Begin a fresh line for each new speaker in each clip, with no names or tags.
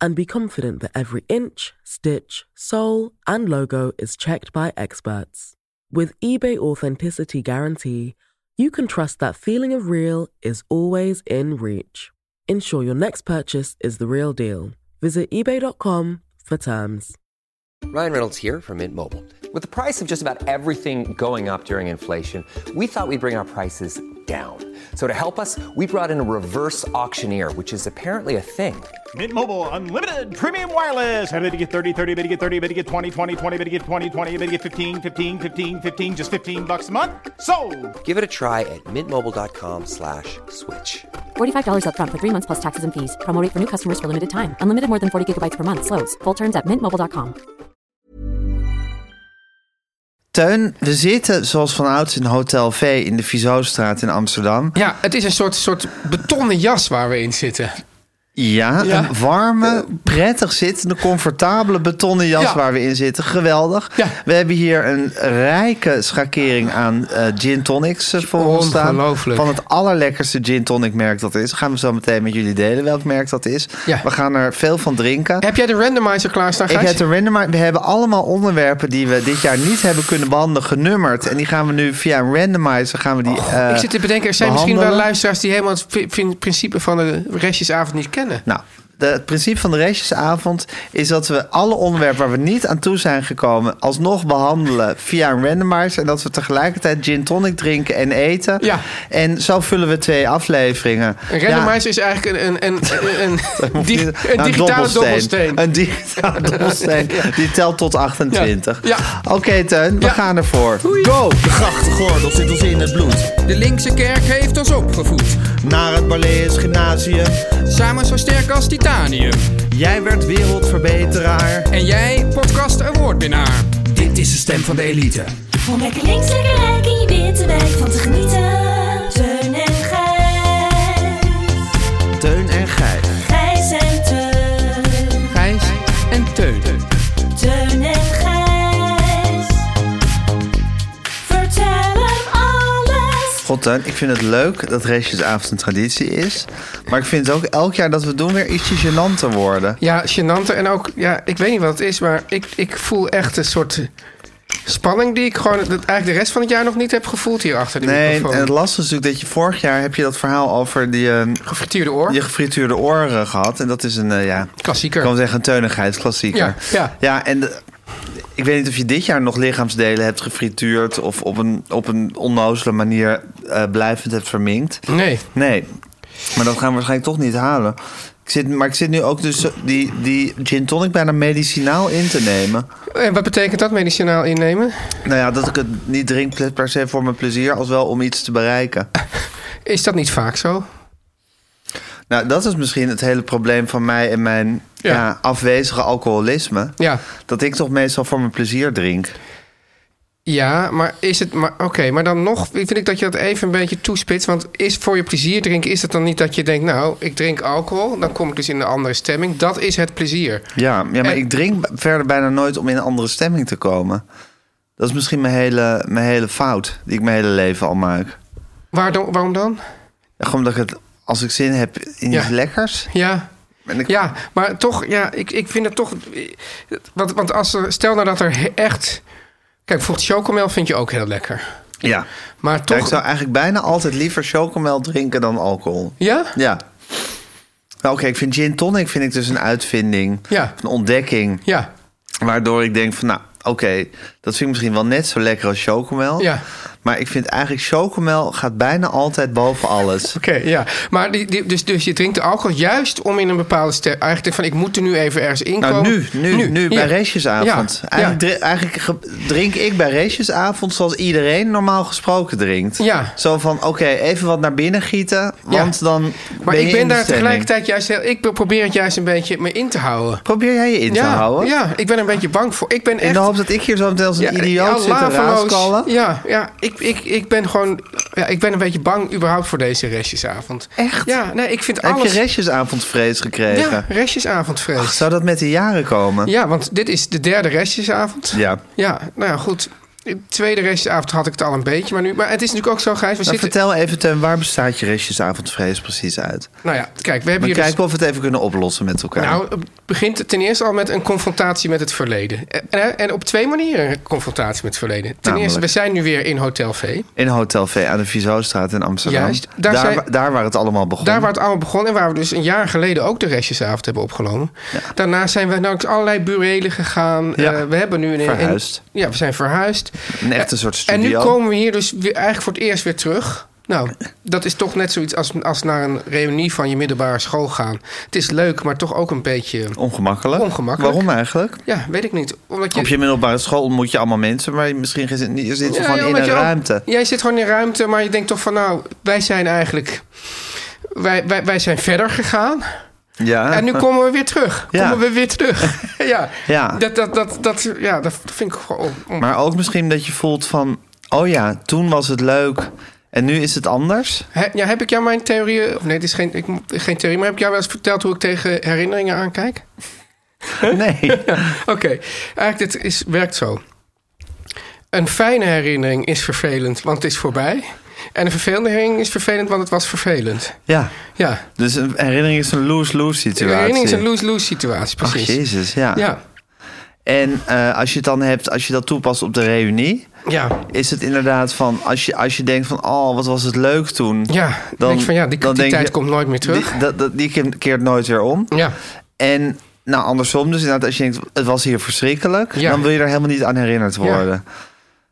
and be confident that every inch, stitch, sole, and logo is checked by experts. With eBay Authenticity Guarantee, you can trust that feeling of real is always in reach. Ensure your next purchase is the real deal. Visit eBay.com for terms.
Ryan Reynolds here from Mint Mobile. With the price of just about everything going up during inflation, we thought we'd bring our prices down. So to help us, we brought in a reverse auctioneer, which is apparently a thing.
Mint Mobile unlimited premium wireless. Ready to get 30, 30, bit get 30, bit get 20, 20, 20, bit get 20, 20, bit get 15, 15, 15, 15 just 15 bucks a month. So,
Give it a try at mintmobile.com slash switch.
$45 upfront for three months plus taxes and fees. Promo rate for new customers for limited time. Unlimited more than 40 gigabytes per month. Slows. Full terms at mintmobile.com.
Teun, we zitten zoals van ouds in Hotel V in de Vizostraat in Amsterdam.
Ja, het is een soort, soort betonnen jas waar we in zitten.
Ja,
Ja.
een warme, prettig zittende, comfortabele betonnen jas
Ja.
waar we in zitten. Geweldig.
Ja.
We hebben hier een rijke schakering aan eh, gin tonics eh, voor ons staan.
Ongelooflijk.
Van het allerlekkerste gin tonic merk dat er is. Gaan we zo meteen met jullie delen welk merk dat is.
Ja.
We gaan er veel van drinken.
Heb jij de randomizer klaarstaan,
Ik
Gijs?
heb de randomizer. We hebben allemaal onderwerpen die we dit jaar niet hebben kunnen behandelen, genummerd. En die gaan we nu via een randomizer gaan we die. eh,
Oh, Ik zit te bedenken, er zijn misschien wel
behandelen.
luisteraars die helemaal het pri- pri- principe van de restjesavond niet kennen.
Nou, de, het principe van de restjesavond is dat we alle onderwerpen waar we niet aan toe zijn gekomen, alsnog behandelen via een randomizer. En dat we tegelijkertijd gin tonic drinken en eten.
Ja.
En zo vullen we twee afleveringen.
Een randomizer is eigenlijk een, een, een, een, een,
Ja,
di- een
een
digitale dobbelsteen.
Een digitale dobbelsteen. Die telt tot 28.
Ja.
Oké, Teun, we
Ja.
gaan ervoor.
Go!
De grachtgordel zit ons in het bloed.
De linkse kerk heeft ons opgevoed,
Naar het Balees Gymnasium.
samen zo sterk als titanium.
Jij werd wereldverbeteraar.
En jij, podcast awardwinnaar. Dit is de stem van de elite.
Om lekker links, lekker rijk in je witte wijk van te genieten. Teun en Gijs.
Teun en Gijs.
Gijs en Teun.
Gijs en Teun.
Teun en Gijs. Vertel hem alles.
God, Teun, ik vind het leuk dat restjesavond een traditie is. Maar ik vind het ook elk jaar dat we het doen weer ietsje gênanter worden.
Ja, gênante. En ook, ja, ik weet niet wat het is, maar ik, ik voel echt een soort eh, spanning die ik gewoon dat eigenlijk de rest van het jaar nog niet heb gevoeld hier achter de
Nee, en
microfoon.
het lastige is natuurlijk dat je vorig jaar heb je dat verhaal over die, eh,
Gefrituurde oor.
je gefrituurde oren gehad. En dat is een, eh, ja,
Klassieker.
ik kan wel zeggen, een teunigheidsklassieker.
Ja, ja.
en de- ik weet niet of je dit jaar nog lichaamsdelen hebt gefrituurd... of op een, op een onnozele manier eh, blijvend hebt verminkt.
Nee.
Nee, maar dat gaan we waarschijnlijk toch niet halen. Ik zit, maar ik zit nu ook dus die, die gin tonic bijna medicinaal in te nemen.
En wat betekent dat medicinaal innemen?
Nou ja, dat ik het niet drink per se voor mijn plezier... als wel om iets te bereiken.
Is dat niet vaak zo?
Nou, dat is misschien het hele probleem van mij en mijn ja.
Ja.
afwezige alcoholisme.
Ja.
Dat ik toch meestal voor mijn plezier drink.
Ja, maar is het. Maar, Oké, maar dan nog vind ik dat je dat even een beetje toespitst. Want is voor je plezier drinken, is het dan niet dat je denkt, nou, ik drink alcohol, dan kom ik dus in een andere stemming. Dat is het plezier.
Ja, ja maar
En-
ik drink b- verder bijna nooit om in een andere stemming te komen. Dat is misschien mijn hele, mijn hele fout die ik mijn hele leven al maak.
Waar dan- waarom dan?
Ja, gewoon dat ik het, als ik zin heb in
Ja.
iets lekkers...
Ja.
En ik,
Ja, maar toch, ja, ik, ik vind het toch. Want, want als er, stel nou dat er he- echt. Kijk, bijvoorbeeld chocomel vind je ook heel lekker.
Ja.
Maar
Ja,
toch.
ik zou eigenlijk bijna altijd liever chocomel drinken dan alcohol.
Ja?
Ja. Nou, Oké, ik vind gin tonic vind ik dus een uitvinding.
Ja.
Een ontdekking.
Ja.
Waardoor ik denk van, nou, oké, dat vind ik misschien wel net zo lekker als chocomel.
Ja.
Maar ik vind eigenlijk chocomel gaat bijna altijd boven alles.
Oké, ja. Maar die, die, dus, dus je drinkt de alcohol juist om in een bepaalde stemming. Eigenlijk van ik moet er nu even ergens in
Nou,
komen.
nu, nu, nu, bij
hier.
restjesavond.
Ja,
Eigenlijk, dri- eigenlijk ge- drink ik bij restjesavond zoals iedereen normaal gesproken drinkt.
Ja.
Zo van, oké, even wat naar binnen gieten, want dan
Maar
ben je
ik
in
ben
de
daar
stemming.
tegelijkertijd juist heel. Ik probeer het juist een beetje me in te houden.
Probeer jij je in te
ja,
houden?
ja, ik ben er een beetje bang voor. Ik ben echt.
In de hoop hoop dat ik hier zo meteen als een
ja,
idioot zit te
laveloos.
raaskallen.
Ja, ja ik, ik, ik ben gewoon... Ja, ik ben een beetje bang überhaupt voor deze restjesavond.
Echt?
Ja, nee, ik vind
Heb je
alles...
restjesavondvrees gekregen?
Ja, restjesavondvrees.
Ach, zou dat met de jaren komen? Nou,
Ja, want dit is de derde restjesavond.
Ja.
Ja, nou ja, goed. De tweede restjesavond had ik het al een beetje. Maar, nu, maar het is natuurlijk ook zo, Gijs. We
Nou,
zitten,
vertel even, Teun, waar bestaat je restjesavondvrees precies uit?
nou ja, kijk, we hebben
We
hier... dus-
kijken of we het even kunnen oplossen met elkaar.
nou, het begint ten eerste al met een confrontatie met het verleden. En, en op twee manieren een confrontatie met het verleden. Ten
Namelijk?
eerste, we zijn nu weer in Hotel V.
in Hotel V aan de Vizostraat in Amsterdam.
Juist, daar
daar, daar,
zijn-
wa- daar waar het allemaal begon.
Daar waar het allemaal begon en waar we dus een jaar geleden ook de restjesavond hebben opgenomen. Daarna zijn we naar allerlei burelen gegaan.
Ja.
Eh, we hebben nu een, een-
Verhuisd.
ja, we zijn verhuisd.
Een echte soort
Eh, En nu
studio.
komen we hier dus weer, eigenlijk voor het eerst weer terug. Nou, dat is toch net zoiets als, als naar een reunie van je middelbare school gaan. Het is leuk, maar toch ook een beetje...
Ongemakkelijk.
Ongemakkelijk.
Waarom eigenlijk?
Ja, weet ik niet. Omdat je,
Op je middelbare school ontmoet je allemaal mensen, maar misschien ge- je zit
Ja,
je gewoon
ja,
in
omdat
een
je ook-
ruimte.
jij zit gewoon in een ruimte, maar je denkt toch van... nou, wij zijn eigenlijk... Wij, wij, wij zijn verder gegaan.
Ja.
En nu komen we weer terug.
Ja.
Komen we weer terug. ja.
Ja.
Dat, dat, dat, dat, ja, dat vind ik gewoon... on-
Maar ook misschien dat je voelt van, oh ja, toen was het leuk en nu is het anders.
He- ja, heb ik jou mijn theorieën... Of nee, het is geen, ik, geen theorie, maar heb ik jou wel eens verteld... hoe ik tegen herinneringen aankijk?
Nee.
Oké, eigenlijk dit is, werkt zo. Een fijne herinnering is vervelend, want het is voorbij. En een vervelende herinnering is vervelend, want het was vervelend.
Ja.
Ja,
Dus een herinnering is een lose-lose
de
situatie.
herinnering is een lose-lose situatie,
Ach,
precies.
jezus, ja.
ja,
En eh, als je het dan hebt, als je dat toepast op de reunie,
ja,
is het inderdaad van, als je, als je denkt van, oh, wat was het leuk toen.
ja. Dan denk je van, ja, die,
dan
die
denk
tijd
je-
komt nooit meer terug.
Die, dat, dat, die keert- keert nooit weer om.
ja,
En nou, andersom, dus inderdaad, als je denkt, het was hier verschrikkelijk,
Ja.
dan wil je er helemaal niet aan herinnerd worden. Ja.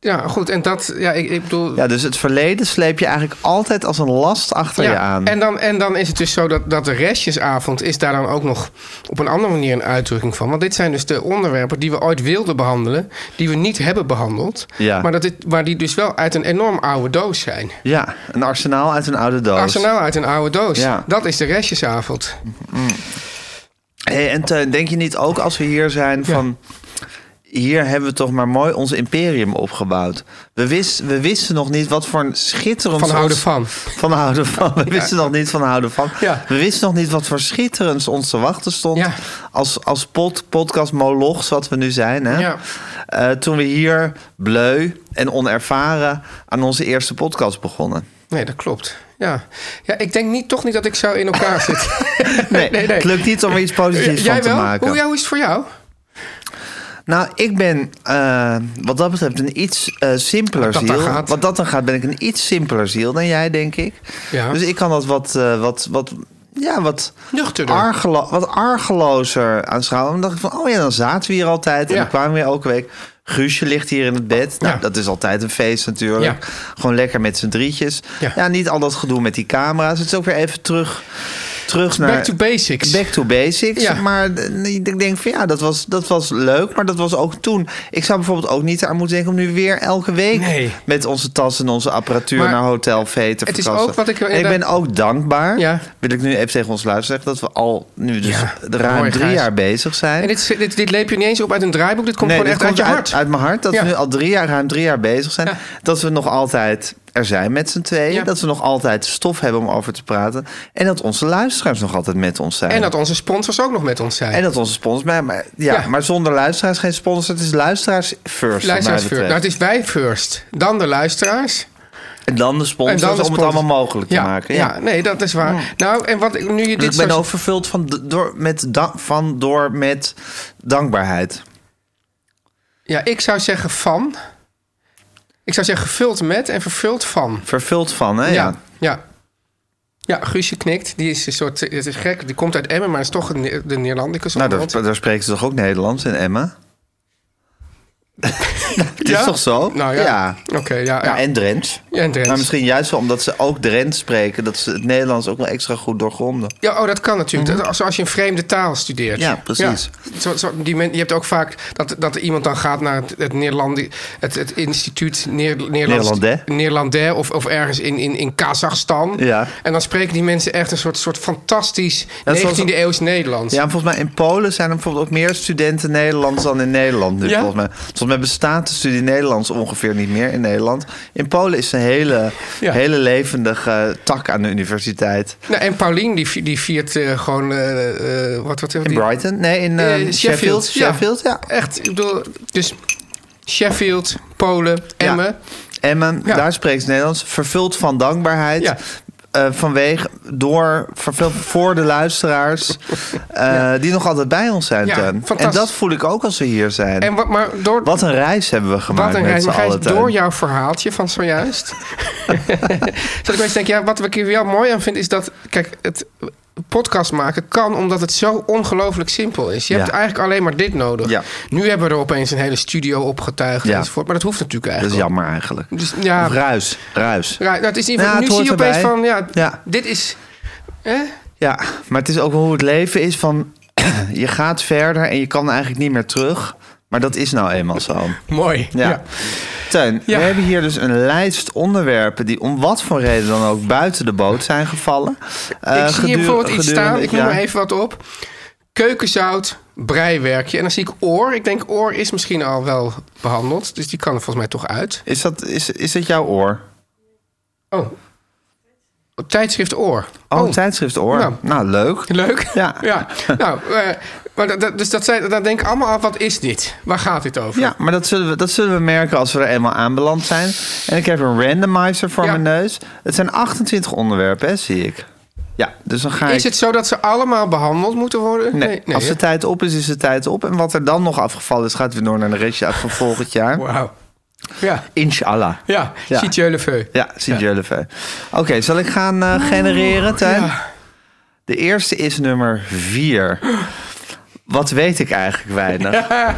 ja, goed, en dat, ja, ik, ik bedoel...
dus het verleden sleep je eigenlijk altijd als een last achter je aan.
En dan, en dan is het dus zo dat, dat de restjesavond is daar dan ook nog op een andere manier een uitdrukking van. Want dit zijn dus de onderwerpen die we ooit wilden behandelen, die we niet hebben behandeld.
Ja.
Maar dat dit, waar die dus wel uit een enorm oude doos zijn.
Ja, een arsenaal uit een oude doos.
Arsenaal nou uit een oude doos.
Ja.
Dat is de restjesavond.
Hey, en Teun, denk je niet ook als we hier zijn van... Hier hebben we toch maar mooi ons imperium opgebouwd. We, wist, we wisten nog niet wat voor een schitterend...
Van
soort-
houden van.
Van houden van. We wisten nog niet van houden van.
Ja.
We wisten nog niet wat voor schitterends ons te wachten stond.
Ja.
Als, als pod, podcast molochs wat we nu zijn. Hè?
Ja.
Eh, toen we hier bleu en onervaren aan onze eerste podcast begonnen.
Nee, dat klopt. Ja, ja ik denk niet, toch niet dat ik zo in elkaar zit.
Nee,
Nee, nee.
het lukt niet om er iets positiefs
Jij
van
wel?
te maken.
Hoe, ja, hoe is het voor jou?
Nou, ik ben eh, wat dat betreft een iets eh, simpeler
Wat dat dan
ziel.
gaat.
Wat dat dan gaat, ben ik een iets simpeler ziel dan jij, denk ik.
Ja.
Dus ik kan dat wat, eh, wat, wat, ja, wat,
Nuchterder.
argelo wat argelozer aanschouwen. Dan dacht ik van, oh ja, dan zaten we hier altijd. En
Ja.
dan kwamen we elke week. Guusje ligt hier in het bed. Nou,
Ja.
dat is altijd een feest natuurlijk.
Ja.
Gewoon lekker met z'n drietjes.
Ja.
Ja. niet al dat gedoe met die camera's. Het is ook weer even terug, terug naar...
Back to basics.
Back to basics.
Ja.
Maar eh, ik denk van ja, dat was, dat was leuk. Maar dat was ook toen. Ik zou bijvoorbeeld ook niet aan moeten denken om nu weer elke week
Nee.
met onze tas en onze apparatuur
Maar
naar Hotel V E te
het is
verkassen.
ook wat ik wel
En ik ben
inderdaad-
ook dankbaar.
Ja.
Wil ik nu even tegen ons luisteren zeggen dat we al nu dus
Ja,
ruim
mooi,
drie
Gijs.
jaar bezig zijn.
En dit, dit, dit leep je niet eens op uit een draaiboek. Dit komt
Nee,
gewoon
dit
echt uit je
komt
hart.
Uit, mijn hart. Dat
Ja.
we nu al drie jaar, ruim drie jaar bezig zijn.
Ja.
Dat we nog altijd er zijn met z'n tweeën.
Ja.
Dat we nog altijd stof hebben om over te praten. En dat onze luisteraars nog altijd met ons zijn.
En dat onze sponsors ook nog met ons zijn.
En dat onze sponsors. Maar, maar, ja,
Ja.
maar zonder luisteraars geen sponsor. Het is luisteraars first.
Luisteraars
wat mij
first.
betreft.
Nou, het is wij first. Dan de luisteraars.
En dan de sponsors
en dan de
om het
sponsors.
allemaal mogelijk te
ja,
maken.
Ja.
Ja.
nee, dat is waar. Nou, en wat ik- nu je
Dus
dit
ik ben
zo...
ook vervuld van, d- door, met, da- van door met dankbaarheid.
Ja, ik zou zeggen van. Ik zou zeggen gevuld met en vervuld van.
Vervuld van, hè? Ah, Ja.
Ja, ja. Ja, Guusje knikt. Die is een soort... Het is gek. Die komt uit Emmen, maar is toch een, Ne- de Nederlandicus.
Nou,
onderhand.
daar, daar spreken ze toch ook Nederlands in Emma? Het
Ja?
is toch zo?
Nou ja.
ja.
Oké, ja, ja.
Ja, en Drents.
Ja, en Drents.
Maar misschien juist wel omdat ze ook Drents spreken... dat ze het Nederlands ook wel extra goed doorgronden.
Ja, oh, dat kan natuurlijk. Dat- Zoals je een vreemde taal studeert.
Mhm. Ja, precies.
Ja. Zo, zo, die men, je hebt ook vaak dat, dat er iemand dan gaat naar het, het, Nederland, het, het instituut Neer, Nederlands-
Neerlandais.
Neerlandais of, of ergens in, in, in Kazachstan.
Ja.
En dan spreken die mensen echt een soort, soort fantastisch
zoals-
19e eeuws Nederlands.
Ja, en volgens mij in Polen zijn er bijvoorbeeld ook meer studenten Nederlands dan in Nederland. Nu,
Ja?
volgens, mij. volgens mij we hebben statusstudie Nederlands ongeveer niet meer in Nederland. In Polen is een hele,
Ja.
hele levendige tak aan de universiteit.
Nou, en Paulien die, vi- die viert eh, gewoon... eh, eh, wat, wat,
In Brighton? Nee, in eh, Sheffield. Sheffield, ja.
Echt, ik bedoel... Dus Sheffield, Polen, Emmen.
Emmen,
Ja.
daar spreekt ze Nederlands. Vervuld van dankbaarheid.
Ja.
Eh, vanwege, door, vervuld voor de luisteraars. eh, Die nog altijd bij ons zijn,
Ja,
Teun. En
fantastisch.
dat voel ik ook als we hier zijn.
En wat, maar door,
Wat een reis hebben we gemaakt
Wat een
met
reis,
z'n
maar Gijs,
allen, Teun.
door jouw verhaaltje van zojuist. Zodat ik eens denk, ja, wat ik hier wel mooi aan vind is dat, kijk, het podcast maken kan omdat het zo ongelooflijk simpel is. Je
Ja.
hebt eigenlijk alleen maar dit nodig.
Ja.
Nu hebben we er opeens een hele studio opgetuigd
Ja.
enzovoort, maar dat hoeft natuurlijk
Dat is
eigenlijk.
jammer eigenlijk.
Dus, ja,
Of ruis, ruis.
ja, nou, het is in ieder
Ja,
geval,
het
nu zie je
hoort
opeens
erbij.
van, ja,
Ja.
dit is, hè?
Ja, maar het is ook wel hoe het leven is van... je gaat verder en je kan eigenlijk niet meer terug. Maar dat is nou eenmaal zo.
mooi.
Ja. Teun,
Ja.
we hebben hier dus een lijst onderwerpen... die om wat voor reden dan ook buiten de boot zijn gevallen. Eh,
ik zie hier
geduur-
bijvoorbeeld iets
gedurende
staan.
het
Ik noem
jaar.
maar even wat op. Keukenzout, breiwerkje. En dan zie ik oor. Ik denk, oor is misschien al wel behandeld. Dus die kan er volgens mij toch uit.
Is dat, is, is dat jouw oor?
Oh. Tijdschrift oor.
Oh, tijdschrift oor.
Nou.
Nou, leuk.
Leuk.
Ja.
ja. Nou, eh, maar dat- dat, dus dat, zijn, dat denk ik allemaal af. Wat is dit? Waar gaat dit over?
Ja, maar dat zullen, we, dat zullen we merken als we er eenmaal aanbeland zijn. En ik heb een randomizer voor
Ja.
mijn neus. Het zijn 28 onderwerpen, hè, zie ik. Ja, dus dan ga
Is
ik...
het zo dat ze allemaal behandeld moeten worden?
Nee, als
hè?
de tijd op is, is de tijd op. En wat er dan nog afgevallen is, gaat weer door naar de restje van volgend jaar.
Wauw. Ja.
Inshallah.
Ja.
Ja.
Ziet je feu.
Ja, sint Oké, zal ik gaan eh, genereren, Tuin? De eerste is nummer 4. Wat weet ik eigenlijk weinig? Ja,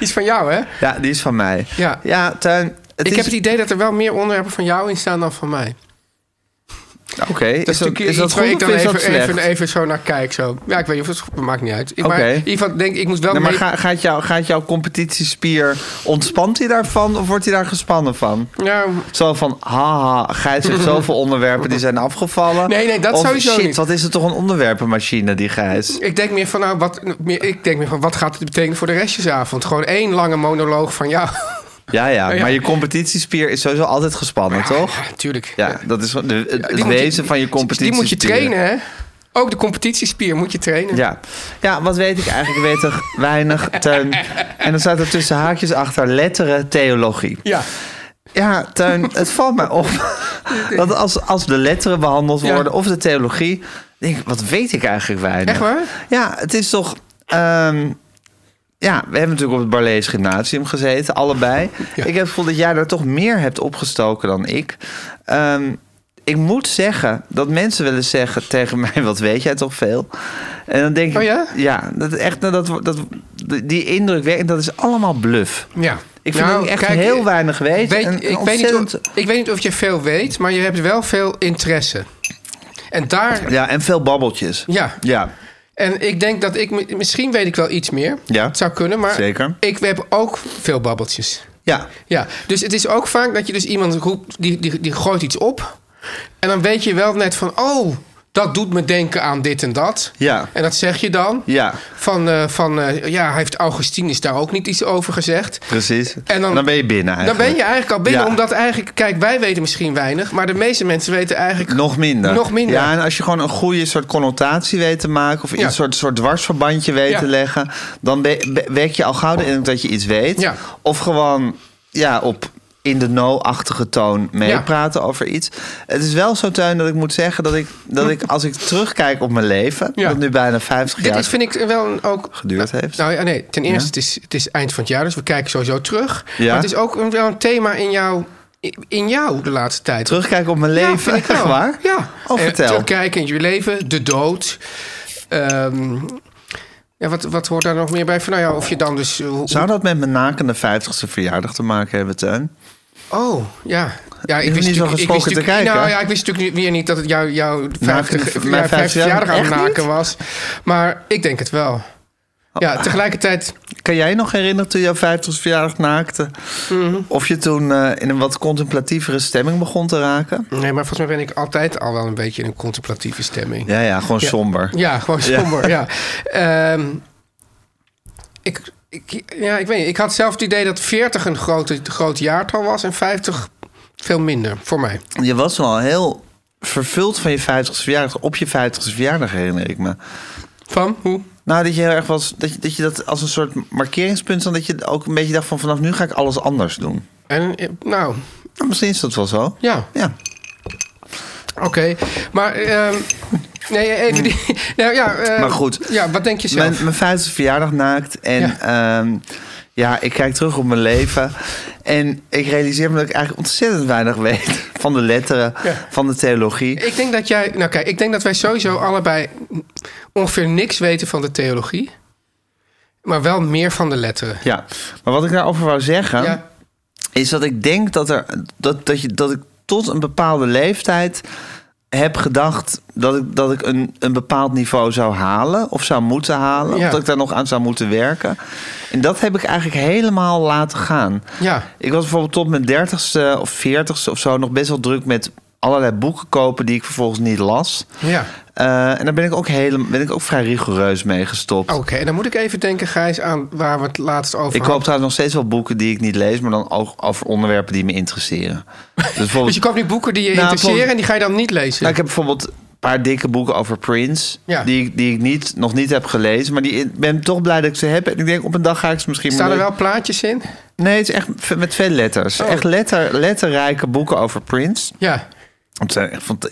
Iets van jou, hè?
die is van mij.
Ja.
ja Tuin. Het
ik
is...
heb het idee dat er wel meer onderwerpen van jou in staan dan van mij.
Nou, Oké,
Dat
is
is
dat,
natuurlijk
is dat
iets
goed
waar ik
of
dan
is dat
even,
slecht?
even, even zo naar kijk. Zo. Ja, ik weet niet of het goed maar maakt niet uit. Ik,
Oké.
maar in ieder geval denk ik, ik moet wel
Nee, maar
mee-
ga- gaat, jou, gaat jouw competitiespier, ontspant hij daarvan of wordt hij daar gespannen van?
Ja,
Zo van, haha, Gijs heeft zoveel onderwerpen die zijn afgevallen.
Nee, nee, dat
of,
sowieso
shit,
niet.
wat is het toch een onderwerpenmachine, die Gijs?
ik denk meer van, nou, wat, meer, ik denk meer van, wat gaat het betekenen voor de restjesavond? Gewoon één lange monoloog van jou.
Ja, ja,
Nou Ja.
maar je competitiespier is sowieso altijd gespannen, toch?
Ja, tuurlijk.
Ja, dat is de, het,
Ja,
het
die moet je-
wezen van je competitiespier.
Die moet je trainen, hè? Ook de competitiespier moet je trainen.
Ja. ja, wat weet ik eigenlijk? Ik weet er weinig, Teun. En dan staat er tussen haakjes achter letteren theologie.
Ja.
Ja, Tuin, het valt mij op dat als, als de letteren behandeld
Ja.
worden of de theologie, denk ik, wat weet ik eigenlijk weinig.
Echt waar?
Ja, het is toch... ehm, ja, we hebben natuurlijk op het Barlees Gymnasium gezeten, allebei.
Ja.
Ik heb het gevoel dat jij daar toch meer hebt opgestoken dan ik. Ehm, ik moet zeggen dat mensen willen zeggen tegen mij, wat weet jij toch veel? En dan denk ik,
Oh ja?
dat echt, nou, dat, dat, die indruk werkt, dat is allemaal bluff.
Ja.
Ik vind
Nou,
dat ik echt
kijk,
heel weinig weet.
Weet-
en, en
ik, weet niet
ontzettend-
of, ik weet niet of je veel weet, maar je hebt wel veel interesse. En daar
Ja, en veel babbeltjes.
Ja.
Ja.
En ik denk dat ik... mi- Misschien weet ik wel iets meer.
Ja.
Het zou kunnen, maar...
Zeker.
Ik heb ook veel babbeltjes.
Ja.
Ja. Dus het is ook vaak dat je dus iemand roept... Die, die, die gooit iets op. En dan weet je wel net van... Oh, dat doet me denken aan dit en dat.
Ja.
En dat zeg je dan.
Ja.
Van, eh, van eh, ja, heeft Augustinus daar ook niet iets over gezegd?
Precies.
En dan-
dan, ben je binnen eigenlijk.
Dan ben je eigenlijk al binnen,
Ja.
omdat eigenlijk... Kijk, wij weten misschien weinig, maar de meeste mensen weten eigenlijk...
Nog minder.
Nog minder.
Ja, en als je gewoon een goede soort connotatie weet te maken... of
Ja.
een soort, soort dwarsverbandje weet
Ja.
te leggen... dan be- be- wek je al gauw de indruk dat je iets weet.
Ja.
Of gewoon ja, op in de no-achtige toon meepraten over iets. Het is wel zo, Tuin, dat ik moet zeggen... dat ik, dat ik als ik terugkijk op mijn leven...
Ja.
dat nu bijna 50
Dit
jaar
is, vind ik wel een, ook.
Geduurd heeft.
Nou ja, nee. Ten eerste,
Ja.
het, is, het is eind van het jaar, dus we kijken sowieso terug.
Ja.
Maar het is ook een, wel een thema in jou, in jou de laatste tijd.
terugkijken op mijn leven.
Ja, vind ik wel.
Echt waar?
Ja.
Oh,
Eh,
vertel.
terugkijken in je leven, de dood. Ehm, ja, wat, wat hoort daar nog meer bij? Van, nou ja, of je dan dus. eh, hoe-
Zou dat met mijn nakende 50ste verjaardag te maken hebben, Teun?
Oh, ja. Ja,
hoeft niet zo
natuurlijk- ik wist
gesproken te
natuurlijk-
kijken,
Nou
hè?
ja, ik wist natuurlijk niet- weer niet dat het jou, jouw
mijn
50
50
jaar verjaardag aan het
Echt
maken
niet? Oh.
was. Maar ik denk het wel. Ja, tegelijkertijd.
Kan jij nog herinneren toen jouw 50ste verjaardag naakte? Of je toen eh, in een wat contemplatievere stemming begon te raken?
Nee, maar volgens mij ben ik altijd al wel een beetje in een contemplatieve stemming.
Ja, ja, gewoon somber.
Ja, gewoon somber, ja. Ehm, ik, ik, ja, ik weet niet. Ik had zelf het idee dat 40 een grote, groot jaartal was en 50 veel minder voor mij.
Je was wel heel vervuld van je 50ste verjaardag. Op je 50ste verjaardag herinner ik me.
Van hoe?
Nou, dat je heel erg was. Dat je dat, je dat als een soort markeringspunt. Dan dat je ook een beetje dacht van vanaf nu ga ik alles anders doen.
En, eh, nou,
Nou, misschien is dat wel zo.
ja,
Ja.
oké. Maar, ehm, nee, even die. Nou, ja, eh,
Maar goed.
Ja, wat denk je zelf?
Mijn, mijn 50 verjaardag naakt. En ja. ja, ik kijk terug op mijn leven. En ik realiseer me dat ik eigenlijk ontzettend weinig weet. Van de letteren,
Ja.
van de theologie.
Ik denk dat jij, nou kijk, ik denk dat wij sowieso allebei ongeveer niks weten van de theologie, maar wel meer van de letteren.
Ja, maar wat ik daarover wou zeggen.
Ja,
is dat ik denk dat, er, dat, dat, je, dat ik tot een bepaalde leeftijd heb gedacht dat ik, dat ik een, een bepaald niveau zou halen of zou moeten halen.
Ja.
Of dat ik daar nog aan zou moeten werken. En dat heb ik eigenlijk helemaal laten gaan.
Ja.
Ik was bijvoorbeeld tot mijn dertigste of veertigste of zo nog best wel druk met allerlei boeken kopen die ik vervolgens niet las.
ja.
Eh, en daar ben ik, ook hele, ben ik ook vrij rigoureus mee gestopt.
Oké, en dan moet ik even denken, Gijs, aan waar we het laatst over
Ik koop
hadden.
trouwens nog steeds wel boeken die ik niet lees, maar dan ook over onderwerpen die me interesseren. Dus
Dus
bijvoorbeeld
je koopt nu boeken die je
Nou,
interesseren
klopt.
en die ga je dan niet lezen.
Nou, ik heb bijvoorbeeld een paar dikke boeken over Prince.
Ja.
Die, ik- die ik niet, nog niet heb gelezen. Maar die, ik ben toch blij dat ik ze heb. En ik denk, op een dag ga ik ze misschien...
Staan er
maar-
wel plaatjes in?
Nee, het is echt ve- met veel letters.
Oh.
Echt letter, letterrijke boeken over Prince.
Ja.
Het zijn echt fanta-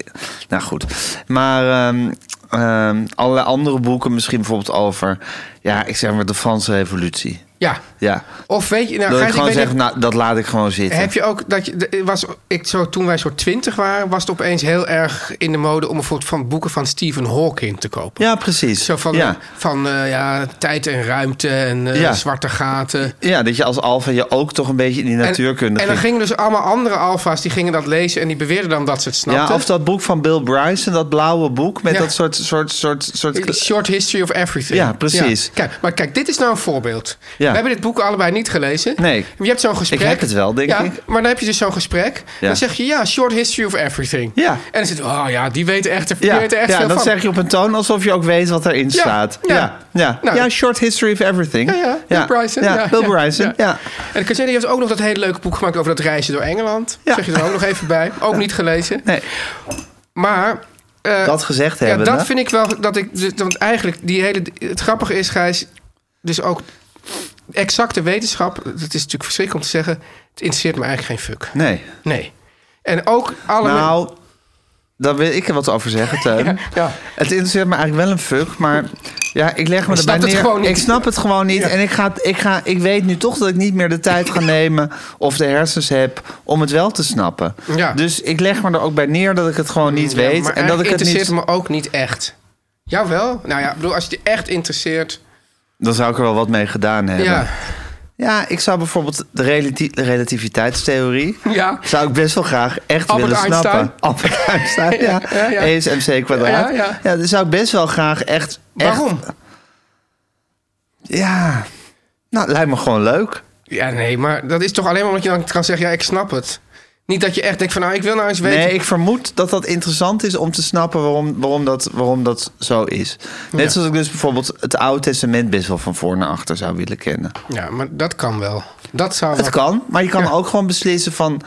Nou goed. Maar ehm ehm, allerlei andere boeken misschien bijvoorbeeld over... Ja, ik zeg maar de Franse revolutie.
Ja.
Ja.
Of weet je, nou,
dat
Gijs,
ik gewoon
ik weet
zeg,
niet-
nou, dat laat ik gewoon zitten.
Heb je ook dat je de- was ik zo toen wij zo twintig waren was het opeens heel erg in de mode om bijvoorbeeld van boeken van Stephen Hawking te kopen.
Ja, precies.
Zo van,
ja.
van eh, ja, tijd en ruimte en eh,
Ja.
zwarte gaten.
ja, dat je als alfa je ook toch een beetje in die natuurkunde
en, en dan
ging
gingen dus allemaal andere alfa's die gingen dat lezen en die beweerden dan dat ze het snapten.
Ja, of dat boek van Bill Bryson, dat blauwe boek met
Ja.
dat soort, soort, soort, soort.
Short History of Everything.
Ja, precies.
Kijk, maar kijk, dit is nou een voorbeeld.
Ja.
We hebben dit boek allebei niet gelezen.
Nee.
Maar Je hebt zo'n gesprek.
Ik heb het wel, denk
ja,
ik.
Maar dan heb je dus zo'n gesprek.
Ja.
Dan zeg je, ja, Short History of Everything.
Ja.
En dan zit, oh ja, die weet echt, die
Ja,
weet er echt
ja
veel
dat
van.
zeg je op een toon alsof je ook weet wat erin
Ja,
staat.
ja.
Ja, ja. Ja.
Nou, dat-
Short History of Everything.
Ja, ja, Bill Bryson.
Ja, Bill Bryson, ja.
En de Kazee heeft ook nog dat hele leuke boek gemaakt over dat reizen door Engeland.
Ja.
Zeg je er ook nog even bij. Ook niet gelezen.
Nee,
Maar... eh,
dat gezegd
ja,
hebben.
dat vind ik wel dat ik. dus- Want eigenlijk, die hele, het grappige is, Gijs. Dus ook exacte wetenschap. Dat is natuurlijk verschrikkelijk om te zeggen. Het interesseert me eigenlijk geen fuck.
Nee.
Nee. En ook alle.
Nou, daar wil ik er wat over zeggen, Teun.
ja.
Het interesseert me eigenlijk wel een fuck, maar ja, ik leg me
Je
erbij
snapt het
neer.
gewoon niet.
Ik snap het gewoon niet.
Ja.
En ik, ga, ik, ga, ik weet nu toch dat ik niet meer de tijd ga nemen of de hersens heb om het wel te snappen.
Ja. Mm,
Dus ik leg me er ook bij neer dat ik het gewoon niet
Ja,
weet.
maar
en dat ik het
interesseert
niet.
me ook niet echt. Jawel. Nou ja, ik bedoel, als je het echt interesseert.
Dan zou ik er wel wat mee gedaan hebben.
Ja.
Ja, ik zou bijvoorbeeld de, relati- de relativiteitstheorie.
Ja.
Zou ik best wel graag echt
Albert
willen
Einstein.
snappen. Albert Einstein. Ja,
Ja, ja, ja.
E is mc kwadraat.
Ja, ja.
dat zou ik best wel graag echt. echt-
Waarom?
Ja. Nou, lijkt me gewoon leuk.
Ja, nee, maar dat is toch alleen maar omdat je dan kan zeggen: ja, ik snap het. Niet dat je echt denkt van, nou, ik wil nou eens weten.
Nee, ik vermoed dat dat interessant is om te snappen waarom, waarom, dat, waarom dat zo is. Net
Ja.
zoals ik dus bijvoorbeeld het Oude Testament best wel van voor naar achter zou willen kennen.
Ja, maar dat kan wel. Dat zou
Het
wel-
kan, maar je kan ook gewoon beslissen van...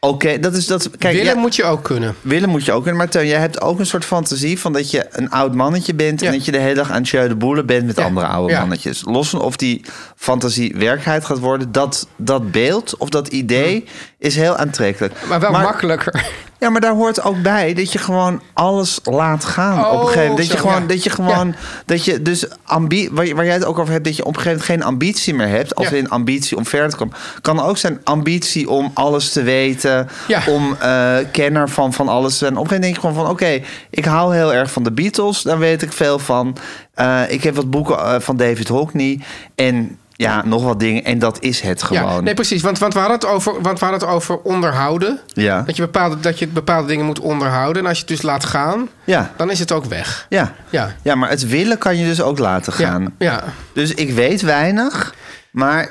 Oké, dat is dat. Kijk,
Willen
ja,
moet je ook kunnen.
willen moet je ook. kunnen, Maar Teun, jij hebt ook een soort fantasie van dat je een oud mannetje bent...
Ja.
en dat je de hele dag aan het de boelen bent met
Ja.
andere oude
Ja.
mannetjes. Los van of die fantasie werkelijkheid gaat worden... dat, dat beeld of dat idee is heel aantrekkelijk.
Hm. Maar wel makkelijker.
Ja, maar daar hoort ook bij dat je gewoon alles laat gaan
Oh,
op een gegeven moment. Dat
zo,
je gewoon,
ja.
dat je gewoon,
Ja.
dat je dus ambi waar, waar jij het ook over hebt, dat je op een gegeven moment geen ambitie meer hebt. Als
Ja.
in ambitie om verder te komen. Kan ook zijn ambitie om alles te weten,
Ja.
om eh, kenner van, van alles te zijn. Op een gegeven moment denk je gewoon van, oké, ik hou heel erg van de Beatles, daar weet ik veel van. Eh, ik heb wat boeken eh, van David Hockney en ja, nog wat dingen. En dat is het gewoon.
Ja, nee, precies. Want, want, we hadden het over, want we hadden het over onderhouden.
Ja.
Dat, je bepaalde, dat je bepaalde dingen moet onderhouden. En als je het dus laat gaan,
Ja.
dan is het ook weg.
Ja.
Ja.
ja, maar het willen kan je dus ook laten gaan.
Ja, ja.
Dus ik weet weinig, maar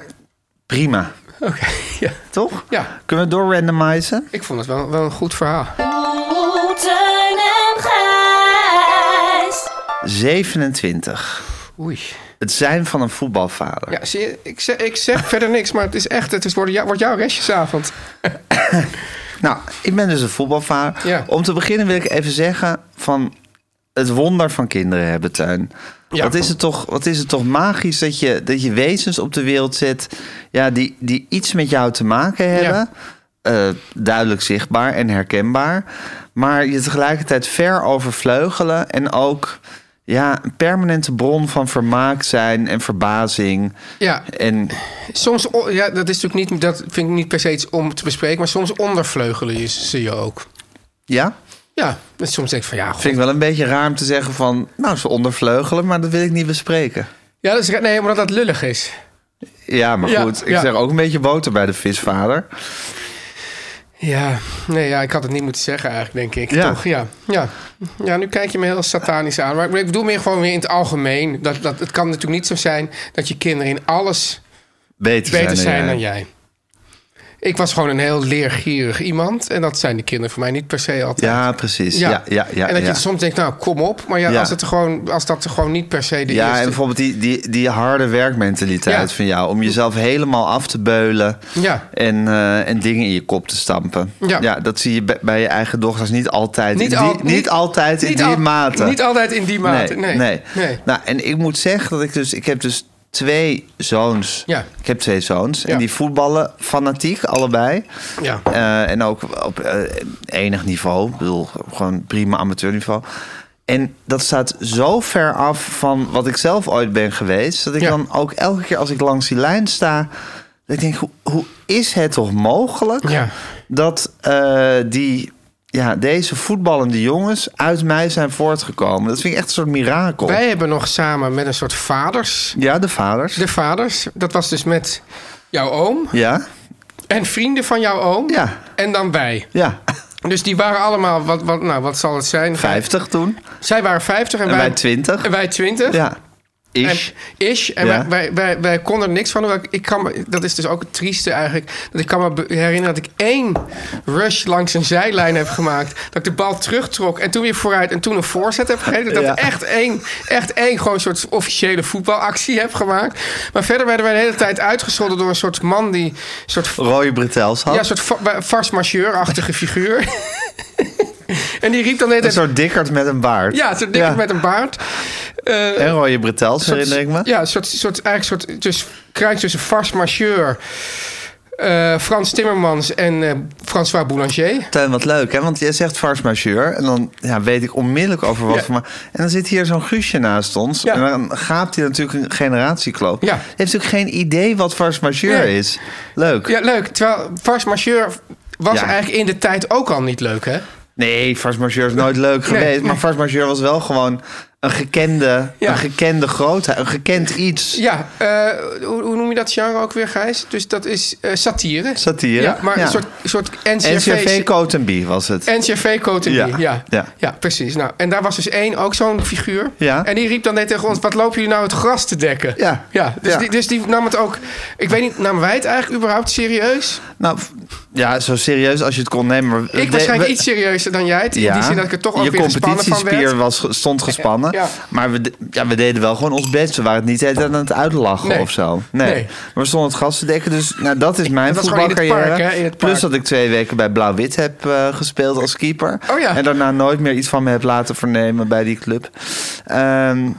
prima,
oké. Ja.
toch?
Ja.
Kunnen we doorrandomizen?
Ik vond het wel, wel een goed verhaal.
Oeh, Teun en Oh, Gijs.
27.
Oei.
Het zijn van een voetbalvader.
Ja, zie je, ik zeg, ik zeg verder niks, maar het is echt, het is, wordt, jou- wordt jouw restjesavond.
Nou, ik ben dus een voetbalvader.
Ja.
Om te beginnen wil ik even zeggen van het wonder van kinderen hebben, Tuin.
Ja.
Wat, is het toch, wat is het toch magisch dat je, dat je wezens op de wereld zet... Ja, die, die iets met jou te maken hebben.
Ja.
Eh, duidelijk zichtbaar en herkenbaar. Maar je tegelijkertijd ver overvleugelen... en ook ja, een permanente bron van vermaak zijn en verbazing.
Ja,
En
soms, o- ja, dat is natuurlijk niet, dat vind ik niet per se iets om te bespreken, maar soms ondervleugelen je ze je ook.
ja,
Ja, dus soms denk ik van ja, god.
vind ik wel een beetje raar om te zeggen van... nou, ze ondervleugelen, maar dat wil ik niet bespreken.
Ja, dat is, re- nee, omdat dat lullig is.
Ja, maar
Ja,
goed. Ik
ja.
zeg ook een beetje boter bij de visvader.
Ja, nee, ja, ik had het niet moeten zeggen eigenlijk, denk ik.
Ja.
Toch? Ja. ja. Ja, nu kijk je me heel satanisch aan. Maar ik- ik bedoel meer gewoon weer in het algemeen. Dat, dat, het kan natuurlijk niet zo zijn dat je kinderen in alles
Beter, eh,
beter zijn
jij.
dan jij. Ik was gewoon een heel leergierig iemand. En dat zijn de kinderen voor mij niet per se altijd.
Ja, precies. Ja, ja, ja. ja,
en dat je soms denkt, nou, kom op. Maar ja,
Ja.
Als, het er gewoon, als dat er gewoon niet per se de
Ja, en
eerste...
bijvoorbeeld die, die, die harde werkmentaliteit
Ja.
van jou. Om jezelf helemaal af te beulen.
Ja.
En, eh, en dingen in je kop te stampen.
Ja.
dat zie je bij, bij je eigen dochters niet altijd. in
al-
die, niet, altijd in
niet
die
al-
mate.
Niet altijd in die mate, nee.
nee.
nee.
Nou, en ik moet zeggen dat ik dus... Ik heb dus twee zoons.
Ja.
Ik heb twee zoons.
Ja.
En die voetballen fanatiek, allebei.
Ja.
Eh, en ook op eh, enig niveau. Ik bedoel, gewoon prima amateurniveau. En dat staat zo ver af van wat ik zelf ooit ben geweest... dat ik
Ja.
dan ook elke keer als ik langs die lijn sta... dat ik denk, hoe, hoe is het toch mogelijk...
Ja.
dat eh, die, ja, deze voetballende jongens uit mij zijn voortgekomen? Dat vind ik echt een soort mirakel.
Wij hebben nog samen met een soort vaders...
Ja, de vaders.
De vaders, dat was dus met jouw oom
Ja,
en vrienden van jouw oom.
Ja.
En dan wij.
ja.
Dus die waren allemaal, wat, wat, nou, wat zal het zijn?
50 toen.
Zij waren 50 en,
En wij 20.
En wij 20.
Ja,
En,
ish.
ish. En
Ja.
wij, wij, wij, wij konden er niks van. hoewel Ik, ik kan me, dat is dus ook het trieste eigenlijk. Dat ik kan me be- herinneren dat ik één rush langs een zijlijn heb gemaakt. Dat ik de bal terugtrok en toen weer vooruit en toen een voorzet heb gegeven. Dat ik
Ja.
echt één, echt één gewoon soort officiële voetbalactie heb gemaakt. Maar verder werden wij de hele tijd uitgescholden door een soort man die... Soort
Rooie Bretels had.
ja, een soort va- vars macheur-achtige figuur. en die riep dan net...
Een soort dikkerd met een baard.
Ja, zo'n dikke met een baard. Eh,
En rode bretels,
soort-
herinner ik me.
Ja, een soort, soort, eigenlijk een soort dus, kruis tussen Fars Marcheur, eh, Frans Timmermans en eh François Boulanger.
Tuin, wat leuk, hè? Want jij zegt farce majeure. En dan ja, weet ik onmiddellijk over wat
Ja.
voor... ma- En dan zit hier zo'n Guusje naast ons.
Ja.
En dan gaapt hij natuurlijk een generatiekloof.
Ja.
Hij heeft natuurlijk geen idee wat farce majeure
Nee.
is. Leuk.
Ja, leuk. Terwijl Fars Marcheur was
Ja.
eigenlijk in de tijd ook al niet leuk, hè?
Nee, farce majeure is nooit leuk
Nee,
geweest.
nee.
Maar farce majeure was wel gewoon een gekende,
Ja.
een gekende grootheid. Een gekend iets.
Ja, eh, hoe, hoe noem je dat genre ook weer, Gijs? Dus dat is eh, satire.
Satire,
Ja, maar
ja.
een soort, soort
NCRV
NCRV...
Cotenby was het.
NCRV Cotenby, ja.
Ja,
Ja. ja.
ja.
precies. Nou, en daar was dus één, ook zo'n figuur.
Ja.
En die riep dan net tegen ons, wat lopen jullie nou het gras te dekken?
Ja.
ja, dus,
Ja.
Die, dus die nam het ook... Ik weet niet, namen wij het eigenlijk überhaupt serieus?
Nou, f- ja, zo serieus als je het kon nemen. maar we-
Ik waarschijnlijk iets serieuzer dan jij het. In die zin dat ik er toch ook
je
weer gespannen van
competitiespier
werd.
was, ge- stond gespannen.
Ja.
Maar we, de- ja, we deden wel gewoon ons best. We waren het niet de hele tijd aan het uitlachen
Nee.
of zo. Nee.
Nee.
Maar we stonden het gas te dekken. Dus nou, dat is mijn
Dat was gewoon in het
voetbalcarrière.
park, hè, in het
Plus
park.
dat ik twee weken bij Blauw-Wit heb eh, gespeeld als keeper.
Oh ja.
En daarna nooit meer iets van me heb laten vernemen bij die club. Ehm,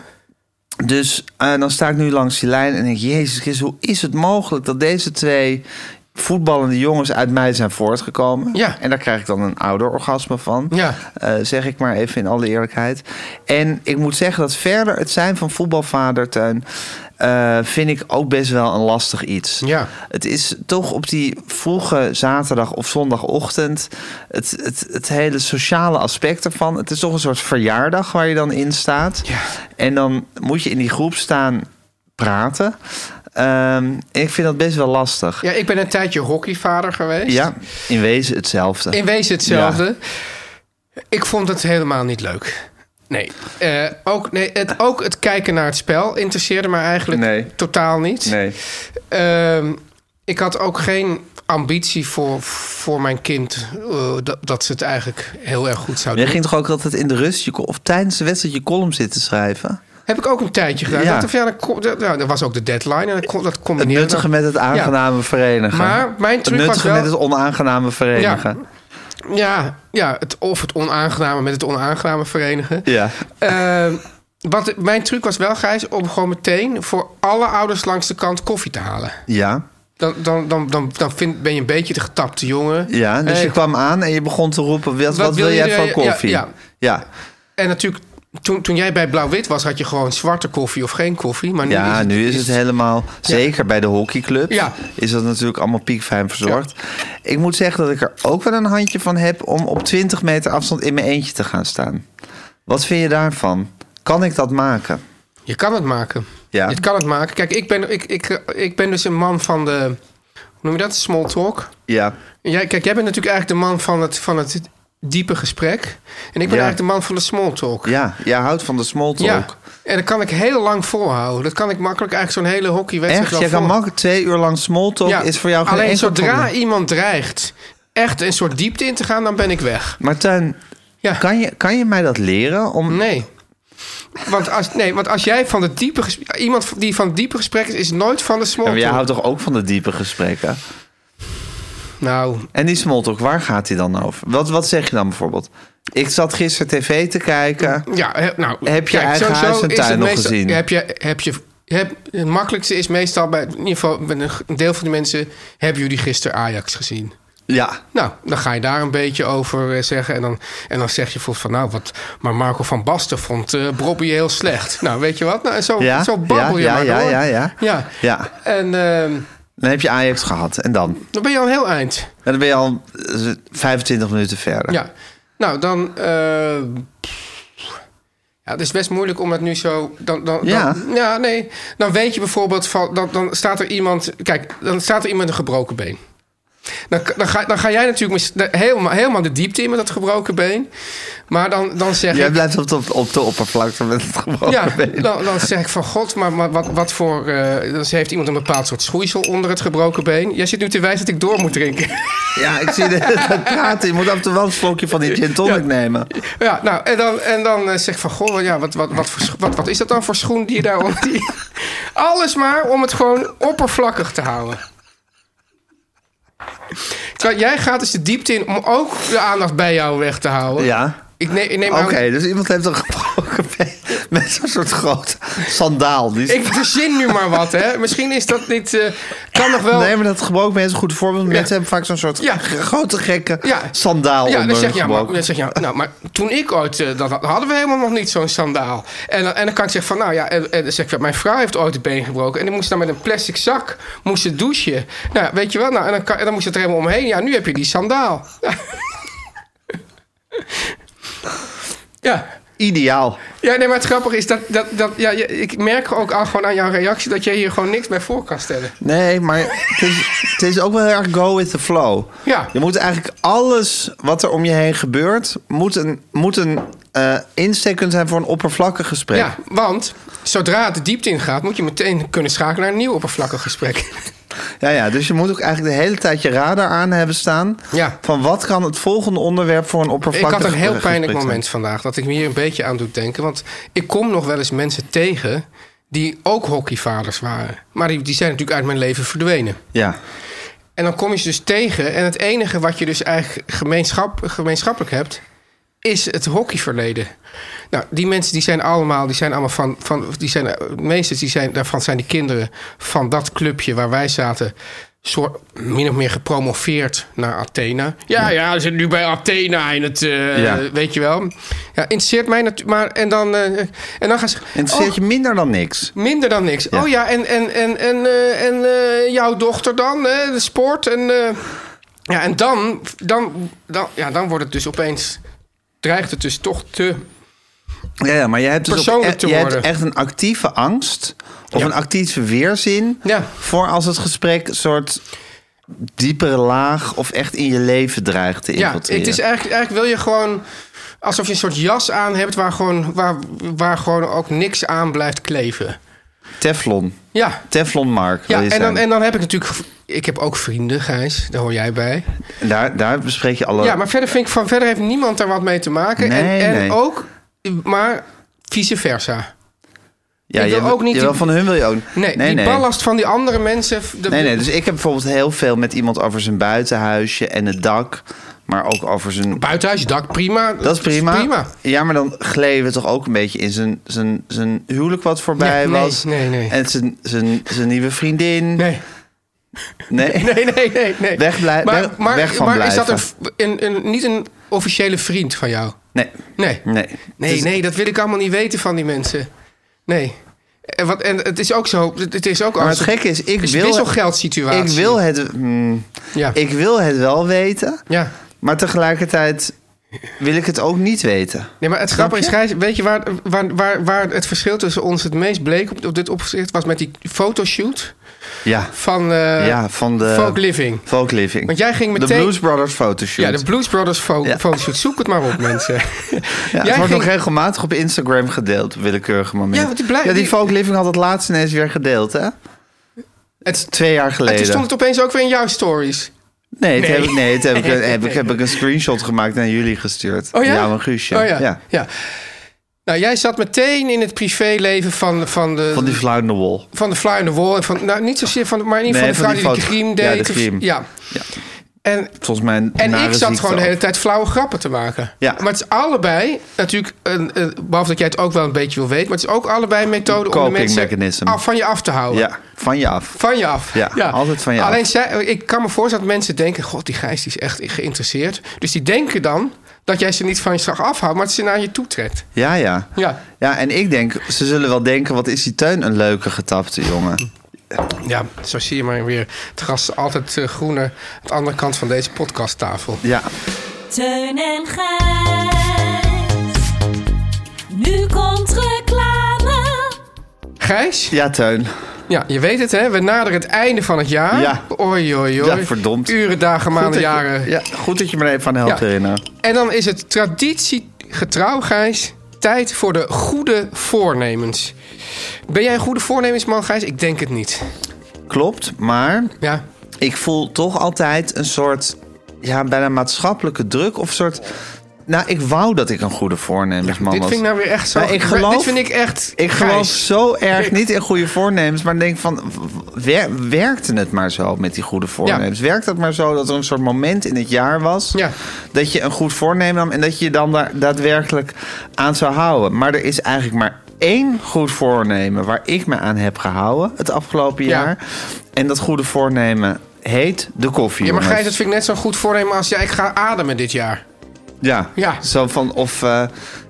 dus eh, dan sta ik nu langs die lijn en denk... Jezus Christus, hoe is het mogelijk dat deze twee voetballende jongens uit mij zijn voortgekomen?
Ja.
En daar krijg ik dan een ouderorgasme van.
Ja.
Eh, zeg ik maar even in alle eerlijkheid. En ik moet zeggen dat verder het zijn van voetbalvader, Teun... eh, vind ik ook best wel een lastig iets.
Ja.
Het is toch op die vroege zaterdag of zondagochtend... Het, het, het hele sociale aspect ervan. Het is toch een soort verjaardag waar je dan in staat.
Ja.
En dan moet je in die groep staan praten. Ehm, en ik vind dat best wel lastig.
Ja, ik ben een tijdje hockeyvader geweest.
Ja, in wezen hetzelfde.
In wezen hetzelfde. Ik vond het helemaal niet leuk. Nee. Eh, ook, nee het, ook het kijken naar het spel interesseerde me eigenlijk
Nee.
totaal niet.
Nee.
Ehm, ik had ook geen ambitie voor, voor mijn kind eh, dat, dat ze het eigenlijk heel erg goed zou
Jij
doen.
ging toch ook altijd in de rust je, ko- of tijdens de wedstrijd je column zitten schrijven?
Heb ik ook een tijdje gedaan.
Ja.
Ja. Dacht, ik van, ja, dan kom- dat, nou, dat was ook de deadline. En dat, kon- dat
Het
combineerde
nuttige
dan-
met het aangename verenigen.
Maar mijn
het
truc was
nuttige
wel-
met het onaangename verenigen.
Ja, ja het, of het onaangename met het onaangename verenigen.
Ja.
Eh, wat, mijn truc was wel, Gijs, om gewoon meteen voor alle ouders langs de kant koffie te halen.
Ja.
Dan, dan, dan, dan, dan vind, ben je een beetje de getapte jongen.
Ja, dus
Hey.
je kwam aan en je begon te roepen: Wat, wat wil jij van
ja,
koffie?
ja.
ja.
En natuurlijk, toen, toen jij bij Blauw-Wit was, had je gewoon zwarte koffie of geen koffie. Maar nu
Ja,
is het,
nu is het helemaal, zeker bij de hockeyclub,
Mm. Ja.
is dat natuurlijk allemaal piekfijn verzorgd. Ik moet zeggen dat ik er ook wel een handje van heb om op 20 meter afstand in mijn eentje te gaan staan. Wat vind je daarvan? Kan ik dat maken?
Je kan het maken.
Ja.
Je kan het maken. Kijk, ik ben, ik, ik, eh, ik ben dus een man van de... Hoe noem je dat? Small talk.
Ja,
En Jij, kijk, jij bent natuurlijk eigenlijk de man van het, van het diepe gesprek. En ik ben
Ja.
eigenlijk de man van de small talk.
ja. jij houdt van de small talk.
Ja. En dat kan ik heel lang volhouden. Dat kan ik makkelijk eigenlijk zo'n hele hockeywedstrijd
Echt,
wel
jij kan
volhouden.
makkelijk twee uur lang small talk,
Ja,
is voor jou geen
Alleen
enkel
zodra
probleem.
iemand dreigt echt een soort diepte in te gaan, dan ben ik weg.
Maar Tuin,
Ja.
kan je, kan je mij dat leren? Om...
Nee. Want als, nee, want als jij van de diepe ges- iemand die van het diepe gesprek is, is nooit van de small
Ja, maar jij
talk.
houdt toch ook van de diepe gesprekken?
Nou,
En die smalltalk, waar gaat die dan over? Wat, wat zeg je dan bijvoorbeeld? Ik zat gisteren tv te kijken.
ja, he- nou,
Heb je eigen
sowieso
huis en
is het
tuin nog
meestal-
gezien?
Heb je, heb je, heb, het makkelijkste is meestal bij, in ieder geval bij een g- een deel van de mensen, hebben jullie gisteren Ajax gezien?
Ja.
Nou, dan ga je daar een beetje over eh, zeggen. En dan, en dan zeg je bijvoorbeeld van, nou, wat, maar Marco van Basten vond eh Bobby heel slecht. Nou, weet je wat? Nou, en zo,
Ja,
zo babbel
ja,
je
ja,
maar door.
ja, ja,
ja.
Ja.
En ehm,
Dan heb je Ajax gehad. En dan?
dan ben je al heel eind.
En dan ben je al eh, 25 minuten verder.
Ja. Nou, dan... ehm, ja, het is best moeilijk om dat nu zo... Dan, dan,
Ja.
Dan, ja, nee. Dan weet je bijvoorbeeld van... Dan, dan staat er iemand... Kijk, dan staat er iemand een gebroken been. Dan, dan, ga, dan ga jij natuurlijk mis- de- helemaal, helemaal de diepte in met dat gebroken been. Maar dan, dan zeg
Jij
ik...
blijft op de, op de oppervlakte met het gebroken
Ja,
been.
dan, dan zeg ik van god, maar, maar wat, wat voor... eh, dan heeft iemand een bepaald soort schoeisel onder het gebroken been. Jij zit nu te wijzen dat ik door moet drinken.
Ja, ik zie de- dat praten. Je moet af en toe wel een slokje van die gin tonic nemen.
Ja, nou, en dan, en dan eh, zeg ik van... Goh, ja, wat, wat, wat, voor, scho- wat, wat is dat dan voor schoen die je daar... om- Die, alles maar om het gewoon oppervlakkig te houden. Terwijl jij gaat dus de diepte in om ook de aandacht bij jou weg te houden.
Ja.
Ik neem, ik neem
Oké,
aan-
dus iemand heeft een gebroken been met zo'n soort groot sandaal. Die is-
Ik verzin nu maar wat, hè. Misschien is dat niet... eh, kan nog wel...
Nee, maar dat gebroken been is een goed voorbeeld. Mensen hebben vaak zo'n soort
Ja.
grote gekke
Ja.
sandaal
ja,
onder
dan zeg
hun
je, ja, maar,
gebroken
dan zeg je, ja, nou, maar toen ik ooit, eh, dat hadden we helemaal nog niet zo'n sandaal. En, dan- en dan kan ik zeggen van, nou ja, en, en dan zeg ik, ja, mijn vrouw heeft ooit het been gebroken. En dan moest ze dan met een plastic zak moest ze douchen. Nou, ja, weet je wel, nou, en dan, kan, en dan moest het er helemaal omheen. Ja, nu heb je die sandaal. Ja. ja.
Ideaal.
Ja, nee, maar het grappige is dat, dat, dat ja, je- ik merk ook aan, gewoon aan jouw reactie dat jij hier gewoon niks bij voor kan stellen.
Nee, maar het is, het is ook wel heel erg go with the flow.
Ja.
Je moet eigenlijk alles wat er om je heen gebeurt... moet een, moet een eh, insteek kunnen zijn voor een oppervlakkig gesprek.
Ja, want zodra het de diepte ingaat, moet je meteen kunnen schakelen naar een nieuw oppervlakkig gesprek.
Ja, ja, dus je moet ook eigenlijk de hele tijd je radar aan hebben staan...
Ja.
van wat kan het volgende onderwerp voor een
Ik
oppervlakkig
had een heel
gesprek
pijnlijk
zijn.
moment vandaag dat ik me hier een beetje aan doet denken. Want ik kom nog wel eens mensen tegen die ook hockeyvaders waren. Maar die, die zijn natuurlijk uit mijn leven verdwenen.
Ja,
En dan kom je ze dus tegen. En het enige wat je dus eigenlijk gemeenschap, gemeenschappelijk hebt, is het hockeyverleden. Nou, die mensen die zijn allemaal, die zijn allemaal van, van die zijn, eh, meesters die zijn, daarvan zijn die kinderen van dat clubje waar wij zaten. Soort, min of meer gepromoveerd naar Athena. Ja, ja, ze zitten nu bij Athena in het. eh,
Ja.
Weet je wel. Ja, interesseert mij natuurlijk. Maar en dan, eh, en dan gaan ze.
interesseert
oh,
je minder dan niks.
Minder dan niks.
Ja.
Oh ja, en, en, en, en, eh, en eh, jouw dochter dan, hè? de sport. En, eh, ja, en dan, dan, dan, ja, dan wordt het dus opeens... dreigt het dus toch te...
Ja, ja, maar jij hebt, dus ook
Persoonlijk
e-
te
jij hebt
worden.
echt een actieve angst of
Ja.
een actieve weerzin
Ja.
voor als het gesprek een soort diepere laag of echt in je leven dreigt te
Ja,
infiltreren.
het is e- eigenlijk, eigenlijk wil je gewoon... alsof je een soort jas aan hebt waar gewoon, waar, waar gewoon ook niks aan blijft kleven.
Teflon.
Ja,
Teflon Mark. wil
ja
je
en, dan,
zijn.
en dan heb ik natuurlijk... Ik heb ook vrienden, Gijs. Daar hoor jij bij.
daar, daar bespreek je alle...
Ja, maar verder vind ik van verder heeft niemand daar wat mee te maken.
Nee,
en en
nee.
ook, maar vice versa.
Ja,
ik wil
je wil-
ook niet...
je wil van hun wil je ook.
Nee, die ballast van die andere mensen... f- de-
Nee, nee, dus ik heb bijvoorbeeld heel veel met iemand over zijn buitenhuisje en het dak. Maar ook over zijn...
Buitenhuis, dak, prima.
Dat is prima. Ja, maar dan gleden we toch ook een beetje in zijn, zijn, zijn huwelijk wat voorbij
Ja, nee,
was.
nee, nee.
En zijn, zijn, zijn nieuwe vriendin.
Nee.
Nee.
Nee, nee, nee. nee.
Weg blij- weg- weg van
maar is
blijven.
dat een, v- een, een, niet een officiële vriend van jou?
Nee.
Nee.
Nee.
Nee,
Dus-
nee, dat wil ik allemaal niet weten van die mensen. Nee. En, wat, en het is ook zo. Het het is ook
Maar
als-
het gekke is, ik
is
wil...
wisselgeldsituatie.
Ik wil het... hmm,
Ja.
Ik wil het wel weten.
ja.
Maar tegelijkertijd wil ik het ook niet weten.
Nee, maar het
Snap
grappige is,
je?
Gijs, weet je waar, waar, waar, waar het verschil tussen ons het meest bleek op, op dit opzicht was met die fotoshoot
Ja.
van, eh,
ja, van de...
Folk Living.
Folk Living.
Want jij ging
De
meteen-
Blues Brothers fotoshoot.
Ja, de Blues Brothers fo-
Ja.
fotoshoot. Zoek het maar op, mensen.
Ja, het
Jij
wordt nog
ging-
regelmatig op Instagram gedeeld, op willekeurige momenten.
Ja, want die blij-
ja, die
die-
Folk Living had het laatst ineens weer gedeeld, hè?
Het,
Twee jaar
en
geleden.
Ah, toen stond het opeens ook weer in jouw stories.
Nee, het
Nee.
heb ik, nee, het heb, ik, heb, ik, heb ik een screenshot gemaakt en aan jullie gestuurd.
Oh ja?
Jou en Guusje.
Oh ja. ja. Nou, jij zat meteen in het privéleven van, van de...
Van die fluitende wol.
van de fly on the wall. En van, nou, niet zozeer van, maar in ieder
Nee, van
geval de
die
vrouw die de
foto-
griem
ja,
deed.
de
of-
griem.
ja.
Ja.
En,
Volgens mij een
en
nare
ik zat
ziekte
gewoon de hele
ook.
tijd flauwe grappen te maken.
Ja.
Maar het is allebei, natuurlijk, een, een- behalve dat jij het ook wel een beetje wil weten, maar het is ook allebei een methode om de
Coping
mensen
mechanism.
af, van je af te houden.
Ja, van je af.
Van je af.
Ja, altijd van je af.
Alleen zij, ik kan me voorstellen dat mensen denken: God, die Gijs die is echt geïnteresseerd. Dus die denken dan dat jij ze niet van je straf afhoudt, maar dat ze naar je toe trekt.
Ja, ja.
Ja.
Ja, en ik denk, ze zullen wel denken, wat is die teun een leuke getapte jongen.
Ja, zo zie je maar weer. Het gras is altijd eh, groener aan de andere kant van deze podcasttafel.
Ja,
Teun en Gijs. Nu komt reclame.
Gijs?
ja teun.
Ja, je weet het hè, we naderen het einde van het jaar.
Ja.
Oei, oei, oei.
Ja, verdomd.
Uren, dagen,
Goed dat
maanden,
je-
jaren.
Ja, goed dat je me even aan helpt
Ja.
herinneren.
En dan is het traditiegetrouw, Gijs, tijd voor de goede voornemens. Ben jij een goede voornemensman, Gijs? Ik denk het niet.
Klopt, maar
Ja,
ik voel toch altijd een soort, ja, bijna maatschappelijke druk of soort... Nou, ik wou dat ik een goede voornemensman
dit
was.
vind ik nou weer echt zo...
Maar ik geloof-
dit vind ik echt...
Ik
Gijs.
geloof zo erg niet in goede voornemens, maar denk van, wer- werkte het maar zo met die goede voornemens? Werkt het maar zo dat er een soort moment in het jaar was
Ja.
dat je een goed voornemen nam en dat je je dan daar daadwerkelijk aan zou houden? Maar er is eigenlijk maar één goed voornemen waar ik me aan heb gehouden het afgelopen
Ja.
jaar. En dat goede voornemen heet de koffie.
Ja, maar
jongens.
Gijs, dat vind ik net zo'n goed voornemen als... Ja, ik ga ademen dit jaar.
Ja.
Ja.
Zo van, of eh,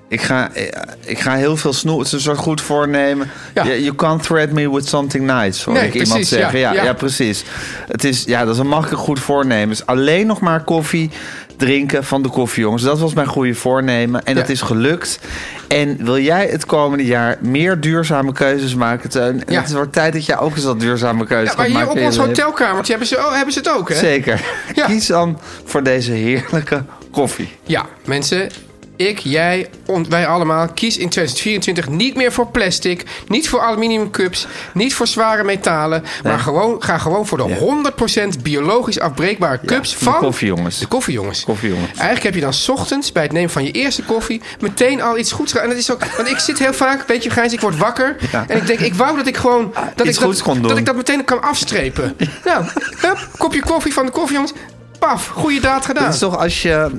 ik, ga, eh, ik ga heel veel snoepen. Het is een soort goed voornemen.
Ja.
You, you can't threaten me with something nice, hoor
Nee,
ik iemand
precies,
zeggen.
ja,
Ja,
ja.
ja. precies. Het is, ja, dat is een makkelijk goed voornemen. Dus alleen nog maar koffie drinken van de koffie, jongens. Dat was mijn goede voornemen. En dat
Ja.
is gelukt. En wil jij het komende jaar meer duurzame keuzes maken, Teun? En
Ja.
het wordt tijd dat jij ook eens dat duurzame keuzes
Ja,
gaat
maar hier
maken.
op
in je
ons
leven.
hotelkamertje hebben ze, oh, hebben ze het ook, hè?
Zeker.
Ja.
Kies dan voor deze heerlijke koffie.
Ja, mensen. Ik, jij, on- wij allemaal. Kies in 2024 niet meer voor plastic. Niet voor aluminium cups. Niet voor zware metalen. Maar gewoon, ga gewoon voor de 100% biologisch afbreekbare cups
de
van...
koffiejongens.
De koffiejongens.
Koffiejongens.
Eigenlijk heb je dan 's ochtends bij het nemen van je eerste koffie... meteen al iets goeds gedaan. En dat is ook... Want ik zit heel vaak, weet je Gijs, ik word wakker.
Ja. Ah,
En ik denk, ik wou dat ik gewoon... Dat
Iets
ik
goeds
dat,
kon doen.
Dat ik dat meteen kan afstrepen. Nou, hup, kopje koffie van de koffiejongens. Paf, goede daad gedaan.
Het is toch als je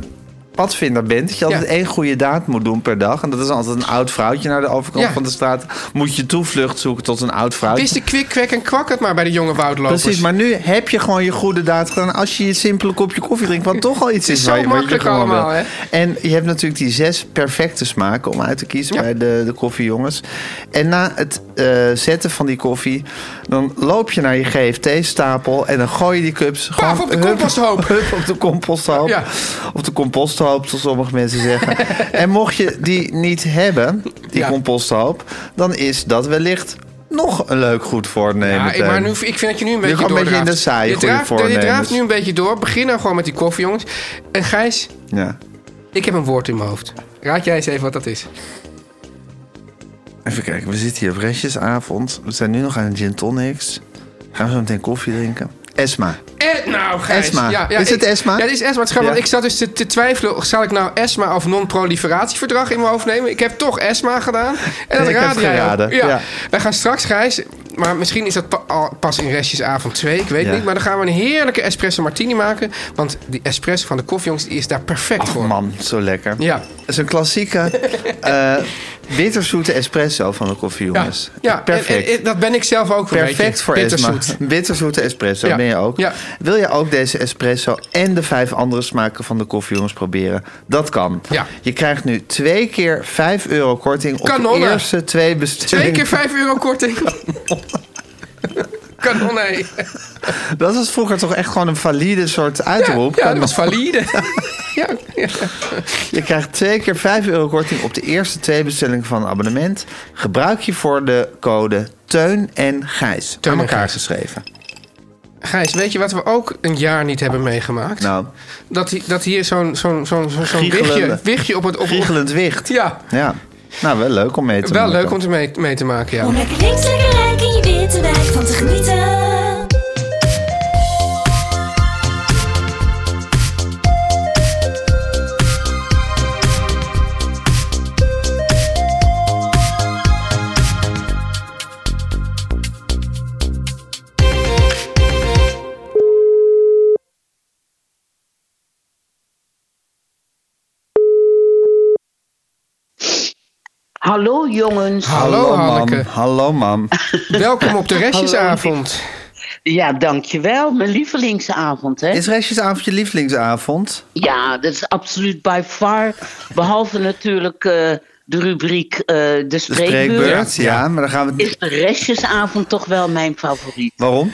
padvinder bent, dat je altijd
Ja.
één goede daad moet doen per dag. En dat is altijd een oud vrouwtje naar de overkant
Ja.
van de straat. Moet je toevlucht zoeken tot een oud vrouwtje.
Wist de kwik, kwek en kwak het maar bij de jonge woudlopers.
Precies, maar nu heb je gewoon je goede daad gedaan als je je simpele kopje koffie drinkt. Wat toch al iets
is
is,
zo
waar je, wat je
makkelijk
gewoon wil.
allemaal, hè?
En je hebt natuurlijk die zes perfecte smaken om uit te kiezen
Ja.
bij de, de koffiejongens. En na het eh, zetten van die koffie, dan loop je naar je GFT-stapel en dan gooi je die cups gewoon
op de
hup-
composthoop.
Hup op de composthoop.
Ja.
Op de composthoop, zoals sommige mensen zeggen. en mocht je die niet hebben, die
Ja.
composthoop, dan is dat wellicht nog een leuk goed voornemen.
Ja, ik-
Teun.
maar nu, ik vind dat je nu een beetje
gewoon een beetje
doordraaft.
in de saaie
je,
goede
draaft, je
voornemens.
draaft nu een beetje door. Begin nou gewoon met die koffie, jongens. En Gijs,
Ja.
ik heb een woord in mijn hoofd. Raad jij eens even wat dat is.
Even kijken, we zitten hier op restjesavond. We zijn nu nog aan de gin tonics. Gaan we zo meteen koffie drinken. Esma.
Eh, nou, Gijs.
Esma.
Ja, ja,
Is het
ik-
Esma?
Ja, dit is Esma. Het schijnt,
Ja.
want ik zat dus te, te twijfelen... zal ik nou Esma of non-proliferatieverdrag in mijn hoofd nemen? Ik heb toch Esma gedaan. En dat
Ik heb
raadde jij ook.
geraden,
Ja.
ja.
Wij gaan straks, Gijs... maar misschien is dat pa- al- pas in restjesavond 2, ik weet
Ja.
niet... maar dan gaan we een heerlijke espresso martini maken... want die espresso van de koffiejongens die is daar perfect voor.
Man, zo lekker.
Ja.
Dat is een klassieke eh bitterzoete espresso van de
Ja,
koffiejongens.
ja.
Perfect.
En- en- en dat ben ik zelf ook een
Perfect
beetje.
voor Esma.
Bitterzoet.
Bitterzoete espresso
Ja.
ben je ook.
Ja.
Wil je ook deze espresso en de vijf andere smaken van de koffiejongens proberen? Dat kan.
Ja.
Je krijgt nu twee keer 5 euro korting op
Kanonnen.
de eerste twee bestellingen.
Twee keer 5 euro korting. Kanon, nee.
Dat was vroeger toch echt gewoon een valide soort uitroep.
Ja, dat
Kanon.
was valide. ja, ja.
Je krijgt twee keer 5 euro korting op de eerste twee bestellingen van een abonnement. Gebruik je voor de code Teun en Gijs.
Teun
aan
en
elkaar
Gijs.
geschreven.
Gijs, weet je wat we ook een jaar niet hebben meegemaakt?
Nou,
Dat, hi- dat hier zo'n zo'n zo'n zo'n zo'n wichtje,
Giechelende.
wichtje op het... Op, op,
giechelend wicht.
ja,
Ja. Nou, wel leuk om mee te
wel
maken.
leuk om te mee, mee te maken, ja.
Oh,
Om lekker links, lekker rijk in je witte wijk van te genieten.
Hallo jongens.
Hallo, Hanneke.
mam. Hallo, mam.
Welkom op de restjesavond.
Ja, dankjewel. Mijn lievelingsavond, hè?
Is restjesavond je lievelingsavond?
Ja, dat is absoluut by far. Behalve natuurlijk eh, de rubriek eh, De
De
Spreekbeurt.
spreekbeurt, ja. Maar dan gaan we...
Is de restjesavond toch wel mijn favoriet?
Waarom?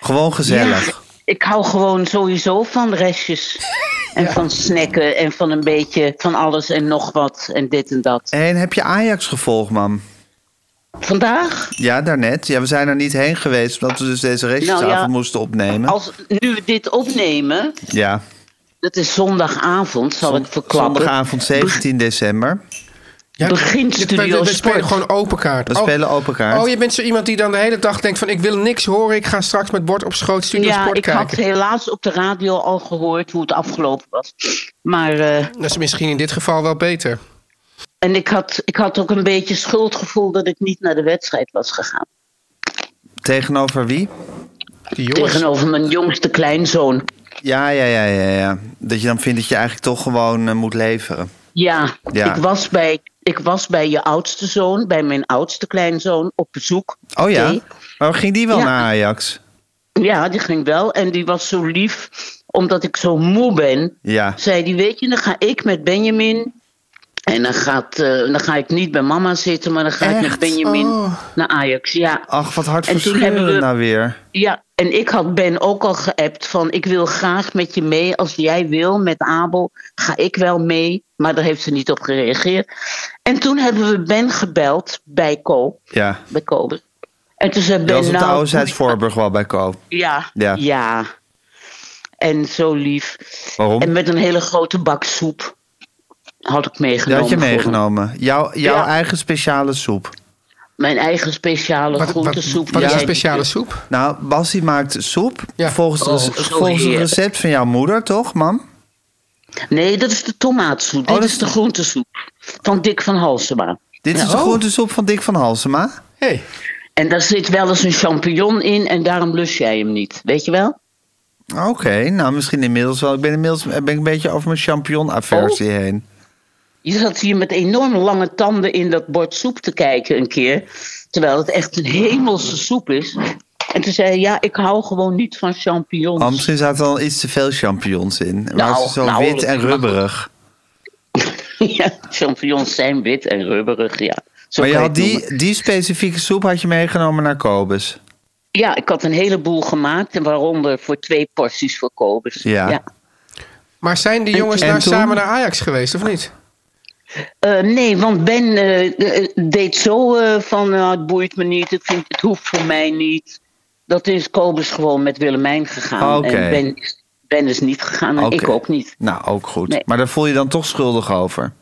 Gewoon gezellig.
Ja, ik hou gewoon sowieso van restjes. En van snacken en van een beetje van alles en nog wat en dit en dat.
En heb je Ajax gevolgd, mam?
Vandaag,
Ja, daarnet. Ja, we zijn er niet heen geweest, omdat we dus deze restjesavond
Nou ja,
moesten opnemen.
als nu we dit opnemen,
Ja.
dat is zondagavond, zal ik verklappen.
Zondagavond 17 december.
Ja,
Begin
dit-
Studio
we- we- We
Sport.
spelen gewoon open kaart.
We spelen open kaart.
Oh, je bent zo iemand die dan de hele dag denkt van... ik wil niks horen, ik ga straks met bord op schoot Studio
ja,
Sport
ik
kijken.
had helaas op de radio al gehoord hoe het afgelopen was. Maar, eh,
Dat is misschien in dit geval wel beter.
en ik had, ik had ook een beetje schuldgevoel dat ik niet naar de wedstrijd was gegaan.
Tegenover wie?
Die jongens.
Tegenover mijn jongste kleinzoon.
Ja, ja, ja, ja, ja. Dat je dan vindt dat je eigenlijk toch gewoon eh, moet leveren.
Ja,
Ja.
Ik, was bij, ik was bij je oudste zoon, bij mijn oudste kleinzoon, op bezoek.
Oh ja?
Nee.
Maar ging die wel
Ja.
naar Ajax?
Ja, die ging wel. En die was zo lief, omdat ik zo moe ben.
Ja.
Zei die, weet je, dan ga ik met Benjamin... En dan, gaat, eh, dan ga ik niet bij mama zitten, maar dan ga ik
Echt? Oh.
met Benjamin naar Ajax. Ja.
Ach, wat
En toen hebben
hartverscheurend
we-
nou weer.
Ja, en ik had Ben ook al geappt van ik wil graag met je mee. Als jij wil met Abel, ga ik wel mee. Maar daar heeft ze niet op gereageerd. En toen hebben we Ben gebeld bij Co,
Ja.
bij Kobe. En toen zei
Dat was
Ben
op de oude
nou...
Zuid Voorburg wel bij Ko.
Ja,
Ja.
ja, En zo lief.
Waarom?
En met een hele grote bak soep had ik
Dat
meegenomen.
had je
voor hem.
meegenomen. Jouw, jouw
Ja.
eigen speciale soep.
Mijn eigen speciale
Wat, wat,
groentesoep.
wat
die
is een
jij-
speciale soep?
Nou, Bassie maakt soep.
Ja.
Volgens,
Oh,
het rec-
zo
volgens het
heerlijk.
recept van jouw moeder, toch, mam?
Nee, dat is de tomaatsoep. Dit
Oh, dat is-
is de groentesoep van Dick van Halsema.
Dit
Ja.
is de
Oh.
groentesoep van Dick van Halsema.
Hey.
En daar zit wel eens een champignon in en daarom lust jij hem niet. Weet je wel?
Oké, nou misschien inmiddels wel. Ik ben inmiddels eh, ben ik een beetje over mijn champignon-aversie
Oh,
heen.
Je zat hier met enorm lange tanden in dat bord soep te kijken een keer. Terwijl het echt een hemelse soep is. En toen zei hij, ja, ik hou gewoon niet van champignons.
Oh, misschien zaten er al iets te veel champignons in. Maar
Nou,
ze zo
nou,
wit
dat
en
mag.
rubberig.
ja, champignons zijn wit en rubberig, ja. Zo
Maar je
kan
had
het noemen.
die, die specifieke soep had je meegenomen naar Kobus.
Ja, ik had een heleboel gemaakt. En waaronder voor twee porties voor Kobus.
Ja.
Maar zijn die jongens
en
nou
toen?
samen naar Ajax geweest, of niet?
Eh, nee, want Ben eh, eh, deed zo eh, van nou, het boeit me niet, ik vind, het hoeft voor mij niet. Dat is Kobus gewoon met Willemijn gegaan.
Ah, Oké.
En ben, is- ben is niet gegaan en
Oké.
ik ook niet.
Nou, ook goed.
Nee.
Maar daar voel je dan toch schuldig over.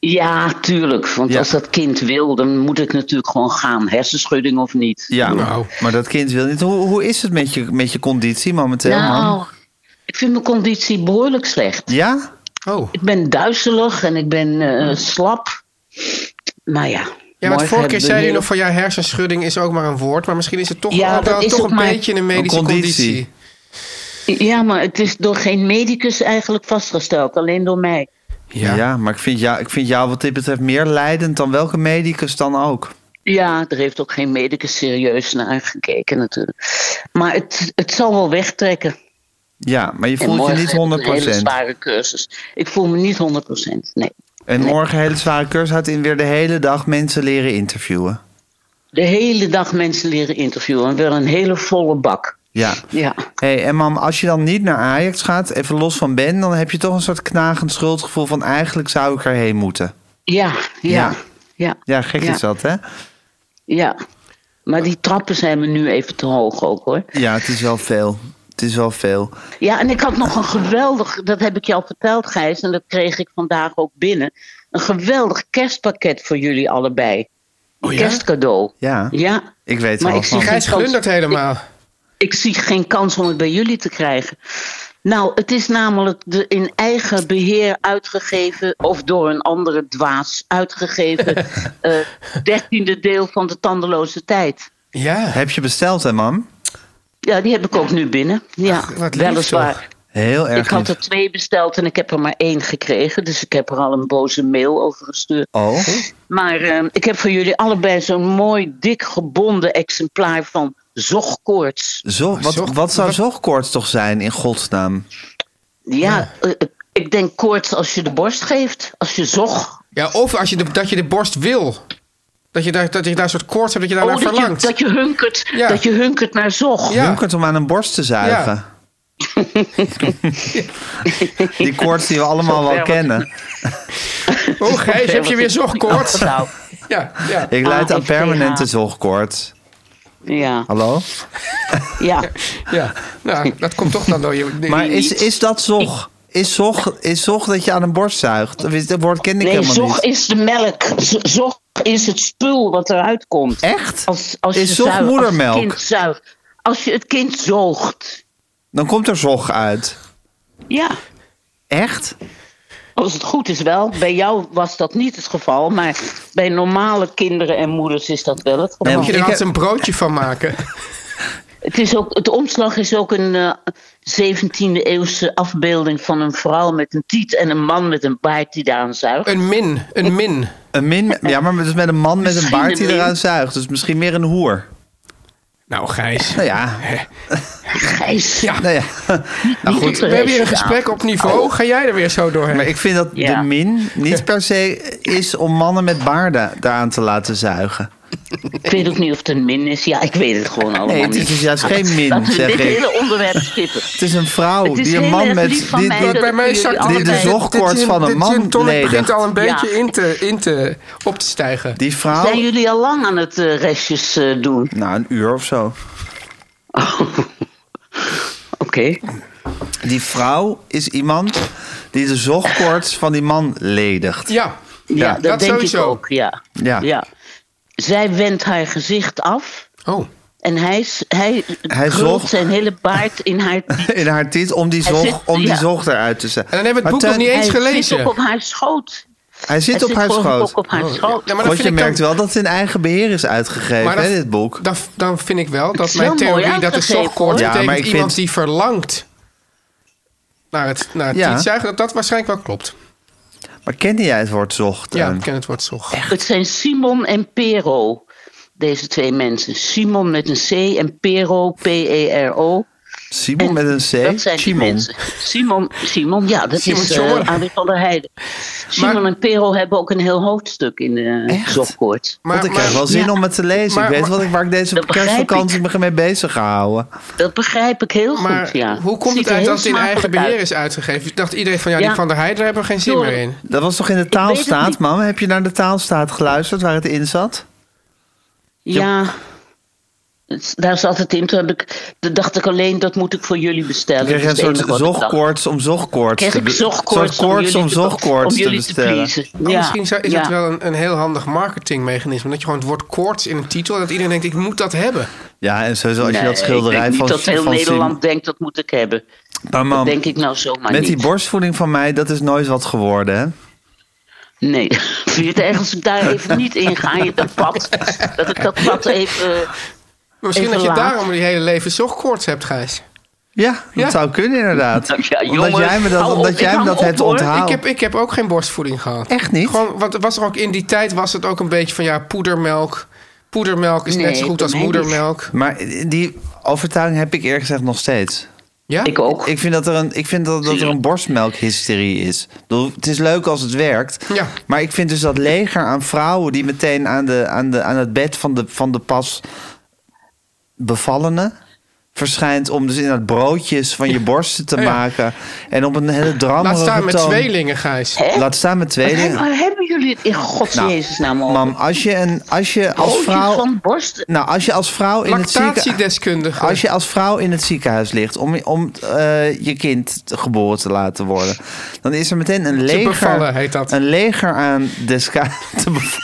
Ja, tuurlijk. Want
Ja.
als dat kind wil, dan moet ik natuurlijk gewoon gaan. Hersenschudding of niet.
Ja,
Nou.
maar dat kind wil niet. Hoe, hoe is het met je, met je conditie momenteel, man?
nou, ik vind mijn conditie behoorlijk slecht.
Ja?
Oh.
Ik ben duizelig en ik ben eh, slap. Maar ja.
Ja, want
morgen
vorige keer
hebben we
zei u
weer-
nog van ja, hersenschudding is ook maar een woord. Maar misschien is het toch,
Ja,
ook
dat
wel
is
toch
ook
een
maar-
beetje een medische
conditie.
conditie.
Ja, maar het is door geen medicus eigenlijk vastgesteld. Alleen door mij.
Ja, maar ik vind, jou, ik vind jou wat dit betreft meer leidend dan welke medicus dan ook.
Ja, er heeft ook geen medicus serieus naar gekeken natuurlijk. Maar het, het zal wel wegtrekken.
Ja, maar je
En
voelt je
morgen
niet
heb ik Een hele
100%.
zware cursus. Ik voel me niet 100%. Nee.
En morgen een hele zware cursus uit in weer de hele dag mensen leren interviewen.
De hele dag mensen leren interviewen. En wel een hele volle bak.
Ja.
Ja.
Hey, en mam, als je dan niet naar Ajax gaat, even los van Ben, dan heb je toch een soort knagend schuldgevoel van eigenlijk zou ik erheen moeten.
Ja, ja,
Ja.
ja. ja,
Ja, gek
Ja.
is dat, hè?
Maar die trappen zijn me nu even te hoog ook hoor.
Ja, het is wel veel. Het is wel veel.
Ja, en ik had nog een geweldig, dat heb ik je al verteld Gijs, en dat kreeg ik vandaag ook binnen. Een geweldig kerstpakket voor jullie allebei.
Oh ja?
Kerstcadeau.
Ja.
Ja.
Ik weet
Maar
wel
ik zie
van.
geen
Gijs
kans-
glundert helemaal.
Ik zie geen kans om het bij jullie te krijgen. Nou, het is namelijk de in eigen beheer uitgegeven, of door een andere dwaas uitgegeven, eh, dertiende deel van de Tandeloze Tijd.
Ja.
Heb je besteld, hè, mam?
Ja, die heb ik ook nu binnen. Ja,
wat lief
weliswaar.
Heel erg
Ik had
lief.
er twee besteld en ik heb er maar één gekregen. Dus ik heb er al een boze mail over gestuurd.
Oh,
Maar eh, ik heb voor jullie allebei zo'n mooi, dik gebonden exemplaar van Zogkoorts.
zo, wat,
zocht-
wat zou zochtkoorts toch zijn, in godsnaam?
Ja, eh, eh, ik denk koorts als je de borst geeft. Als je zog.
ja of als je de, dat je de borst wil. Dat je daar, dat je daar een soort koorts hebt, dat je
Oh,
daarnaar
dat, je,
verlangt.
dat, je hunkert,
Ja.
dat je hunkert naar zog.
Ja.
Ja. om aan een borst te zuigen. die koorts die we allemaal wel
Zover.
kennen.
Oh, Gijs, heb je weer
Oh,
zochtkoorts?
nou,
Ja, ja.
Ik leid aan
AFTH.
permanente zorgkoorts.
ja,
Hallo?
ja.
ja. Nou, dat komt toch dan door je...
Maar is, is dat zog? Is zog, is zog dat je aan een borst zuigt? Of is- Dat woord ken ik
Nee,
helemaal
zog
niet.
is de melk. Z- Zog is het spul wat eruit komt.
Echt?
Als, als
is
je
zog
zuigt-
moedermelk?
Als, het kind zuigt. als je het kind zoogt.
Dan komt er zog uit.
Ja,
Echt?
als het goed is wel. Bij jou was dat niet het geval. Maar bij normale kinderen en moeders is dat wel het geval.
Nee,
Moet je
Ik
er altijd
heb-
een broodje van maken?
Het, is ook, het omslag is ook een eh, 17e eeuwse afbeelding van een vrouw met een tiet en een man met een baard die daaraan zuigt.
Een min, een min.
Een min, ja, maar dus met een man met een
Misschien
baard die
een min.
eruit zuigt. Dus misschien meer een hoer.
Nou, Gijs.
Nou ja.
Gijs.
Ja.
Nou ja. Nou
Niet
goed.
We hebben hier een
Ja.
gesprek op niveau. Ga jij er weer zo doorheen?
Maar ik vind dat
Ja.
de min niet per se is om mannen met baarden daaraan te laten zuigen.
Ik weet ook niet of het een min is. Ja, ik weet het gewoon allemaal
Nee, het is
niet.
dus juist geen min,
Laten we
zeg
dit
ik.
hele onderwerp skippen.
Het is een vrouw
Het is
die een
heel
man
erg
met...
lief van
die-
mij
die-
dat-
Bij mij
jullie
zakt
allebei-
dit-
De
zorgkoorts
dit-
van een
dit
man
gin tonic
ledigt.
begint al een beetje
Ja.
in, te, in te, op te stijgen.
die vrouw...
Zijn jullie al lang aan het eh, restjes eh, doen?
Nou, een uur of zo.
Oké.
Die vrouw is iemand die de zochtkoorts van die man ledigt.
Ja.
Ja, dat,
dat
denk
sowieso.
ik ook. Ja.
Ja.
Zij wendt haar gezicht af
Oh.
en hij, s- hij,
Hij
hij
zocht-
zijn hele baard in haar tiet.
In haar titel om die
Hij
zog,
zit-
om die
ja.
zog eruit te zetten.
En dan hebben we het boek nog niet
Hij
eens
zit ook
gelezen.
op haar schoot.
Hij zit
Hij
op haar
gewoon
schoot.
ook op haar schoot.
Oh, Ja, maar dat
Want je
vind ik
merkt
dan-
wel dat het in eigen beheer is uitgegeven,
Maar dat-
hè, dit boek.
Dan, dan vind ik wel dat
is
mijn
wel mooi
theorie dat de
uitgegeven,
zorgkoorts
hoor. Ja, maar
betekent
ik
iemand
vind-
die verlangt naar het, naar het
Ja.
tietzuigen, dat dat waarschijnlijk wel klopt.
Maar kende jij het woord zocht?
Ja,
Teun?
ik ken het woord zorg.
Het zijn Simon en Pero, deze twee mensen. Simon met een C en Pero, E P-E-R-O.
Simon met een C?
Dat zijn die
Simon.
mensen. Simon, Simon, ja, dat
Simon
is
Tjommer.
eh Arie van der Heijden. Simon
Maar-
en Pero hebben ook een heel hoofdstuk in de
Echt?
Zofkoorts.
Want ik krijg wel zin om het te lezen.
maar-
ik weet
maar-
wat ik, waar ik deze
Dat begrijp
kerstvakantie me mee bezig ga houden.
Dat begrijp ik heel goed,
Maar
ja.
hoe komt
Ziet
het
er
uit
heel
dat het in eigen
smakelijk
beheer
uit.
is uitgegeven? Ik dacht iedereen van, ja, die
Ja.
Van der Heijden, daar hebben we geen zin
Door-
meer in.
Dat was toch in de
weet het
taalstaat,
niet.
mam? Heb je naar de taalstaat geluisterd waar het in zat?
Ja, Daar zat het in. Toen heb ik, toen dacht ik alleen, dat moet ik voor jullie bestellen.
Dan kreeg je
Dat is
een
het
soort
enige wat ik dacht.
zogkoorts om zogkoorts
Kreeg
te
ik
be-
zogkoorts
soort koorts
jullie
om
te-
zogkoorts
om
te
jullie te
bestellen.
pleasen.
Maar
Ja,
Oh, misschien zou- is
ja.
dat wel een, een heel handig marketingmechanisme. Dat je gewoon het woord koorts in een titel... dat iedereen denkt, ik moet dat hebben.
Ja, en sowieso als je
Nee,
dat schilderij
ik denk
van,
niet dat heel
van
Nederland denkt, dat moet ik hebben.
Sim- Maar mam,
Dat denk ik nou zomaar
met
niet.
die borstvoeding van mij, dat is nooit wat geworden, hè?
Nee, vind je het erg als ik daar even niet in ga in dat pad? Dat ik dat pad even...
Maar Misschien
Even
dat je
laat.
daarom je hele leven zogkoorts hebt, Gijs.
Ja, dat
Ja.
zou kunnen inderdaad.
Ja,
omdat
jongens,
jij me dat,
hou
omdat
op, ik
jij me
hang
dat
op,
hebt
hoor. Ik
onthaald.
Ik heb, ik heb ook geen borstvoeding gehad.
Echt niet?
Gewoon, want er was er ook in die tijd was het ook een beetje van ja, poedermelk. Poedermelk is net
Nee,
zo goed
bij
als
mij niet.
moedermelk.
Maar die overtuiging heb ik eerlijk gezegd nog steeds.
Ja?
Ik ook.
Ik vind dat er een, ik vind dat, dat er een borstmelkhysterie is. Ik bedoel, Het is leuk als het werkt.
Ja.
Maar ik vind dus dat leger aan vrouwen die meteen aan, de, aan, de, aan het bed van de, van de pas bevallene verschijnt om dus inderdaad broodjes van je borsten te
Ja, ja.
maken en op een hele
Laat
drammerige
staan met
toon-
tweelingen, Gijs.
Hè?
Laat staan met
Hè,
tweelingen.
maar hebben jullie het in gods Jezus naam over?
Nou, Mam, als je een als je als
Broodjes
vrouw
van borsten.
nou als je als vrouw in het ziekenhuis
Lactatiedeskundige.
Als je als vrouw in het ziekenhuis ligt om, om eh, je kind te- geboren te laten worden, dan is er meteen een leger,
bevallen heet dat.
Een leger aan deska, te bev-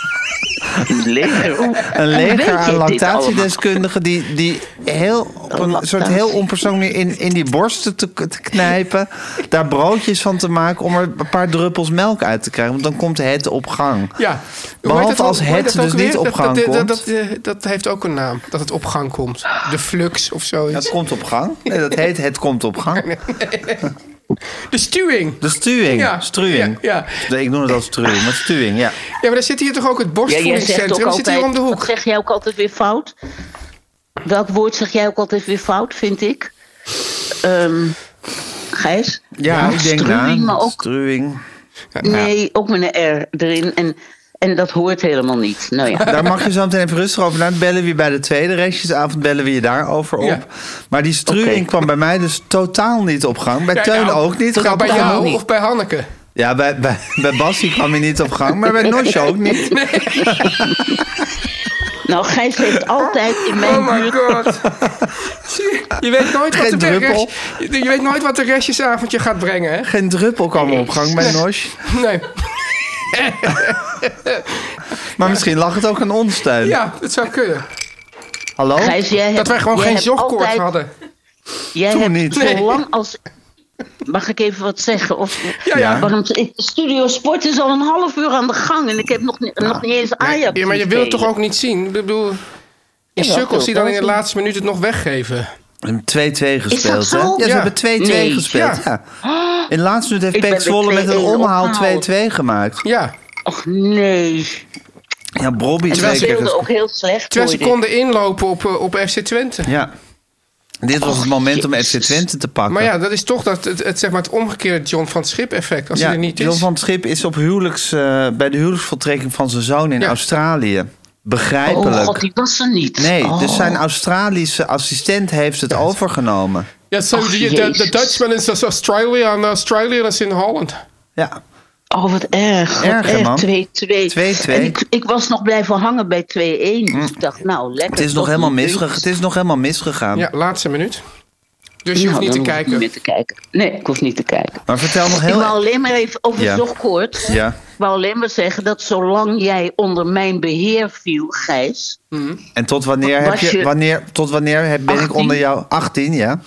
Lekker.
een leger aan
lactatie.
lactatiedeskundigen die, die heel op een soort heel onpersoonlijk in, in die borsten te, te knijpen, daar broodjes van te maken om er een paar druppels melk uit te krijgen, want dan komt het op gang.
Ja.
Behalve
Hoe heet dat
als
ook- hoe heet
het
dat ook
dus niet
weer?
op
Dat-
gang
dat, dat,
komt.
dat, eh, dat heeft ook een naam. Dat het op gang komt. De flux
Dat
of zoiets.
komt op gang. Nee, dat heet het komt op gang.
De stuwing.
De stuwing.
Ja,
Struwing.
ja,
Nee, Ik noem het als struwing, maar stuwing, ja.
Ja, maar daar zit hier toch ook het
Ja, jij zegt
borstvoedingscentrum?
ook
Dat zit hier
altijd,
om de
wat
hoek.
zeg jij ook altijd weer fout? Welk woord zeg jij ook altijd weer fout, vind ik? Ehm Gijs?
Ja, ik denk
struwing,
na.
maar ook-
Struwing.
Nee, ook met een R erin. En, en dat hoort helemaal niet. Nou ja.
Daar mag je zo meteen even rustig over nadenken. Bellen we je bij de tweede restjesavond, bellen we je daarover op.
Ja.
Maar die struwing
Oké.
kwam bij mij dus totaal niet op gang. Bij
Ja,
Teun
nou,
ook niet.
Nou,
grappig
bij
genoeg.
jou of bij Hanneke?
Ja, bij, bij, bij Bassie kwam hij niet op gang, maar bij Nosje ook niet.
Nou, Gijs heeft altijd in mijn
Oh my
buurt...
god. Zie je, je weet nooit wat
Geen
de
druppel.
rest- je- je weet nooit wat de restjesavondje gaat brengen, hè?
Geen druppel kwam op gang bij Nosje.
Nee.
Maar misschien lag het ook aan ons, Teun.
Ja, het zou kunnen.
Hallo?
Gijs, jij hebt,
Dat wij gewoon
jij
geen
hebt
zogkoorts
altijd-
hadden.
Jij
Toen
hebt
niet.
Nee.
zolang als... Mag ik even wat zeggen? Of,
Ja, ja.
Waarom, ik- Studio Sport is al een half uur aan de gang en ik heb nog, ni- nog niet eens Ajax.
Nou, Ja, maar je
zien
wilt het toch
spelen.
ook niet zien? Ik bedoel, je
Jawel,
sukkels die
dat
dan in de
wel.
laatste minuut het nog weggeven.
We hebben 2-2 gespeeld, hè?
zo?
Ja, ze
Ja.
hebben 2-2
Nee.
gespeeld. Ja. In de laatste minuut
Ik
heeft Peek
ben de
Zwolle met een
2-1
omhaal
opgehaald.
2-2 gemaakt.
Ja,
Och nee.
Ja, Bobby
En ze
twee keer
speelden
gespeeld.
ook heel slecht.
twee
hoorde ik.
seconden inlopen op, eh, op FC Twente.
Ja. Dit was het moment om FC
Oh, jezus.
Twente te pakken.
Maar ja, dat is toch dat, het, het, zeg maar het omgekeerde John van het Schip effect. Als
Ja,
hij er niet
John
is.
van het Schip is op huwelijks, eh, bij de huwelijksvoltrekking van zijn zoon in
Ja.
Australië. Begrijpelijk.
Oh god, die was er niet.
Nee,
oh.
dus zijn Australische assistent heeft het overgenomen.
Ja, so
Ach,
the, the, the
Jezus.
Dutchman is as Australia and Australia is in Holland.
Ja.
Oh, wat erg. Wat
Erg, hè, man?
erg. 2-2.
2-2.
En ik, ik was nog blijven hangen bij 2-1. Dus ik dacht, nou, lekker.
Hm. Het is, nog
toch
helemaal
een
misge-
puntje.
het is nog helemaal misgegaan.
Ja, laatste minuut. Dus je hoeft niet
Nou,
te
dan hoef ik
kijken.
meer te kijken. Nee, ik hoef niet te kijken.
Maar vertel nog
Ik
heel...
wou alleen maar even over
Ja.
zogkoorts.
Ja.
Ik wou alleen maar zeggen dat zolang jij onder mijn beheer viel, Gijs,
En tot wanneer, heb
Was
je,
je-
wanneer, tot wanneer heb, ben ik
18?
onder jou... 18, ja?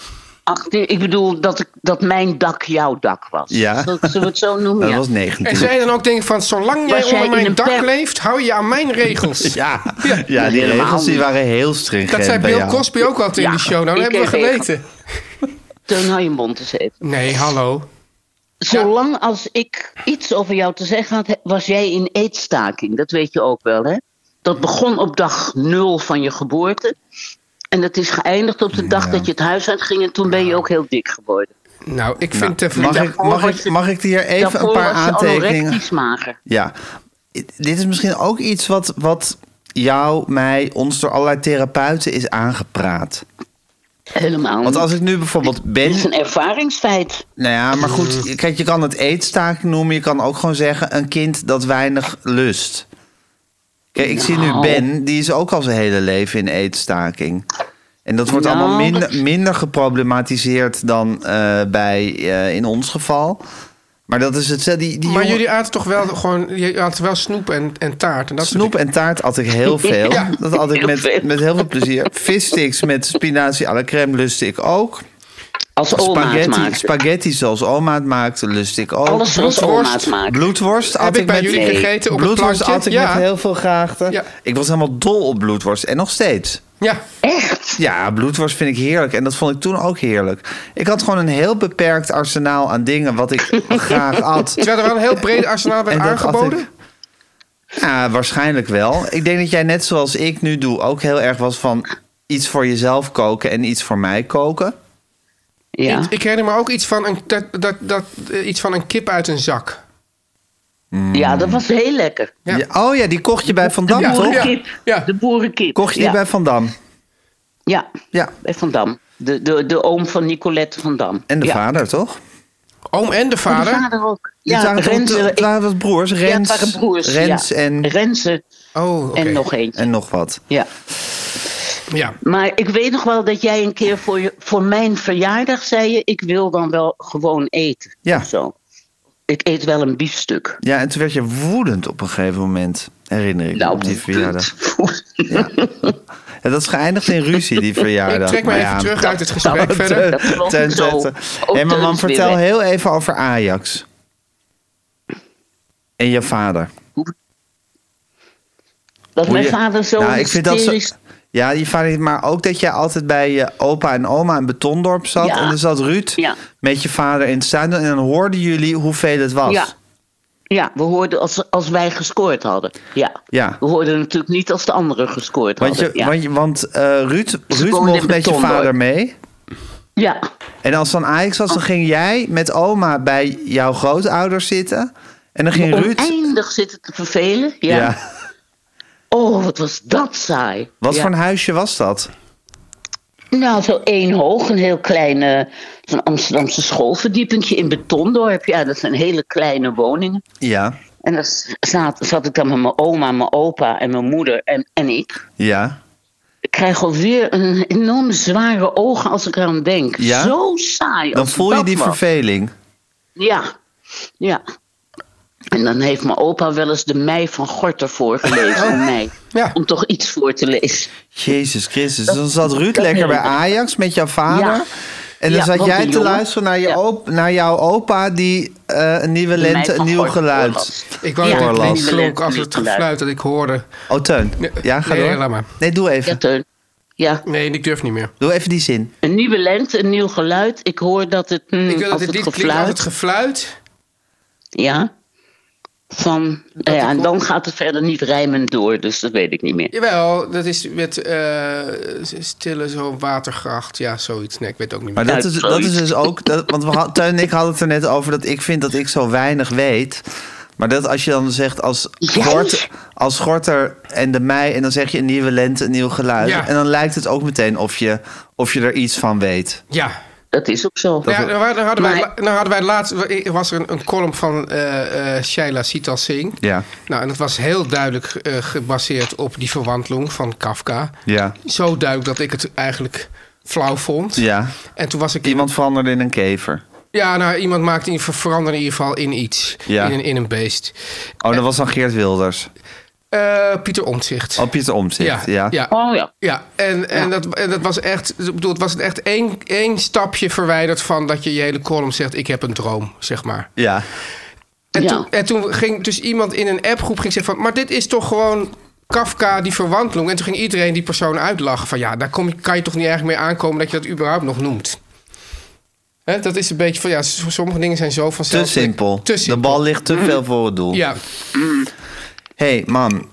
ach, ik bedoel dat, ik, dat mijn dak jouw dak was.
Ja.
Zullen zullen we het zo noemen?
Nou, Dat
Ja.
was
En
19.
zij dan ook denken van, zolang jij
Was jij
onder
in
mijn
een
dak
per-
leeft, hou je aan mijn regels.
Ja,
Ja.
ja die
Helemaal
regels die
niet.
waren heel stringent
Dat zei
bij
Bill
jou.
Cosby ook altijd in
Ja,
die show. Nou, dat
ik
hebben we
heb even-
geweten.
Teun, hou je mond eens even.
Nee, hallo.
Zolang als ik iets over jou te zeggen had, he- was jij in eetstaking. Dat weet je ook wel, hè? Dat begon op dag nul van je geboorte. En dat is geëindigd op de dag dat je het huis uitging. En toen ben je ook heel dik geworden.
Nou, ik
Nou,
vind... eh,
mag,
ja,
ik, mag,
was
ik,
je-
mag ik hier even een
Daarvoor
paar
was je
aantekeningen...
anorectisch mager.
Ja, I- dit is misschien ook iets wat, wat jou, mij, ons door allerlei therapeuten is aangepraat.
Helemaal
Want
niet.
als ik nu bijvoorbeeld ben.
Het is een ervaringsfeit.
Nou ja, maar goed, kijk, je kan het eetstaking noemen. Je kan ook gewoon zeggen: een kind dat weinig lust. Ja, ik zie nu
Nou.
Ben, die is ook al zijn hele leven in eetstaking. En dat wordt
Nou,
allemaal minder,
dat-
minder geproblematiseerd dan eh, bij eh, in ons geval. Maar dat is het. Die, die
Maar
jongen-
jullie aten toch wel gewoon jullie aten wel snoep en, en taart. En dat soort
Snoep en taart at ik heel veel.
Ja,
dat at ik
heel
met,
veel.
met heel veel plezier. Vissticks met spinazie à la crème lustte ik ook.
Als oma het
Spaghetti,
maakt.
spaghetti zoals oma het maakte, lust ik ook.
Alles zoals oma het
Bloedworst,
maakt.
Bloedworst
Heb
at
ik
ik,
bij
met,
jullie
Nee.
gegeten op het
bloedworst
plankje?
at ik
Ja.
met heel veel graagte.
Ja.
Ik was helemaal dol op bloedworst en nog steeds.
dingen. Ja.
Echt?
Ja, bloedworst vind ik heerlijk. En dat vond ik toen ook heerlijk. Ik had gewoon een heel beperkt arsenaal aan dingen wat ik graag at.
Terwijl er wel een heel breed arsenaal werd
En dat
aangeboden.
had ik- Ja, waarschijnlijk wel. Ik denk dat jij net zoals ik nu doe ook heel erg was van iets voor jezelf koken en iets voor mij koken.
Ja.
Ik, ik herinner me ook iets van, een, dat, dat, dat, eh, iets van een kip uit een zak.
ja, dat was heel lekker.
Ja.
Ja, oh ja, die kocht je bij Van Dam,
De
toch?
ja.
boerenkip.
Ja.
De boerenkip.
Kocht je
ja.
die bij Van Dam.
Ja,
Ja.
bij Van Dam. De, de, de oom van Nicolette van Dam.
En de
ja.
vader, toch?
Oom en de
Oh,
vader.
De vader ook.
het
Ja,
waren, toch-
Renze.
het waren wat broers. Rens,
ja, het waren broers.
Rens
ja.
en,
Renze
Oh, oké.
en nog eentje.
en nog wat.
Ja.
Ja.
Maar ik weet nog wel dat jij een keer voor, je, voor mijn verjaardag zei je... ik wil dan wel gewoon eten.
Ja.
Of Zo. Ik eet wel een biefstuk.
Ja, en toen werd je woedend op een gegeven moment, herinner ik me,
Nou,
op die
punt.
verjaardag. Ja, dat is geëindigd in ruzie, die
Ik
verjaardag.
trek me
Maar
even
ja,
terug uit het
Oh,
gesprek verder.
Teun,
Dat klopt
Teun,
zo.
Teun, Teun.
Ook
Hé, maar
Teun
man,
is weer
vertel
weg.
heel even over Ajax. En je vader.
Dat
Hoe
mijn
je-
vader zo
Nou, ik vind dat zo-
hysterisch-
Ja, je vader, maar ook dat jij altijd bij je opa en oma in Betondorp zat.
Ja.
En er zat Ruud
Ja.
met je vader in het stadion. En dan hoorden jullie hoeveel het was.
Ja. Ja, we hoorden als, als wij gescoord hadden. Ja.
Ja.
We hoorden natuurlijk niet als de anderen gescoord
Want, je,
hadden. Ja.
want, je- want eh, Ruud, Ruud
woonden
mocht
in
met je
Betondorp.
vader mee.
ja.
En als dan Ajax
Oh.
was, dan ging jij met oma bij jouw grootouders zitten. En dan ging Ruud...
Oneindig zitten te vervelen. Ja.
Ja.
Oh, wat was dat saai.
Wat
Ja.
voor een huisje was dat?
Nou, zo één hoog, een heel klein eh, zo'n Amsterdamse schoolverdiepingje in Betondorp. Ja, dat zijn hele kleine woningen.
Ja,
En daar s- zat, zat ik dan met mijn oma, mijn opa en mijn moeder en, en ik.
ja.
Ik krijg alweer een enorm zware ogen als ik eraan denk.
Ja?
Zo saai.
Dan
als
voel je
dat
die
was.
verveling.
Ja, ja. En dan heeft mijn opa wel eens de mei van Gorter voorgelezen aan mij.
Oh. Ja.
Om toch iets voor te lezen.
Jezus Christus. Dus dan zat Ruud lekker bij Ajax met jouw vader.
Ja.
En dan
Ja,
zat
wat
jij
een
te
jongen.
luisteren naar, je
Ja.
op, naar jouw opa... die eh, een nieuwe
De
lente,
Mei
een
van
nieuw
Gorter
geluid...
voorlas.
Ik wou
Ja.
dat het
Voorlas.
niet klonk als het gefluit dat ik hoorde.
Oh, Teun.
Nee,
Ja, ga
nee,
door.
laat maar.
Nee, doe
Ja,
even.
Teun. Ja,
Nee, ik durf niet meer.
Doe even die zin.
een nieuwe lente, een nieuw geluid. Ik hoor dat het, mm,
Ik wil dat
als
dit
het
lied klinkt als het
gefluit...
gefluit.
Ja. Van,
ik
ja, en
hoor-
dan gaat het verder niet rijmend door, dus dat weet ik niet meer.
Jawel, dat is met eh, stille zo'n watergracht. Ja, zoiets. Nee, ik weet het ook niet meer.
Maar dat is, dat is dus ook... Dat, want we had, Teun en ik hadden het er net over... dat ik vind dat ik zo weinig weet... Maar dat als je dan zegt als,
Jij?
Gort, als Gorter en de mei... en dan zeg je een nieuwe lente, een nieuw geluid...
Ja.
en dan lijkt het ook meteen of je, of je er iets van weet.
Ja.
Dat is ook zo.
Ja, nou, hadden wij,
Maar-
nou hadden wij laatst, was er een, een column van eh eh Shaila Sital Singh.
Ja.
Nou, en dat was heel duidelijk eh, gebaseerd op die verwanteling van Kafka.
Ja.
Zo duidelijk dat ik het eigenlijk flauw vond.
Ja.
En toen was ik...
Iemand veranderde in een kever.
Ja, nou, iemand maakte in, veranderde in ieder geval in iets.
Ja.
In, een, in een beest.
Oh, dat was dan Geert Wilders.
Eh, Pieter Omtzigt.
Op je omzicht. Ja.
ja.
Oh ja.
Ja, en, en, Dat, en dat was echt, ik bedoel, het was echt één, één stapje verwijderd van dat je je hele column zegt: Ik heb een droom, zeg maar.
Ja.
En,
Ja.
toen, en toen ging dus iemand in een appgroep ging zeggen: van, Maar dit is toch gewoon Kafka, die verwanteling. En toen ging iedereen die persoon uitlachen: Van ja, daar kom je, kan je toch niet erg mee aankomen dat je dat überhaupt nog noemt. Hè, dat is een beetje van ja, s- sommige dingen zijn zo
Te
vanzelf.
simpel.
Te simpel. Mhm.
De bal ligt te veel voor het doel.
Ja,
hey, man.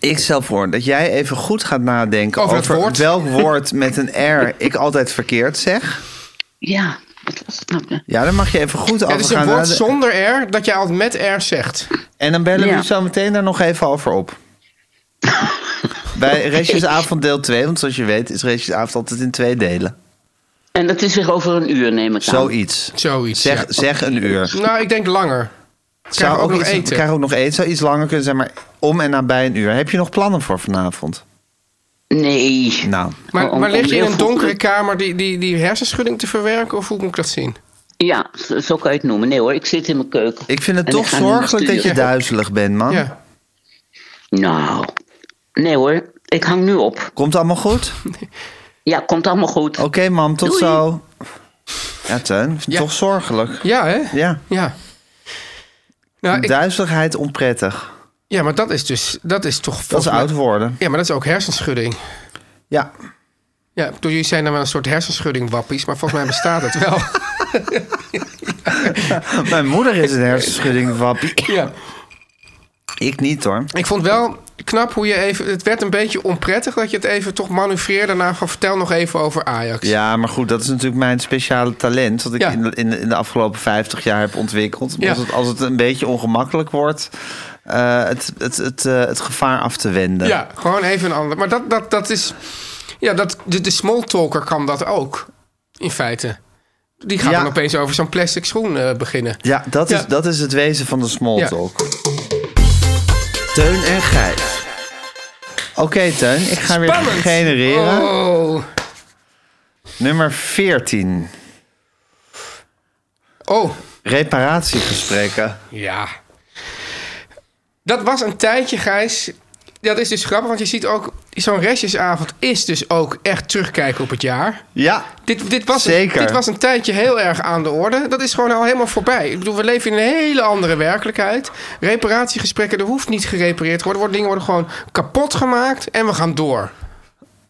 Ik stel voor dat jij even goed gaat nadenken
Over
over,
het woord.
welk woord met een R ik altijd verkeerd zeg.
Ja, wat was het nou?
Ja, daar mag je even goed
het
over
is
Oh, gaan
een woord
nadenken.
zonder R dat je altijd met R zegt.
En dan bellen we
Ja.
je zo meteen daar nog even over op. Bij Restjesavond deel 2, want zoals je weet is Restjesavond altijd in twee delen.
En dat is weer over een uur, neem ik aan.
Zoiets.
Zoiets.
Zeg,
ja.
zeg een uur.
Nou, ik denk langer. Krijgen we ook nog
iets,
eten?
Krijgen we ook nog eten. Zou iets langer kunnen zijn, maar om en nabij een uur. Heb je nog plannen voor vanavond?
Nee.
Nou,
Maar,
Oh, Om-
maar
om
lig je in een
heel vroeg-
donkere kamer die, die, die hersenschudding te verwerken? Of hoe moet ik dat zien?
Ja, zo zo kan je het noemen. Nee hoor, ik zit in mijn keuken.
ik vind het
En
toch
ik ga nu naar
zorgelijk dat je
studio.
duizelig bent, man.
Ja.
Nou, nee hoor, ik hang nu op.
Komt allemaal goed?
Ja, komt allemaal goed.
Oké, mam, tot
Doei.
zo. Ja, Teun, ik vind het
Ja.
toch zorgelijk.
Ja, hè?
Ja,
Ja. Nou, ik-
duizeligheid onprettig.
ja, maar dat is dus... Dat is toch...
Dat is
volgens mij-
oud worden.
Ja, maar dat is ook hersenschudding.
Ja,
Ja, ik bedoel, jullie zijn dan wel een soort hersenschudding wappies, maar volgens mij bestaat het wel.
mijn moeder is een hersenschudding, wappie.
ja.
Ik niet, hoor.
Ik vond wel knap hoe je even... Het werd een beetje onprettig dat je het even toch manoeuvreerde. Daarna van vertel nog even over Ajax.
Ja, maar goed, dat is natuurlijk mijn speciale talent. Wat ik
Ja.
in, de- in, de- in de afgelopen 50 jaar heb ontwikkeld. Om
Ja.
Als, het, als het een beetje ongemakkelijk wordt, eh, het, het, het, eh, het gevaar af te wenden.
Ja, gewoon even een ander. Maar dat, dat, dat is... Ja, dat, de, de small talker kan dat ook, in feite. Die gaat
Ja.
dan opeens over zo'n plastic schoen eh, beginnen.
Ja, dat, Is,
Ja.
dat is het wezen van de small
Ja.
talk. Teun en Gijs. Oké, Teun, ik ga weer
Spannend!
genereren.
Oh,
Nummer 14.
oh,
Reparatiegesprekken.
ja. Dat was een tijdje, Gijs. Dat is dus grappig, want je ziet ook... Zo'n restjesavond is dus ook echt terugkijken op het jaar.
Ja,
Dit, dit, was
Zeker.
dit was een tijdje heel erg aan de orde. Dat is gewoon al helemaal voorbij. Ik bedoel, we leven in een hele andere werkelijkheid. Reparatiegesprekken, er hoeft niet gerepareerd te worden. Wordt- Dingen worden gewoon kapot gemaakt en we gaan door.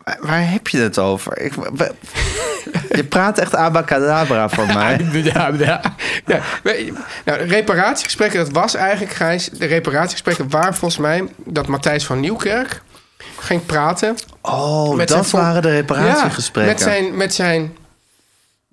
waar, waar heb je het over? Ik, we- je praat echt abacadabra voor mij.
Ja, ja. Ja, we- nou, reparatiegesprekken, dat was eigenlijk, Gijs... De reparatiegesprekken waren volgens mij dat Matthijs van Nieuwkerk ging praten.
Oh,
Met zijn
dat
voor-
waren de
Ja,
reparatiegesprekken.
met zijn... Met zijn
Ja,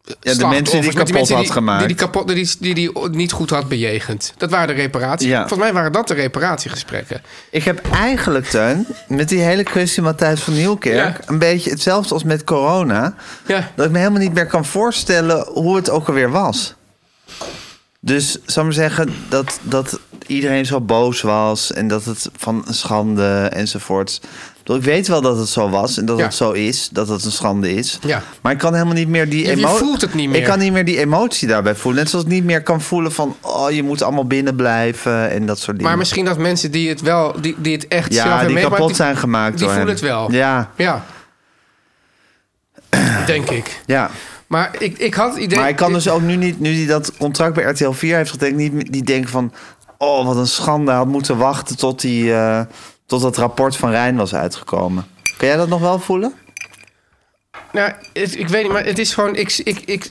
de
slachtoffers,
mensen die
met
kapot
mensen
had
die-
gemaakt.
Die die, kapot, die, die, die die niet goed had bejegend. Dat waren de reparaties.
Ja.
Volgens mij waren dat de reparatiegesprekken.
Ik heb eigenlijk, Teun, met die hele kwestie Matthijs van Nieuwkerk...
Ja.
een beetje hetzelfde als met corona.
Ja.
Dat ik me helemaal niet meer kan voorstellen hoe het ook alweer was. Dus, zal ik maar zeggen, dat, dat iedereen zo boos was... en dat het van een schande enzovoorts... Ik bedoel, Ik weet wel dat het zo was en dat
Ja.
het zo is, dat het een schande is.
Ja.
Maar ik kan helemaal niet meer die
Je- je
emotie.
voelt het niet meer.
Ik kan niet meer die emotie daarbij voelen. Net zoals ik niet meer kan voelen van, oh, je moet allemaal binnen blijven en dat soort dingen.
Maar misschien dat mensen die het wel, die, die het echt zelf
Ja,
hebben
die
meegemaakt,
kapot zijn gemaakt
Die
door
voelen
hem.
het wel.
Ja,
Ja. Denk ik.
ja.
Maar ik, ik had het idee.
maar ik kan dus ook nu niet, nu hij dat contract bij RTL 4 heeft getekend, niet, meer- niet denken van, oh, wat een schande, hij had moeten wachten tot, die, eh, tot dat rapport van Rijn was uitgekomen. Kun jij dat nog wel voelen?
Nou, het- ik weet niet, maar het is gewoon. Ik, ik, ik,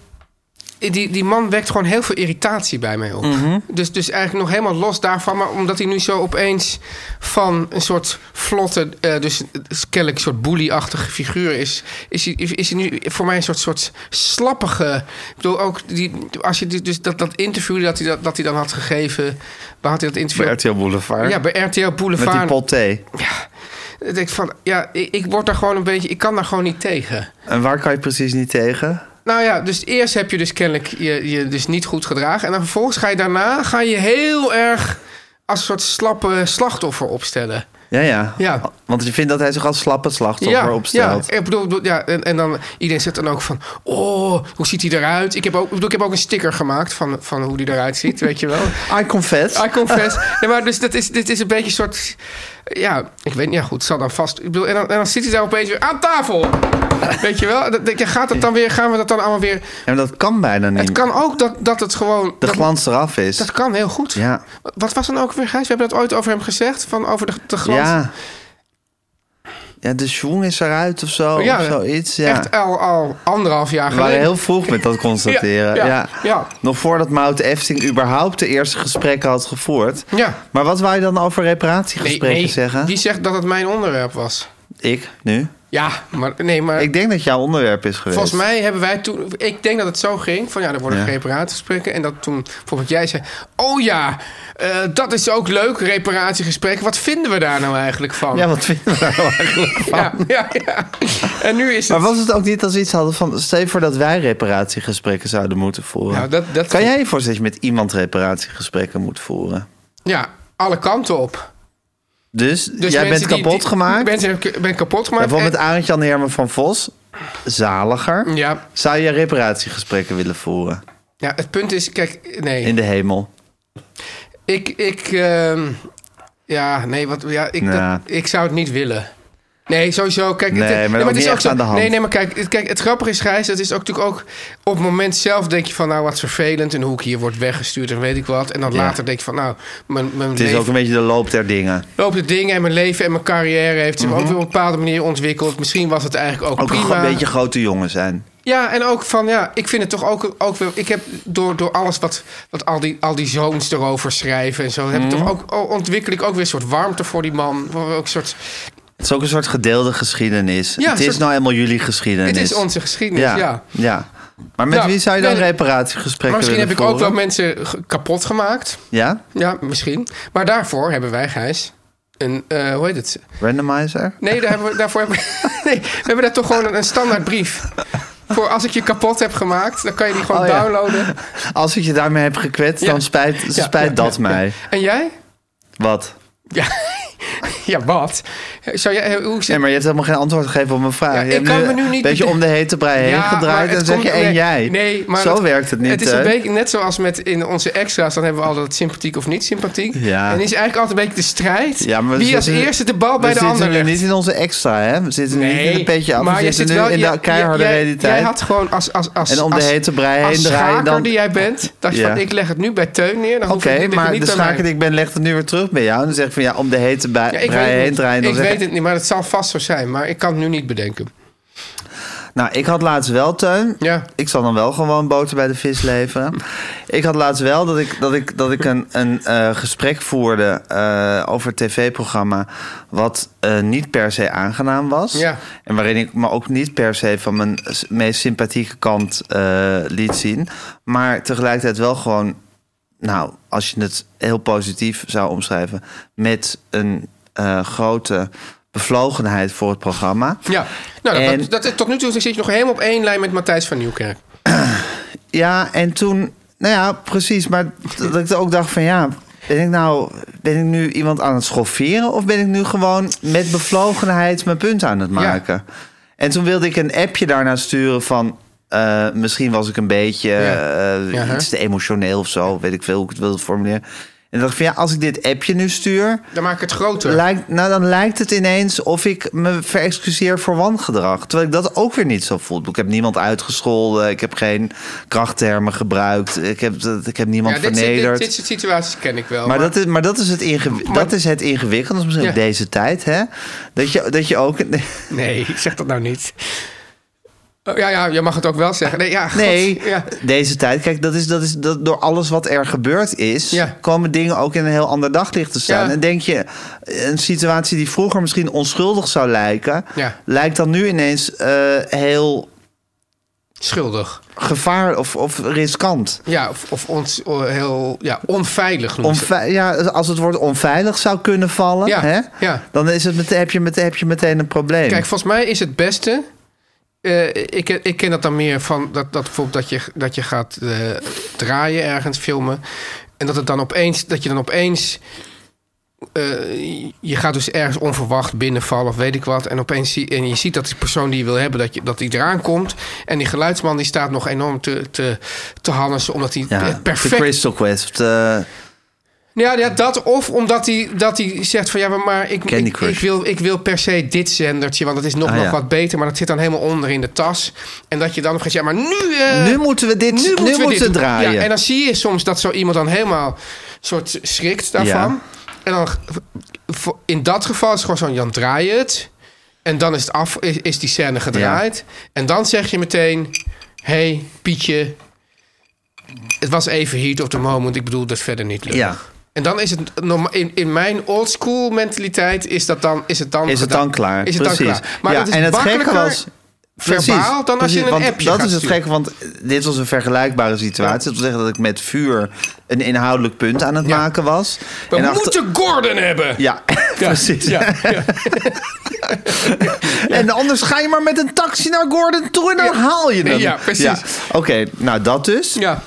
die, die man wekt gewoon heel veel irritatie bij mij op.
Mhm.
dus, dus eigenlijk nog helemaal los daarvan. Maar omdat hij nu zo opeens van een soort vlotte, eh, dus kennelijk een soort bully-achtige figuur is, is hij, is hij nu voor mij een soort, soort slappige. Ik bedoel ook, die, als je die- dus dat, dat interview dat hij, dat, dat hij dan had gegeven. Waar had hij dat interview?
Bij RTL Boulevard.
ja, bij RTL
Met
Boulevard.
die pot thee.
Ik denk van, ja, ik, ik word daar gewoon een beetje, ik kan daar gewoon niet tegen.
En waar kan je precies niet tegen?
Nou ja, dus eerst heb je dus kennelijk je, je dus niet goed gedragen. En dan vervolgens ga je daarna ga je heel erg als een soort slappe slachtoffer opstellen.
Ja, ja.
Ja.
Want je vindt dat hij zich als slappe slachtoffer
Ja,
opstelt.
ja, ik bedoel, ik bedoel, ja en, en dan iedereen zegt dan ook van, oh, hoe ziet hij eruit? Ik heb ook, ik bedoel, ik heb ook een sticker gemaakt van, van hoe hij eruit ziet, weet je wel.
I confess.
I confess. nee, maar dus dat is, dit is een beetje een soort... Ja, ik weet niet. Ja, goed, zal dan vast... Ik bedoel, en, dan, en dan zit hij daar opeens weer aan tafel. weet je wel? Dat, denk je, gaat dat dan weer, gaan we dat dan allemaal weer...
Ja, maar dat kan bijna niet.
Het kan ook dat, dat het gewoon...
De
dat,
glans eraf is.
dat kan heel goed.
Ja.
Wat was dan ook weer, Gijs? We hebben dat ooit over hem gezegd, van over de, de glans.
Ja. Ja, de schoen is eruit of zo.
Oh, Ja,
of zoiets. Ja.
Echt al, al anderhalf jaar
We
geleden.
waren heel vroeg met dat constateren. Ja,
Ja, ja, ja.
Nog voordat Mout Efting überhaupt de eerste gesprekken had gevoerd.
Ja.
Maar wat wou je dan over
Nee,
reparatiegesprekken
nee.
zeggen?
Wie zegt dat het mijn onderwerp was?
Ik, nu.
Ja, maar nee, maar
Ik denk dat jouw onderwerp is geweest.
Eh, volgens mij hebben wij toen... Ik denk dat het zo ging, van ja, er worden
Ja.
reparatiegesprekken. En dat toen bijvoorbeeld jij zei... Oh ja, eh, dat is ook leuk, reparatiegesprekken. Wat vinden we daar nou eigenlijk van?
Ja, wat vinden we daar nou eigenlijk van?
ja, ja, ja. En nu is het...
Maar was het ook niet als we iets hadden van... Stel je voor dat wij reparatiegesprekken zouden moeten voeren.
Nou, dat- dat-
Kan jij je voorstellen dat je met iemand reparatiegesprekken moet voeren?
Ja, alle kanten op.
Dus, jij bent
mensen die-
kapot
die-
gemaakt?
Mensen heb ik- ben kapot gemaakt.
Bijvoorbeeld met
en-
Arend Jan Herman van Vos. Zaliger.
ja,
Zou je reparatiegesprekken willen voeren?
ja, het punt is, kijk, nee.
In de hemel.
Ik, ik, ehm, ja, nee, wat, ja, ik,
Nou.
dat- ik zou het niet willen. Nee, sowieso. Kijk,
Nee,
het,
maar
nee,
ook
het is
niet
ook
echt
zo,
aan de hand.
Nee, nee, maar kijk, het, kijk, het grappige is, Gijs, dat is ook natuurlijk ook op het moment zelf denk je van, nou, wat vervelend en hoe ik hier word weggestuurd en weet ik wat. En dan
Ja.
later denk je van, nou, mijn, mijn
Het is
leven
ook een beetje de loop der dingen.
loopt de dingen en mijn leven en mijn carrière heeft zich ook weer op een bepaalde manier ontwikkeld. Misschien was het eigenlijk ook,
Mhm. Ook
prima.
een beetje grote jongen zijn.
Ja, en ook van ja, ik vind het toch ook, ook wel. Ik heb door, door alles wat, wat al, die, al die zoons erover schrijven en zo, heb ik
Mhm.
toch ook, o- ontwikkel ik ook weer een soort warmte voor die man. Voor Ook een soort,
Het is ook een soort gedeelde geschiedenis.
Ja,
het is
soort-
nou helemaal jullie geschiedenis.
het is onze geschiedenis, ja.
ja. ja. Maar met
Ja,
wie zou je dan
nee,
reparatiegesprekken
Maar misschien heb
willen
ik ook wel
voeren?
mensen ge- kapot gemaakt.
Ja?
Ja, misschien. Maar daarvoor hebben wij, Gijs, een, eh, hoe heet het?
Randomizer?
Nee, daar hebben we, daarvoor hebben we, nee, we hebben daar toch gewoon een, een standaard brief. Voor als ik je kapot heb gemaakt, dan kan je die gewoon
Oh, ja.
downloaden.
Als ik je daarmee heb gekwetst,
Ja.
dan spijt,
Ja,
spijt
ja,
dat
ja,
mij.
ja. En jij?
Wat?
Ja, ja wat? Zou jij, hoe zit
Nee, maar je hebt helemaal geen antwoord gegeven op mijn vraag.
Ja,
je
ik
hebt
kan
nu
me nu niet
Een beetje
bede-
om de hete brei heen
Ja, maar
gedraaid en
het
zeg
komt-
je één
nee,
jij.
Nee, maar
Zo
dat-
werkt het niet.
Het is een
hè?
beetje net zoals met in onze extra's. Dan hebben we altijd sympathiek of niet sympathiek.
Ja.
En is eigenlijk altijd een beetje de strijd.
Ja, maar we
wie als
zitten-
eerste de bal bij
we
de
zitten
ander
nu
legt.
niet in onze extra, hè? We zitten nu niet in een petje af.
maar
we
je
zitten
zit
nu
wel
in
jij-
de keiharde
jij-
realiteit.
Jij had gewoon als, als, als,
En om de
als-
hete brei
als
heen draaien
schaker
dan-
die jij bent, dacht je
Ja.
van ik leg het nu bij Teun neer. Dan hoef
Oké,
ik dit
maar
niet
de
bij
schaker
mij.
die ik ben legt het nu weer terug bij jou. En dan zeg ik van ja, om de hete brei
Ja, ik
brei
weet,
heen
het
draaien.
niet.
Dan
ik
zeg
weet het niet, maar het zal vast zo zijn. Maar ik kan het nu niet bedenken.
Nou, ik had laatst wel, Teun.
Ja.
Ik zal dan wel gewoon boter bij de vis leveren. ik had laatst wel dat ik, dat ik, dat ik een, een eh, gesprek voerde eh, over een tv-programma... wat eh, niet per se aangenaam was.
Ja.
En waarin ik me ook niet per se van mijn s- meest sympathieke kant eh, liet zien. Maar tegelijkertijd wel gewoon... Nou, als je het heel positief zou omschrijven... met een eh, grote bevlogenheid voor het programma.
Ja, nou, dat-
En-
dat, dat, tot nu toe zit je nog helemaal op één lijn met Matthijs van Nieuwkerk.
Ja, en toen... Nou ja, precies. Maar dat ik ook dacht van ja... Ben ik nou ben ik nu iemand aan het schofferen... of ben ik nu gewoon met bevlogenheid mijn punt aan het maken? En toen wilde ik een appje daarna sturen van... eh, misschien was ik een beetje
Ja.
eh,
Ja, hè?
iets te emotioneel of zo. Weet ik veel hoe ik het wilde formuleren. En dacht ik van ja, als ik dit appje nu stuur...
Dan maak ik het groter.
Lijkt, nou, dan lijkt het ineens of ik me verexcuseer voor wangedrag. Terwijl ik dat ook weer niet zo voel. Ik heb niemand uitgescholden. Ik heb geen krachttermen gebruikt. Ik heb, ik heb niemand
ja, dit, zit- dit,
vernederd.
dit soort situaties ken ik wel.
maar, dat is, maar, dat, is het ingewi- dat is het ingewikkelde. Dat is misschien ook
Ja.
deze tijd, hè? Dat je, dat je ook...
Nee, zeg dat nou niet. Oh, ja, ja, je mag het ook wel zeggen. Nee, ja, god,
Nee,
ja.
deze tijd. Kijk, dat is, dat is dat door alles wat er gebeurd is,
Ja.
komen dingen ook in een heel ander daglicht te staan.
Ja.
En denk je, een situatie die vroeger misschien onschuldig zou lijken,
Ja.
lijkt dan nu ineens eh, heel
Schuldig.
gevaar of, of riskant.
Ja, of, of ons, oh, heel ja, onveilig noemen ze.
Onve- ja, als het woord onveilig zou kunnen vallen,
Ja,
hè,
ja.
dan is het meteen, heb, je meteen, heb je meteen een probleem.
Kijk, volgens mij is het beste... eh, ik, ik ken dat dan meer van dat, dat bijvoorbeeld dat je, dat je gaat eh, draaien ergens, filmen. En dat, het dan opeens, dat je dan opeens... eh, je gaat dus ergens onverwacht binnenvallen of weet ik wat. En opeens zie, en je ziet dat die persoon die je wil hebben, dat, je, dat die eraan komt. En die geluidsman die staat nog enorm te, te, te hannissen, omdat hij
ja,
het
De
perfect
Crystal Quest. eh,
ja, ja, dat of omdat hij, dat hij zegt van ja, maar- maar ik,
Candy
ik,
Crush.
ik wil, ik wil per se dit zendertje, want het is nog,
Ah,
nog
ja.
wat beter, maar dat zit dan helemaal onder in de tas. En dat je dan nog gaat, ja, maar nu. eh,
nu moeten we dit nu
moeten we dit
moeten
doen.
draaien.
Ja, en dan zie je soms dat zo iemand dan helemaal soort schrikt daarvan.
Ja.
En dan voor- in dat geval is het gewoon zo'n Jan draai het. En dan is, het af, is, is die scène gedraaid. En dan zeg je meteen: hey, Pietje. Het was even heat of the moment. Ik bedoel, dat is verder niet leuk.
Ja.
En dan is het norma- in, in mijn oldschool mentaliteit is dat dan is het dan
Is het
gedaan.
dan klaar?
Is het
precies.
dan klaar? Maar
ja,
dat is
en het gekke
makkelijker
was.
verbaal dan als je een
want
appje
Dat
gaat
is het
sturen.
gekke, want dit was een vergelijkbare situatie. Dat wil zeggen dat ik met vuur een inhoudelijk punt aan het
Ja.
maken was.
We
En achter-
moeten Gordon hebben.
Ja, precies.
Ja, ja.
En anders ga je maar met een taxi naar Gordon toe en dan
Ja.
haal je hem.
Ja, precies.
Oké, nou dat dus.
Ja.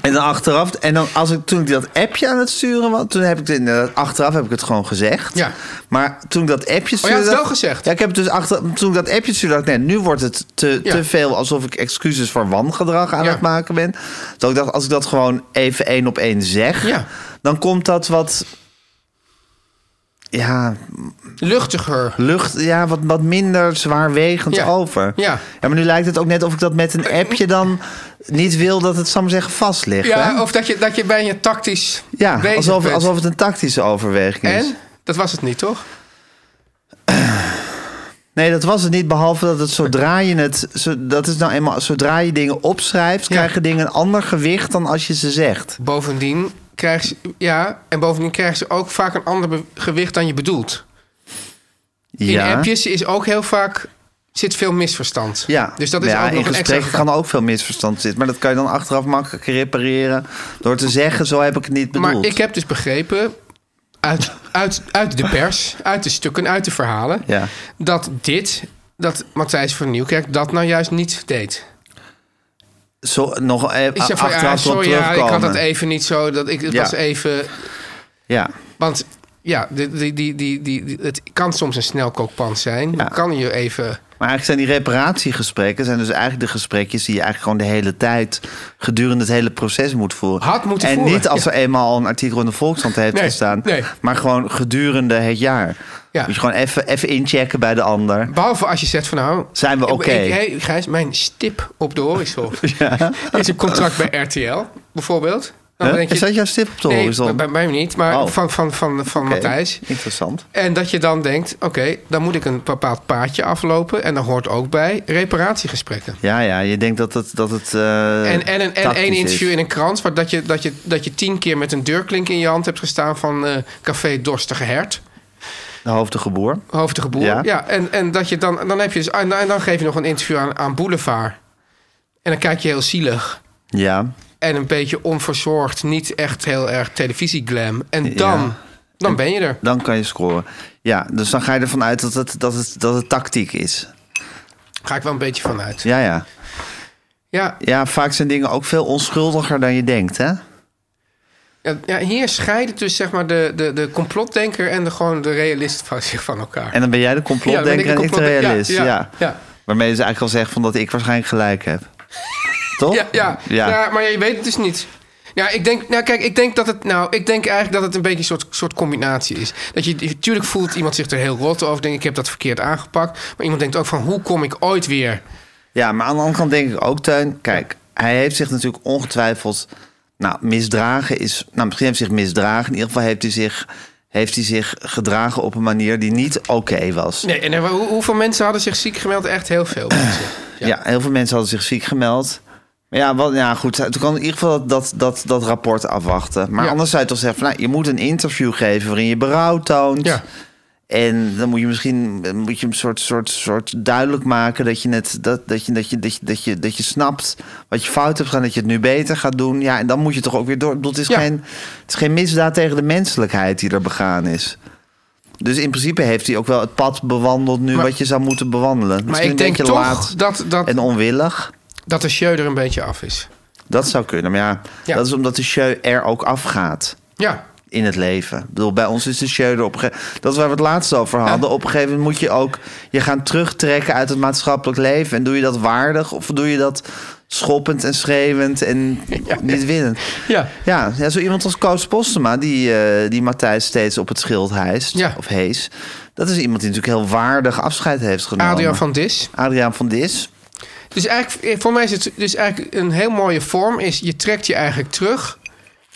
En dan achteraf, en dan als ik, toen ik dat appje aan het sturen was, toen heb ik het inderdaad, achteraf heb ik het gewoon gezegd.
Ja. Oh,
Maar toen ik dat appje stuurde.
had het wel
dacht-
gezegd?
Ja, ik heb het dus achter, toen ik dat appje stuurde, dacht ik, nee, nu wordt het te,
Ja.
te veel alsof ik excuses voor wangedrag aan
Ja.
het maken ben. Dat ik dacht, als ik dat gewoon even één op één zeg,
Ja.
dan komt dat wat. Ja,
Luchtiger.
lucht, ja, wat, wat minder zwaarwegend
Ja.
over.
Ja.
maar nu lijkt het ook net of ik dat met een appje dan niet wil dat het, zal ik maar zeggen, vast ligt. hè?
Ja, of dat je, dat je bijna tactisch
Ja,
bezig
alsof,
bent.
alsof het een tactische overweging is.
En? Dat was het niet, toch?
Nee, dat was het niet. Behalve dat het zodra je het. Zo, dat is nou eenmaal. Zodra je dingen opschrijft, krijgen dingen een ander gewicht dan als je ze zegt.
Bovendien krijgen ze, ja, en bovendien krijgen ze ook vaak een ander be- gewicht dan je bedoelt. In
Ja.
appjes is ook heel vaak zit veel misverstand.
Ja,
Dus dat is
ja,
ook nog
in
een extra
gesprekken kan ook veel misverstand zitten. Maar dat kan je dan achteraf makkelijk repareren. door te zeggen: zo heb ik het niet bedoeld.
Maar ik heb dus begrepen uit, uit, uit de pers, uit de stukken, uit de verhalen,
Ja.
dat dit, dat Matthijs van Nieuwkerk dat nou juist niet deed.
zo, nog even
Ik zei van ja,
achteraf erop
sorry, ja, ik
terugkomen.
had dat even niet zo, dat ik het
Ja.
was even,
Ja,
want ja, die, die, die, die, die, die- het kan soms een snelkookpan zijn. Dan kan je even
maar eigenlijk zijn die reparatiegesprekken... zijn dus eigenlijk de gesprekjes die je eigenlijk gewoon de hele tijd... gedurende het hele proces moet voeren.
Had moeten
en
voeren,
niet als er eenmaal al een artikel in de Volkskrant heeft
Nee,
gestaan...
nee.
maar gewoon gedurende het jaar.
Ja.
Moet je gewoon even, even inchecken bij de ander.
Behalve als je zegt van nou...
Zijn we
ik-
oké?
ik- hey, Gijs, mijn stip op de horizon is een contract bij RTL, bijvoorbeeld. Dan
Huh?
Nou, denk
Is dat jouw stip op de
nee,
horizon?
bij- bij mij niet, maar
Oh.
van, van, van, van
Oké,
Matthijs.
Interessant.
En dat je dan denkt, oké, dan moet ik een bepaald paadje aflopen. En dan hoort ook bij reparatiegesprekken.
Ja, ja, je denkt dat het... Dat het eh,
En, en, een, en
tactisch
één interview
is.
in een krant... Waar dat, je, dat, je, dat je tien keer met een deurklink in je hand hebt gestaan... van eh, Café Dorstige Hert.
De hoofdige boer.
hoofdige boer.
Ja.
Ja, en, en dat je dan, dan heb je dus, en, dan- en dan geef je nog een interview aan, aan Boulevard. En dan kijk je heel zielig.
Ja.
En een beetje onverzorgd, niet echt heel erg televisieglam. En dan,
Ja.
dan ben je er.
Dan kan je scoren. Ja, dus dan ga je ervan uit dat het, dat het, dat het tactiek is.
Ga ik wel een beetje vanuit. Ja,
Ja, ja.
ja,
Ja, vaak zijn dingen ook veel onschuldiger dan je denkt, hè?
ja, hier scheiden dus zeg maar de, de, de complotdenker en de, gewoon de realist van zich van elkaar.
En dan ben jij de
Ja, dan ben
complotdenker en ik de
complotdenker.
realist. Ja,
ja, ja.
Waarmee ze eigenlijk al zeggen van dat ik waarschijnlijk gelijk heb. Toch?
Ja, ja.
Ja.
ja. maar je weet het dus niet. Ja, ik denk, nou kijk, ik denk dat het, nou, ik denk eigenlijk dat het een beetje een soort, soort combinatie is. Dat je, natuurlijk voelt iemand zich er heel rot over, denk ik heb dat verkeerd aangepakt. Maar iemand denkt ook van, hoe kom ik ooit weer?
Ja, maar aan de andere kant denk ik ook, Teun... Kijk, hij heeft zich natuurlijk ongetwijfeld... Nou, misdragen is... Nou, misschien heeft hij zich misdragen. In ieder geval heeft hij zich, heeft hij zich gedragen op een manier die niet oké was.
Nee, en er, hoe- hoeveel mensen hadden zich ziek gemeld? Echt heel veel mensen.
Ja. heel veel mensen hadden zich ziek gemeld. Maar ja, wat, ja goed, toen kan in ieder geval dat, dat, dat, dat rapport afwachten. Maar
Ja.
anders zou je toch zeggen, van, nou, je moet een interview geven waarin je berouw toont.
Ja.
En dan moet je misschien eh, moet je een soort, soort, soort duidelijk maken dat je, net, dat, dat, je, dat, je, dat, je, dat, je, dat je snapt wat je fout hebt gedaan, dat je het nu beter gaat doen. Ja, en dan moet je toch ook weer door. Ik bedoel, Het is,
Ja.
geen, het is geen misdaad tegen de menselijkheid die er begaan is. Dus in principe heeft hij ook wel het pad bewandeld nu
Maar-
wat je zou moeten bewandelen.
Maar
Misschien
ik denk
een
toch
beetje laat
dat, dat,
en onwillig.
dat de show er een beetje af is.
Dat zou kunnen, maar ja,
Ja.
dat is omdat de show er ook afgaat
Ja,
in het leven. Ik bedoel, bij ons is de show er op een gege- Dat is waar we het laatst over hadden. Op een gegeven moment moet je ook je gaan terugtrekken uit het maatschappelijk leven. En doe je dat waardig of doe je dat schoppend en schreeuwend en niet winnend?
Ja.
Ja, ja, zo iemand als Koos Postema, die, eh, die Matthijs steeds op het schild hijst
Ja.
of hees. Dat is iemand die natuurlijk heel waardig afscheid heeft genomen.
Adriaan van Dis.
Adriaan van Dis.
Dus eigenlijk, eh, voor mij is het dus eigenlijk een heel mooie vorm. Is je trekt je eigenlijk terug.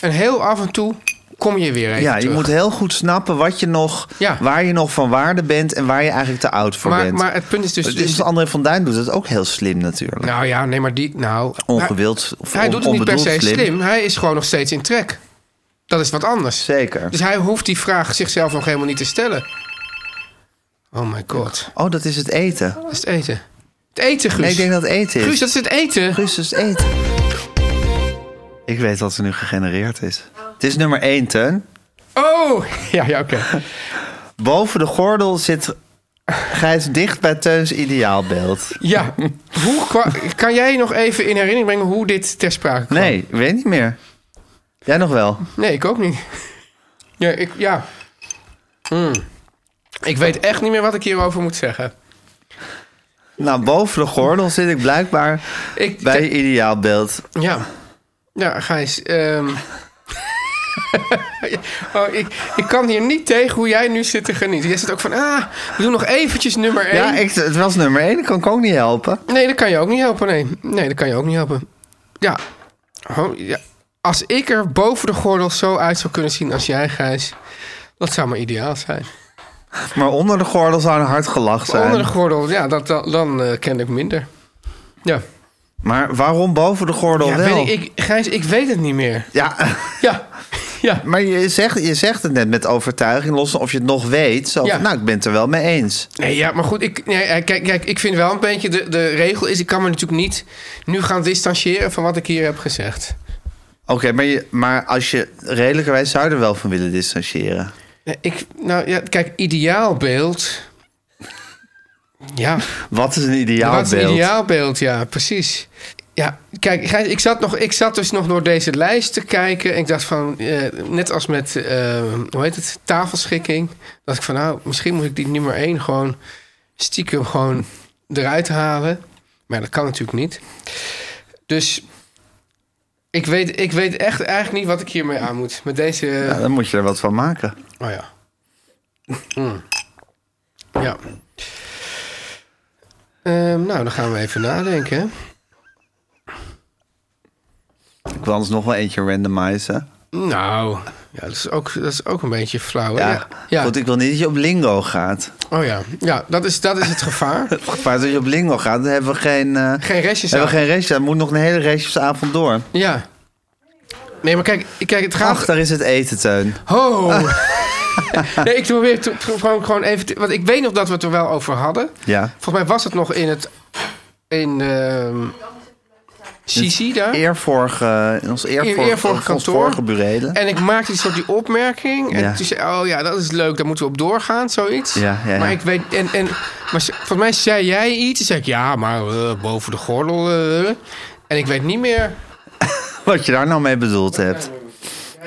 En heel af en toe kom je weer even
Ja, je
terug.
moet heel goed snappen wat je nog,
Ja.
waar je nog van waarde bent en waar je eigenlijk te oud voor
maar,
bent.
maar het punt is dus...
dus,
dus-
André van Duin doet dat ook heel slim natuurlijk.
nou ja, nee, maar die... Nou,
Ongewild of
hij, hij doet het niet per
onbedoeld
se
slim.
slim. Hij is gewoon nog steeds in trek. Dat is wat anders.
Zeker.
Dus hij hoeft die vraag zichzelf nog helemaal niet te stellen. Oh my god.
Oh, dat is het eten.
Dat is het eten. Het eten, Guus.
Nee, ik denk dat het eten is.
Guus, dat is het eten.
Guus, dat is het eten. Ik weet wat er nu gegenereerd is. Het is nummer 1, Teun.
Oh! Ja, ja, oké.
Boven de gordel zit Gijs dicht bij Teuns ideaalbeeld.
Ja. Hoe kwa- kan jij nog even in herinnering brengen hoe dit ter sprake kwam?
Nee, ik weet niet meer. Jij nog wel?
Nee, ik ook niet. Ja, ik, ja. Hmm. ik weet echt niet meer wat ik hierover moet zeggen.
Nou, boven de gordel zit ik blijkbaar
Ik,
bij je ideaalbeeld.
Ja. Ja, Gijs. ehm. oh, ik, ik kan hier niet tegen hoe jij nu zit te genieten. Jij zit ook van, ah, we doen nog eventjes nummer 1.
Ja, ik, het was nummer 1, dat kan ik ook niet helpen.
Nee, dat kan je ook niet helpen. Nee, nee dat kan je ook niet helpen. Ja. Oh, ja. Als ik er boven de gordel zo uit zou kunnen zien als jij, Gijs, dat zou maar ideaal zijn.
Maar onder de gordel zou een hard gelach zijn.
Onder de gordel, ja, dat, dan- dan eh, ken ik minder. Ja.
Maar waarom boven de gordel
ja
wel?
weet ik, ik- Gijs, ik weet het niet meer.
Ja,
Ja. Ja.
maar je zegt, je zegt het net met overtuiging, los van of je het nog weet. Zo, van,
Ja.
Nou, ik ben het er wel mee eens.
Nee, ja, maar goed, ik, nee, eh, kijk, kijk, ik vind wel een beetje... De, de regel is, ik kan me natuurlijk niet nu gaan distancieren van wat ik hier heb gezegd.
Oké, maar, je- maar als je redelijkerwijs zou je er wel van willen distancieren.
Nee, Ik, nou ja, kijk, ideaalbeeld... Ja,
Wat is een
dat
ideaalbeeld?
is een ideaalbeeld, ja, precies. Ja, kijk, Gijs, ik zat, nog, ik zat dus nog door deze lijst te kijken. En ik dacht van, eh, net als met, eh, hoe heet het, tafelschikking. Dacht ik van, nou, misschien moet ik die nummer één gewoon stiekem gewoon eruit halen. Maar dat kan natuurlijk niet. Dus ik weet, ik weet echt eigenlijk niet wat ik hiermee aan moet. Met deze...
Ja, dan moet je er wat van maken.
Oh ja. Mm. Ja. Ehm, nou, dan gaan we even nadenken.
Ik wil anders nog wel eentje randomizen.
Nou, ja, dat, is ook, dat is ook een beetje flauw. hè?
Ja,
ja.
want ik wil niet dat je op lingo gaat.
Oh ja, ja dat, is, dat is het gevaar.
Het gevaar is dat je op lingo gaat, dan hebben we geen, eh,
Geen restjes
hebben
aan.
we geen restje. Dan moet nog een hele restjesavond door.
Ja. Nee, maar kijk, kijk het gaat...
Ach, daar is het eten, Teun.
Ho! nee, ik probeer to- pro- gewoon, gewoon even... te- want ik weet nog dat we het er wel over hadden.
Ja.
Volgens mij was het nog in het... In... ehm Sisi daar.
Eervorige, in ons eervorige,
In eervorige
ons
kantoor.
vorige burelen.
En ik maakte die soort die opmerking. En
Ja.
toen zei oh ja, dat is leuk, daar moeten we op doorgaan, zoiets.
Ja, ja, ja.
Maar ik weet, en, en maar ze- volgens mij zei jij iets. En zei ik, ja, maar eh, boven de gordel. eh." en ik weet niet meer.
Wat je daar nou mee bedoeld hebt.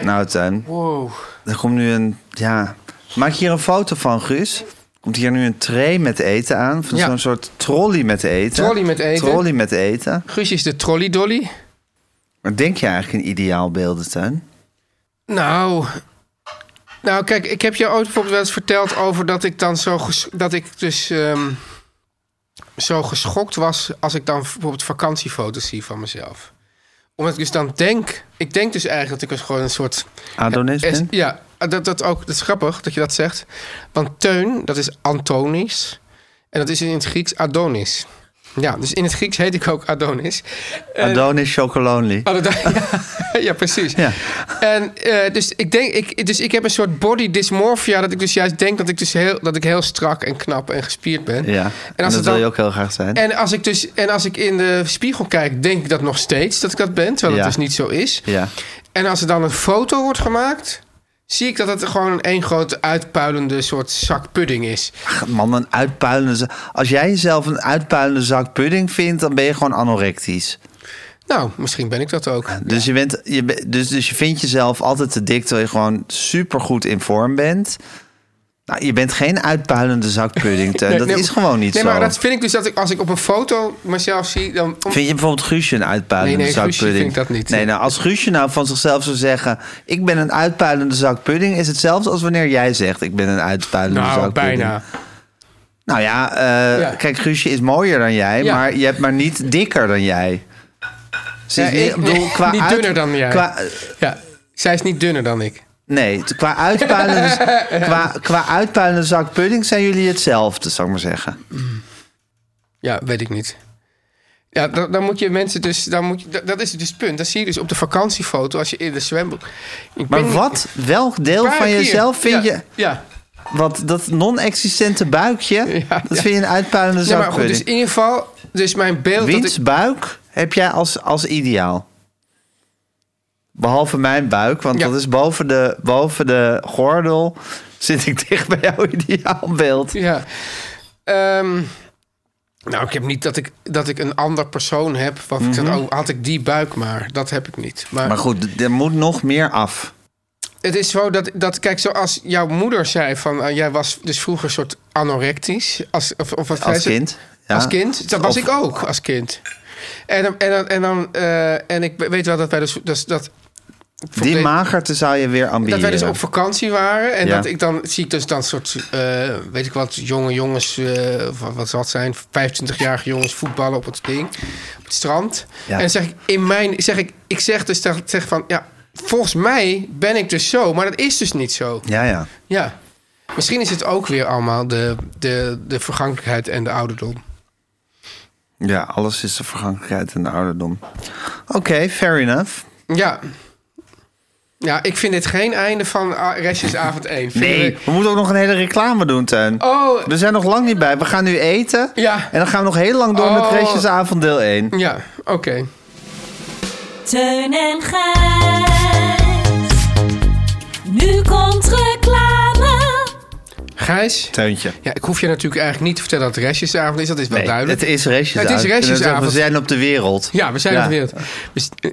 Nou, Teun,
Wow.
er komt nu een... Ja, maak hier een foto van, Guus. Komt hier nu een tray met eten aan. Van
Ja.
zo'n soort trolley met eten.
Trolley met eten.
Trolley met eten.
Guus is de trolley dolly.
Maar denk je eigenlijk in ideaalbeelden, Teun?
Nou. Nou, kijk, ik heb je ooit bijvoorbeeld wel eens verteld over dat ik dan zo. ges- dat ik dus. ehm, zo geschokt was als ik dan bijvoorbeeld vakantiefoto's zie van mezelf. Omdat ik dus dan denk. Ik denk dus eigenlijk dat ik dus gewoon een soort.
Adonis
Es-
bent?
ja, dat, dat, ook, dat is grappig dat je dat zegt. Want teun, dat is Antonis. En dat is in het Grieks Adonis. Ja, dus in het Grieks heet ik ook Adonis. eh,
Adonis Chocolonely.
Oh, dat- ja, ja, precies.
Ja.
En, eh, dus, ik denk, ik, dus ik heb een soort body dysmorphia... dat ik dus juist denk dat ik, dus heel, dat ik heel strak en knap en gespierd ben.
Ja, en,
En
dat
als het dan-
wil je ook heel graag zijn.
En als, ik dus, en als ik in de spiegel kijk, denk ik dat nog steeds dat ik dat ben. Terwijl
Ja.
het dus niet zo is.
Ja.
En als er dan een foto wordt gemaakt, zie ik dat het gewoon een één grote uitpuilende soort zak pudding is.
Ach, Man, een uitpuilende... za- Als jij jezelf een uitpuilende zak pudding vindt... dan ben je gewoon anorectisch.
Nou, misschien ben ik dat ook.
Dus, je bent, je, be- dus, dus je vindt jezelf altijd te dik... terwijl je gewoon supergoed in vorm bent. Nou, je bent geen uitpuilende zak pudding, Teun. dat
Nee,
is gewoon niet
nee,
zo.
maar dat vind ik dus dat ik als ik op een foto mezelf zie, dan. om-
Vind je bijvoorbeeld Guusje een uitpuilende
Nee, nee,
zak
Guusje
pudding?
vind ik dat niet.
Nee, nou, als Guusje nou van zichzelf zou zeggen... ik ben een uitpuilende zak pudding... is hetzelfde als wanneer jij zegt... ik ben een uitpuilende zak
nou,
pudding.
bijna.
Nou ja, eh,
Ja.
kijk, Guusje is mooier dan jij,
Ja.
maar je hebt maar niet dikker dan jij. Ze is
Ja,
niet,
ik-
ik bedoel,
nee,
qua
niet
uit-
dunner dan jij.
Qua,
Ja, zij is niet dunner dan ik.
nee, t- qua uitpuilende, qua, qua uitpuilende zak pudding zijn jullie hetzelfde, zou ik maar zeggen.
Ja, weet ik niet. Ja, dan, dan moet je mensen dus. Dan moet je, dat, dat is dus het punt. Dat zie je dus op de vakantiefoto als je in de zwembad. Ik
Maar
ben-
wat? Welk
Een
deel
paar
van
keer.
jezelf vind
Ja,
je...
Ja.
Wat, dat non-existente buikje,
Ja,
dat
ja.
vind je een uitpuilende
Nee, maar goed, dus
zakpudding.
in ieder geval. Dus mijn beeld. dat ik-
Wiens buik heb jij als, als ideaal? Behalve mijn buik, want
Ja.
dat is boven de, boven de gordel... zit ik dicht bij jouw ideaalbeeld.
Ja. Ehm, nou, ik heb niet dat ik, dat ik een ander persoon heb. Waarvan ik zeg, oh, had ik die buik maar. Dat heb ik niet. Maar,
Mhm. Maar goed, er moet nog meer af.
het is zo dat, dat, kijk, zoals jouw moeder zei van... eh, jij was dus vroeger een soort anorectisch. Als, of, of wat zei
Als
ze?
kind. ja.
Als kind? Dat was
Of-
ik ook als kind. En, dan- en, dan- en, dan, eh, en ik weet wel dat wij dus... dus dat,
Die magerte zou je weer
Dat
ambiëren.
wij dus op vakantie waren. En
Ja.
dat ik dan zie ik dus dan soort, eh, weet ik wat, jonge jongens, eh, of wat, wat zal het zijn, 25-jarige jongens voetballen op het ding, op het strand.
Ja.
En dan zeg ik in mijn, zeg ik, ik zeg dus dat- zeg van, ja, volgens mij ben ik dus zo, maar dat is dus niet zo.
Ja, ja.
Ja. Misschien is het ook weer allemaal de, de, de vergankelijkheid en de ouderdom.
Ja, alles is de vergankelijkheid en de ouderdom. Oké, fair enough.
Ja. Ja, ik vind dit geen einde van ah, restjes avond 1.
Nee, we moeten ook nog een hele reclame doen, Teun.
Oh,
We zijn nog lang niet bij. We gaan nu eten.
Ja.
En dan gaan we nog heel lang door
Oh.
met Restjesavond deel 1.
ja, oké.
Teun en Gijs. Nu komt reclame.
Gijs?
Teuntje.
Ja, ik hoef je natuurlijk eigenlijk niet te vertellen dat het restjesavond is. Dat is wel
Nee,
duidelijk.
het is Restjesavond.
Het is
We kunnen zeggen,
Restjesavond.
We zijn op de wereld.
Ja, we zijn op de wereld. We s- eh,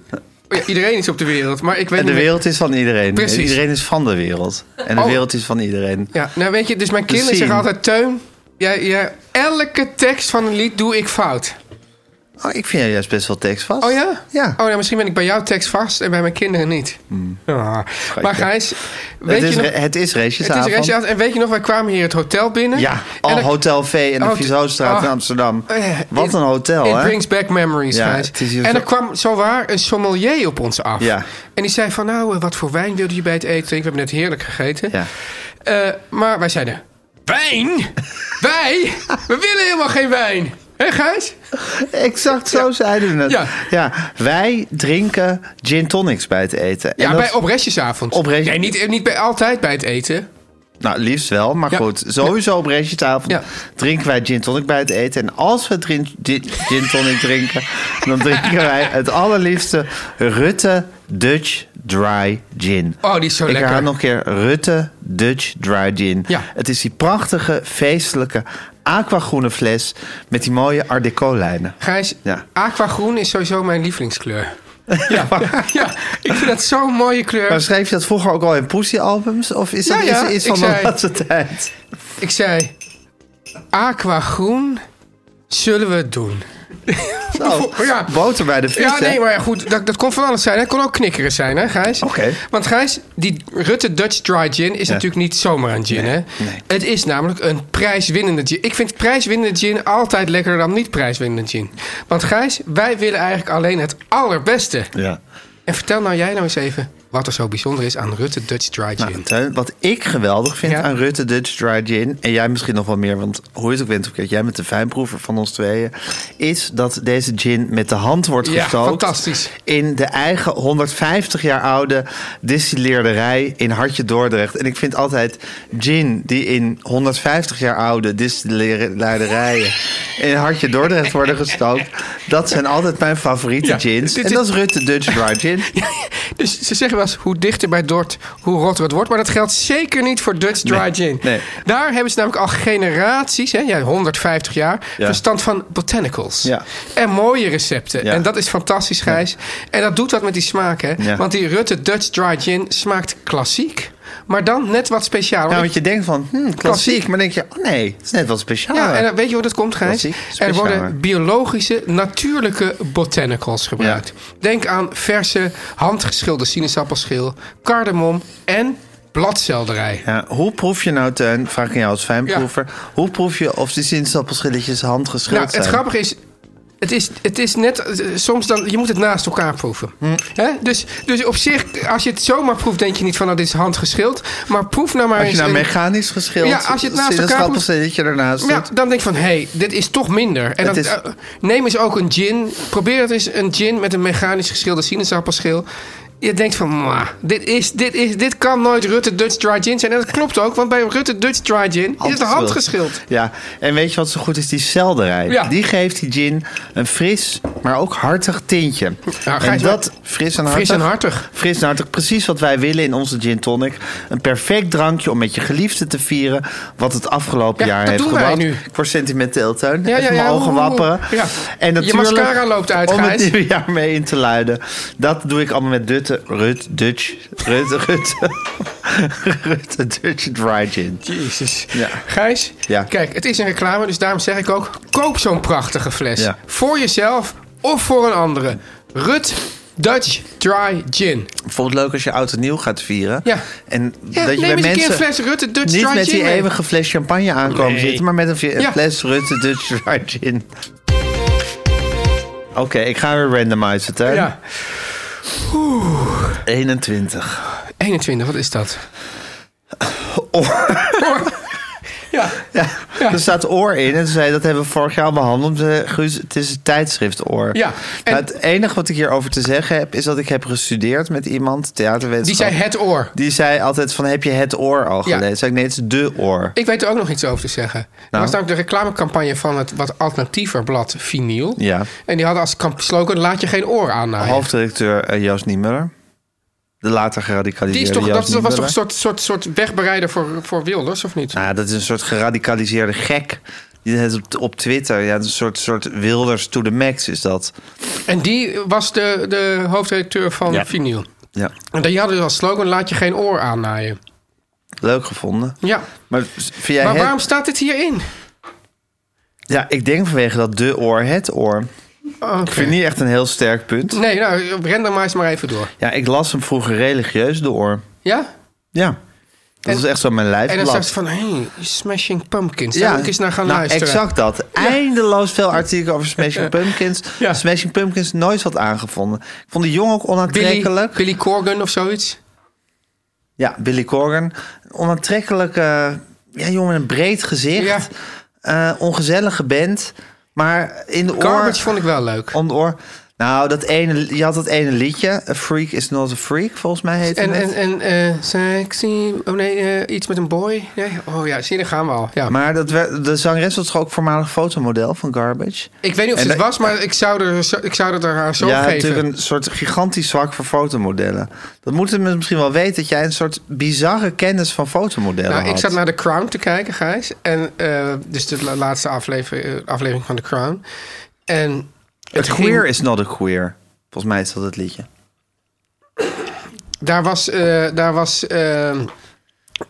oh ja, iedereen is op de wereld, maar ik weet
En de
niet-
wereld is van iedereen.
Precies.
En iedereen is van de wereld. En de
Oh.
wereld is van iedereen.
Ja, nou weet je, dus mijn kinderen
scene.
zeggen altijd... Teun, jij, jij, elke tekst van een lied doe ik fout.
Oh, ik vind jou juist best wel tekstvast.
Oh ja?
Ja. Hmm.
Oh ja, misschien ben ik bij jouw tekst vast en bij mijn kinderen niet. Ah, Maar Gijs, weet
het, is,
je nog...
re- het is
Het is
Restjesavond.
restjesavond. En weet je nog, wij kwamen hier het hotel binnen.
Ja,
En
al
dan-
Hotel V en de
Oh,
Vieshoofdstraat in
ah.
Amsterdam.
Eh,
Wat
it-
een hotel,
It
hè?
brings back memories,
Ja,
Gijs.
het is hier
En
zo-
er kwam zowaar een sommelier op ons af.
Ja.
En die zei van, nou, eh, wat voor wijn wilde je bij het eten drinken? We hebben net heerlijk gegeten.
Ja.
Eh, maar wij zeiden, wijn? wij? We willen helemaal geen wijn. Hé, Gijs?
Exact zo zeiden we het.
Ja.
Ja. wij drinken gin tonics bij het eten. En
Ja,
dat-
bij, op restjesavond.
Op restjes-
Nee, niet, niet bij, altijd bij het eten.
Nou, liefst wel, maar
Ja.
goed. Sowieso op restjesavond
Ja.
drinken wij gin tonic bij het eten. En als we drin- gin, gin tonic drinken, dan drinken wij het allerliefste Rutte Dutch Dry Gin.
Oh, die is zo
Ik
lekker.
herhaal nog een keer Rutte Dutch Dry Gin.
Ja.
Het is die prachtige, feestelijke, aquagroene fles met die mooie Art Deco lijnen.
Gijs,
Ja.
aquagroen is sowieso mijn lievelingskleur. Ja, ja, ik vind dat zo'n mooie kleur.
Maar schreef je dat vroeger ook al in Poesie-albums? Of is dat
Ja, ja,
iets, iets
ik
van de
zei-
laatste tijd?
Ik zei, aquagroen zullen we het doen.
Zo,
Ja.
Oh, boter bij de vis,
Ja,
hè?
nee, maar ja, goed, dat, dat kon van alles zijn. Dat kon ook knikkeren zijn, hè, Gijs?
Oké.
Want Gijs, die Rutte Dutch Dry Gin is natuurlijk niet zomaar een gin, hè?
nee.
Het is namelijk een prijswinnende gin. Ik vind prijswinnende gin altijd lekkerder dan niet prijswinnende gin. Want Gijs, wij willen eigenlijk alleen het allerbeste.
Ja.
En vertel nou jij nou eens even wat er zo bijzonder is aan Rutte Dutch Dry Gin.
Nou, Teun, wat ik geweldig vind
Ja.
aan Rutte Dutch Dry Gin... en jij misschien nog wel meer, want hoe je het ook bent... of keert, jij bent de fijnproever van ons tweeën... is dat deze gin met de hand wordt
Ja,
gestookt...
fantastisch.
in de eigen 150 jaar oude distilleerderij in Hartje Dordrecht. En ik vind altijd gin die in 150 jaar oude distilleerderijen... in Hartje Dordrecht worden gestookt... dat zijn altijd mijn favoriete
Ja,
gins.
dit
En
is-
dat is Rutte Dutch Dry Gin.
Dus ze zeggen wel eens, hoe dichter bij Dort, hoe rotter het wordt. Maar dat geldt zeker niet voor Dutch Dry
Nee,
Gin.
nee.
Daar hebben ze namelijk al generaties, hè, ja, 150 jaar,
Ja.
verstand van botanicals.
Ja.
En mooie recepten.
Ja.
En dat is fantastisch, Gijs. En dat doet wat met die smaak, hè.
Ja.
Want die Rutte Dutch Dry Gin smaakt klassiek, maar dan net wat speciaal.
Ja,
Want
want je denkt van, hm, klassiek,
Klassiek.
Maar dan denk je, oh nee, het is net wat speciaal.
Ja, en dan- weet je hoe dat komt, Gijs?
Klassiek,
er
speciaal, hè?
worden biologische, natuurlijke botanicals gebruikt. Denk aan verse, handgeschilde sinaasappelschil, cardamom en bladselderij.
Ja, hoe proef je nou, Teun, vraag ik aan jou als fijnproever... hoe proef je of die sinaasappelschilletjes handgeschild
Nou, het
zijn?
grappige is, Het is, het is net, eh, soms dan, je moet het naast elkaar proeven.
Hm.
Hè? Dus, dus op zich, als je het zomaar proeft, denk je niet van, nou, dit is handgeschild. Maar proef nou maar
Als je
eens
nou
een-
mechanisch geschild,
Ja, als je het naast elkaar
sinaasappels
moet-
zit je ernaast
Ja,
doet.
dan denk je van, hé, hey, dit is toch minder. En
Het
dan,
is-
eh, neem eens ook een gin. Probeer het eens een gin met een mechanisch geschilde sinaasappelschil. Je denkt van, "Mwah, dit, is, dit, is, dit kan nooit Rutte Dutch Dry Gin zijn. En dat klopt ook, want bij Rutte Dutch Dry Gin is het handgeschild.
Ja, en weet je wat zo goed is? Die selderij.
Ja.
Die geeft die gin een fris, maar ook hartig tintje.
Ja,
en
Gijs,
dat, fris en hartig.
Fris en hartig.
Fris en hartig, precies wat wij willen in onze gin tonic. Een perfect drankje om met je geliefde te vieren... wat het afgelopen
Ja,
jaar
dat
heeft
doen wij
gebracht.
nu.
Ik word sentimenteel, Teun.
Ja,
Even
ja,
mijn
ja,
ogen
oeh.
wapperen.
Ja.
En
Je
natuurlijk,
mascara loopt uit,
om het
Gijs.
nieuwe jaar mee in te luiden. Dat doe ik allemaal met Dutte, Rut, Dutch... Rut, Rut, Rut, Dutch Dry Gin.
Jezus.
Ja.
Gijs,
Ja.
kijk, het is een reclame, dus daarom zeg ik ook... koop zo'n prachtige fles.
Ja.
Voor jezelf of voor een andere. Rut Dutch Dry Gin.
Ik vond het leuk als je oud en nieuw gaat vieren.
Ja.
En dat je
Ja, neem
bij
eens een
mensen
keer een fles Rutte Dutch
niet
Dry
met
Gin
die
mee.
eeuwige fles champagne aankomen
Nee.
zitten, maar met een, vi-
Ja.
fles Rutte Dutch Dry Gin. Oké, ik ga weer randomizen, Teun.
Ja.
21.
21, wat is dat? ja.
Ja. Er staat oor in en ze zei dat hebben we vorig jaar al behandeld. Eh, Guus, het is een tijdschrift oor.
Ja, en-
Nou, het enige wat ik hierover te zeggen heb, is dat ik heb gestudeerd met iemand,
Die
theaterwetenschap.
zei het oor.
Die zei altijd van, heb je het oor al
Ja.
gelezen? Zei ik, nee, het is de oor.
Ik weet er ook nog iets over te zeggen.
Nou.
Er was namelijk de reclamecampagne van het wat alternatiever blad Vinyl.
Ja.
En die hadden als kamp- slogan laat je geen oor aannaaien.
Hoofdredacteur eh, Joost Niemuller. De later
die is
geradicaliseerde
toch,
Joost
dat was toch
Niemuller.
een soort, soort, soort wegbereider voor, voor Wilders, of niet?
Nou, dat is een soort geradicaliseerde gek. Die het op, op Twitter. Ja, het is een soort, soort Wilders to the max is dat.
En die was de, de hoofdredacteur van
Ja.
Vinyl.
Ja,
En die hadden dus als slogan laat je geen oor aannaaien.
leuk gevonden.
Ja.
Maar vind jij
Maar
het-
waarom staat dit hierin?
Ja, ik denk vanwege dat de oor het oor. Ik vind niet echt een heel sterk punt.
Nee, nou, randomize maar even door.
Ja, ik las hem vroeger religieus, de oor.
Ja?
Ja. Dat
En-
is echt zo mijn
En dan
lijfblad.
zag ze van, hé, hey, Smashing Pumpkins. Daar moet ik eens naar gaan
nou,
luisteren.
Exact dat. Eindeloos veel artikelen over Smashing Pumpkins.
Ja.
Smashing Pumpkins nooit wat aangevonden. Ik vond die jongen ook
Billy,
onaantrekkelijk.
Billy Corgan of zoiets.
Ja, Billy Corgan. Onaantrekkelijke ja, jongen met een breed gezicht.
Ja.
Eh, ongezellige band. Maar in de oor...
Garbage vond ik wel leuk.
Om de oor... Nou, dat ene, je had dat ene liedje. A Freak is not a Freak, volgens mij heette
En,
het.
en, en eh, sexy... Oh nee, eh, iets met een boy. Nee? Oh ja, zie je, daar gaan we al. Ja.
Maar dat werd, de zangeres was toch ook voormalig fotomodel van Garbage?
ik weet niet of
en
ze het
daar-
was, maar ik zou, er, zo- ik zou het er haar zo
ja,
geven.
natuurlijk een soort gigantisch zwak voor fotomodellen. Dat moeten mensen misschien wel weten, dat jij een soort bizarre kennis van fotomodellen
Nou, ik
had.
zat naar The Crown te kijken, Gijs. En, eh, dus de la- laatste aflever, eh, aflevering van The Crown. En
het
het
queer
ging-
is not a queer. Volgens mij is dat het liedje.
Daar was, eh, daar was eh,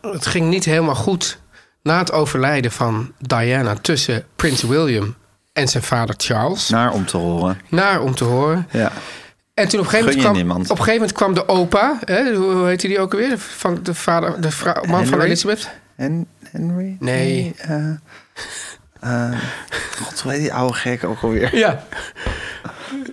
het ging niet helemaal goed na het overlijden van Diana tussen Prins William en zijn vader Charles.
Naar om te horen.
Naar om te horen.
Ja.
En toen op een gegeven
Gun
moment
je
kwam,
niemand.
op een gegeven moment kwam de opa, hè, hoe hoe heette die ook alweer? Van de vader, de vrou- man van
Henry?
Elizabeth.
En Henry?
Nee.
eh, eh, God, hoe heet die oude gek ook alweer?
Ja.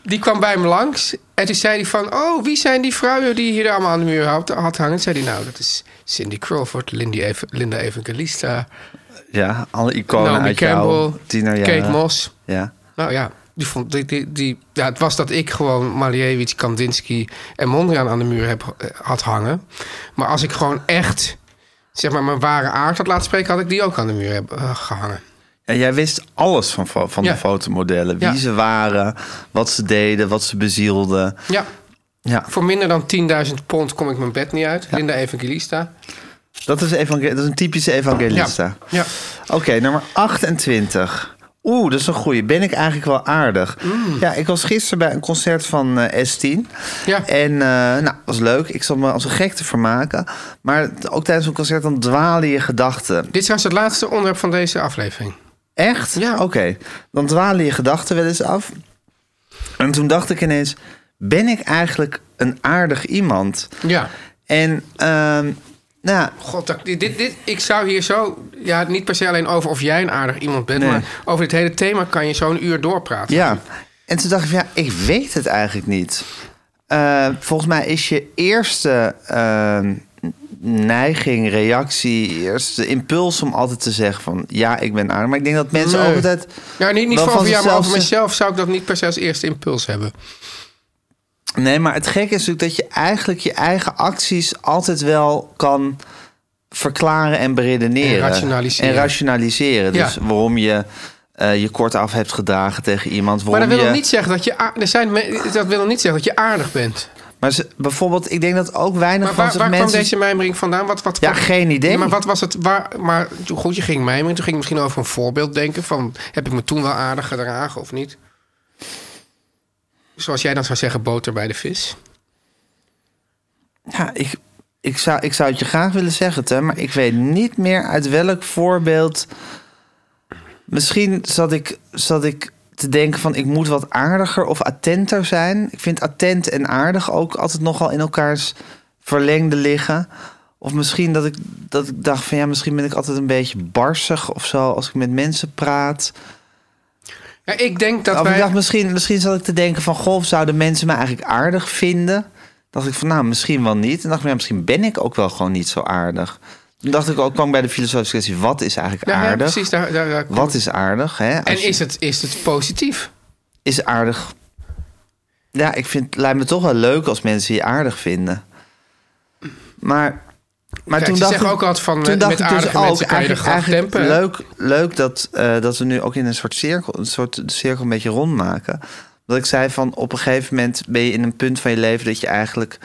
Die kwam bij hem langs. En toen zei hij van... Oh, wie zijn die vrouwen die hier allemaal aan de muur had, had hangen? Toen zei hij, nou, dat is Cindy Crawford, Lindy Eva- Linda Evangelista...
Ja, alle iconen
Naomi
uit jouw
Campbell,
tienerjaren.
Kate Moss.
Ja.
Nou ja, die vond, die, die, die- ja, het was dat ik gewoon Malievich, Kandinsky en Mondriaan aan de muur heb, eh, had hangen. Maar als ik gewoon echt zeg maar, mijn ware aard had laten spreken... had ik die ook aan de muur heb, eh, gehangen.
En jij wist alles van, fo- van
Ja.
de fotomodellen. Wie
Ja.
ze waren, wat ze deden, wat ze bezielden.
Ja,
Ja,
voor minder dan 10.000 pond kom ik mijn bed niet uit. Linda Evangelista.
dat is, evangel- dat is een typische evangelista.
Ja, ja.
Oké, nummer 28. Oeh, dat is een goeie. Ben ik eigenlijk wel aardig?
Mm.
Ja, ik was gisteren bij een concert van eh, S10.
Ja.
En eh nou, was leuk. Ik zat me als een gek te vermaken. Maar t- ook tijdens een concert dan dwalen je gedachten.
Dit is trouwens het laatste onderwerp van deze aflevering.
Echt?
Ja.
Oké. Dan dwalen je gedachten wel eens af. En toen dacht ik ineens... Ben ik eigenlijk een aardig iemand?
Ja.
En ehm nou, ja,
God, dat- dit, dit, dit- ik zou hier zo... Ja, niet per se alleen over of jij een aardig iemand bent...
Nee.
maar over dit hele thema kan je zo'n uur doorpraten.
Ja, En toen dacht ik, van, ja, ik weet het eigenlijk niet. Eh, volgens mij is je eerste eh, neiging, reactie, eerste impuls om altijd te zeggen van ja, ik ben aardig. Maar ik denk dat mensen
Nee.
ook altijd.
Ja, niet, niet
wel
van over jou, maar
zichzelf
over
zeggen-
mezelf zou ik dat niet per se als eerste impuls hebben.
Nee, maar het gekke is natuurlijk dat je eigenlijk je eigen acties altijd wel kan verklaren en beredeneren.
En rationaliseren.
En rationaliseren.
Ja.
Dus waarom je eh, je kort af hebt gedragen tegen iemand.
Maar dat
waarom
wil nog
je-
niet zeggen dat je, aar- er zijn me- dat wil nog niet zeggen dat je aardig bent.
Maar ze- bijvoorbeeld, ik denk dat ook weinig
Maar
van
waar,
zich
waar kwam
mensen...
deze mijmering vandaan? Wat, wat,
Ja,
wat-
geen idee.
Ja, maar wat was het? Waar, maar toen- goed, je ging mijmeren. Toen ging je misschien over een voorbeeld denken van... heb ik me toen wel aardig gedragen of niet? Zoals jij dan zou zeggen, boter bij de vis.
Ja, ik, ik, zou, ik zou het je graag willen zeggen, Tim, maar ik weet niet meer uit welk voorbeeld. Misschien zat ik, zat ik te denken van ik moet wat aardiger of attenter zijn. Ik vind attent en aardig ook altijd nogal in elkaars verlengde liggen. Of misschien dat ik, dat ik dacht van ja, misschien ben ik altijd een beetje barsig of zo als ik met mensen praat.
Ja, ik denk dat
Of ik
wij...
dacht, misschien, misschien zat ik te denken van... Goh, zouden mensen me eigenlijk aardig vinden? dacht ik van, nou, misschien wel niet. En dacht ik, ja, misschien ben ik ook wel gewoon niet zo aardig. Toen dacht ik ook, kwam ik bij de filosofische kwestie... wat is eigenlijk
Ja, ja,
aardig?
precies, daar, daar, daar-
Wat is aardig? Hè? Als
En
je-
is het, is het positief?
is aardig... Ja, ik vind, het lijkt me toch wel leuk als mensen je aardig vinden. Maar, maar
Kijk,
toen
ze
dacht
zeggen
ik,
ook altijd van, eh,
toen dacht
met
ik
aardige
dus
mensen
ook,
kan je
eigenlijk,
de graf
eigenlijk
dempen, hè?
Leuk, leuk dat, eh, dat we nu ook in een soort cirkel, een soort cirkel een beetje rond maken. Dat ik zei van op een gegeven moment ben je in een punt van je leven dat je eigenlijk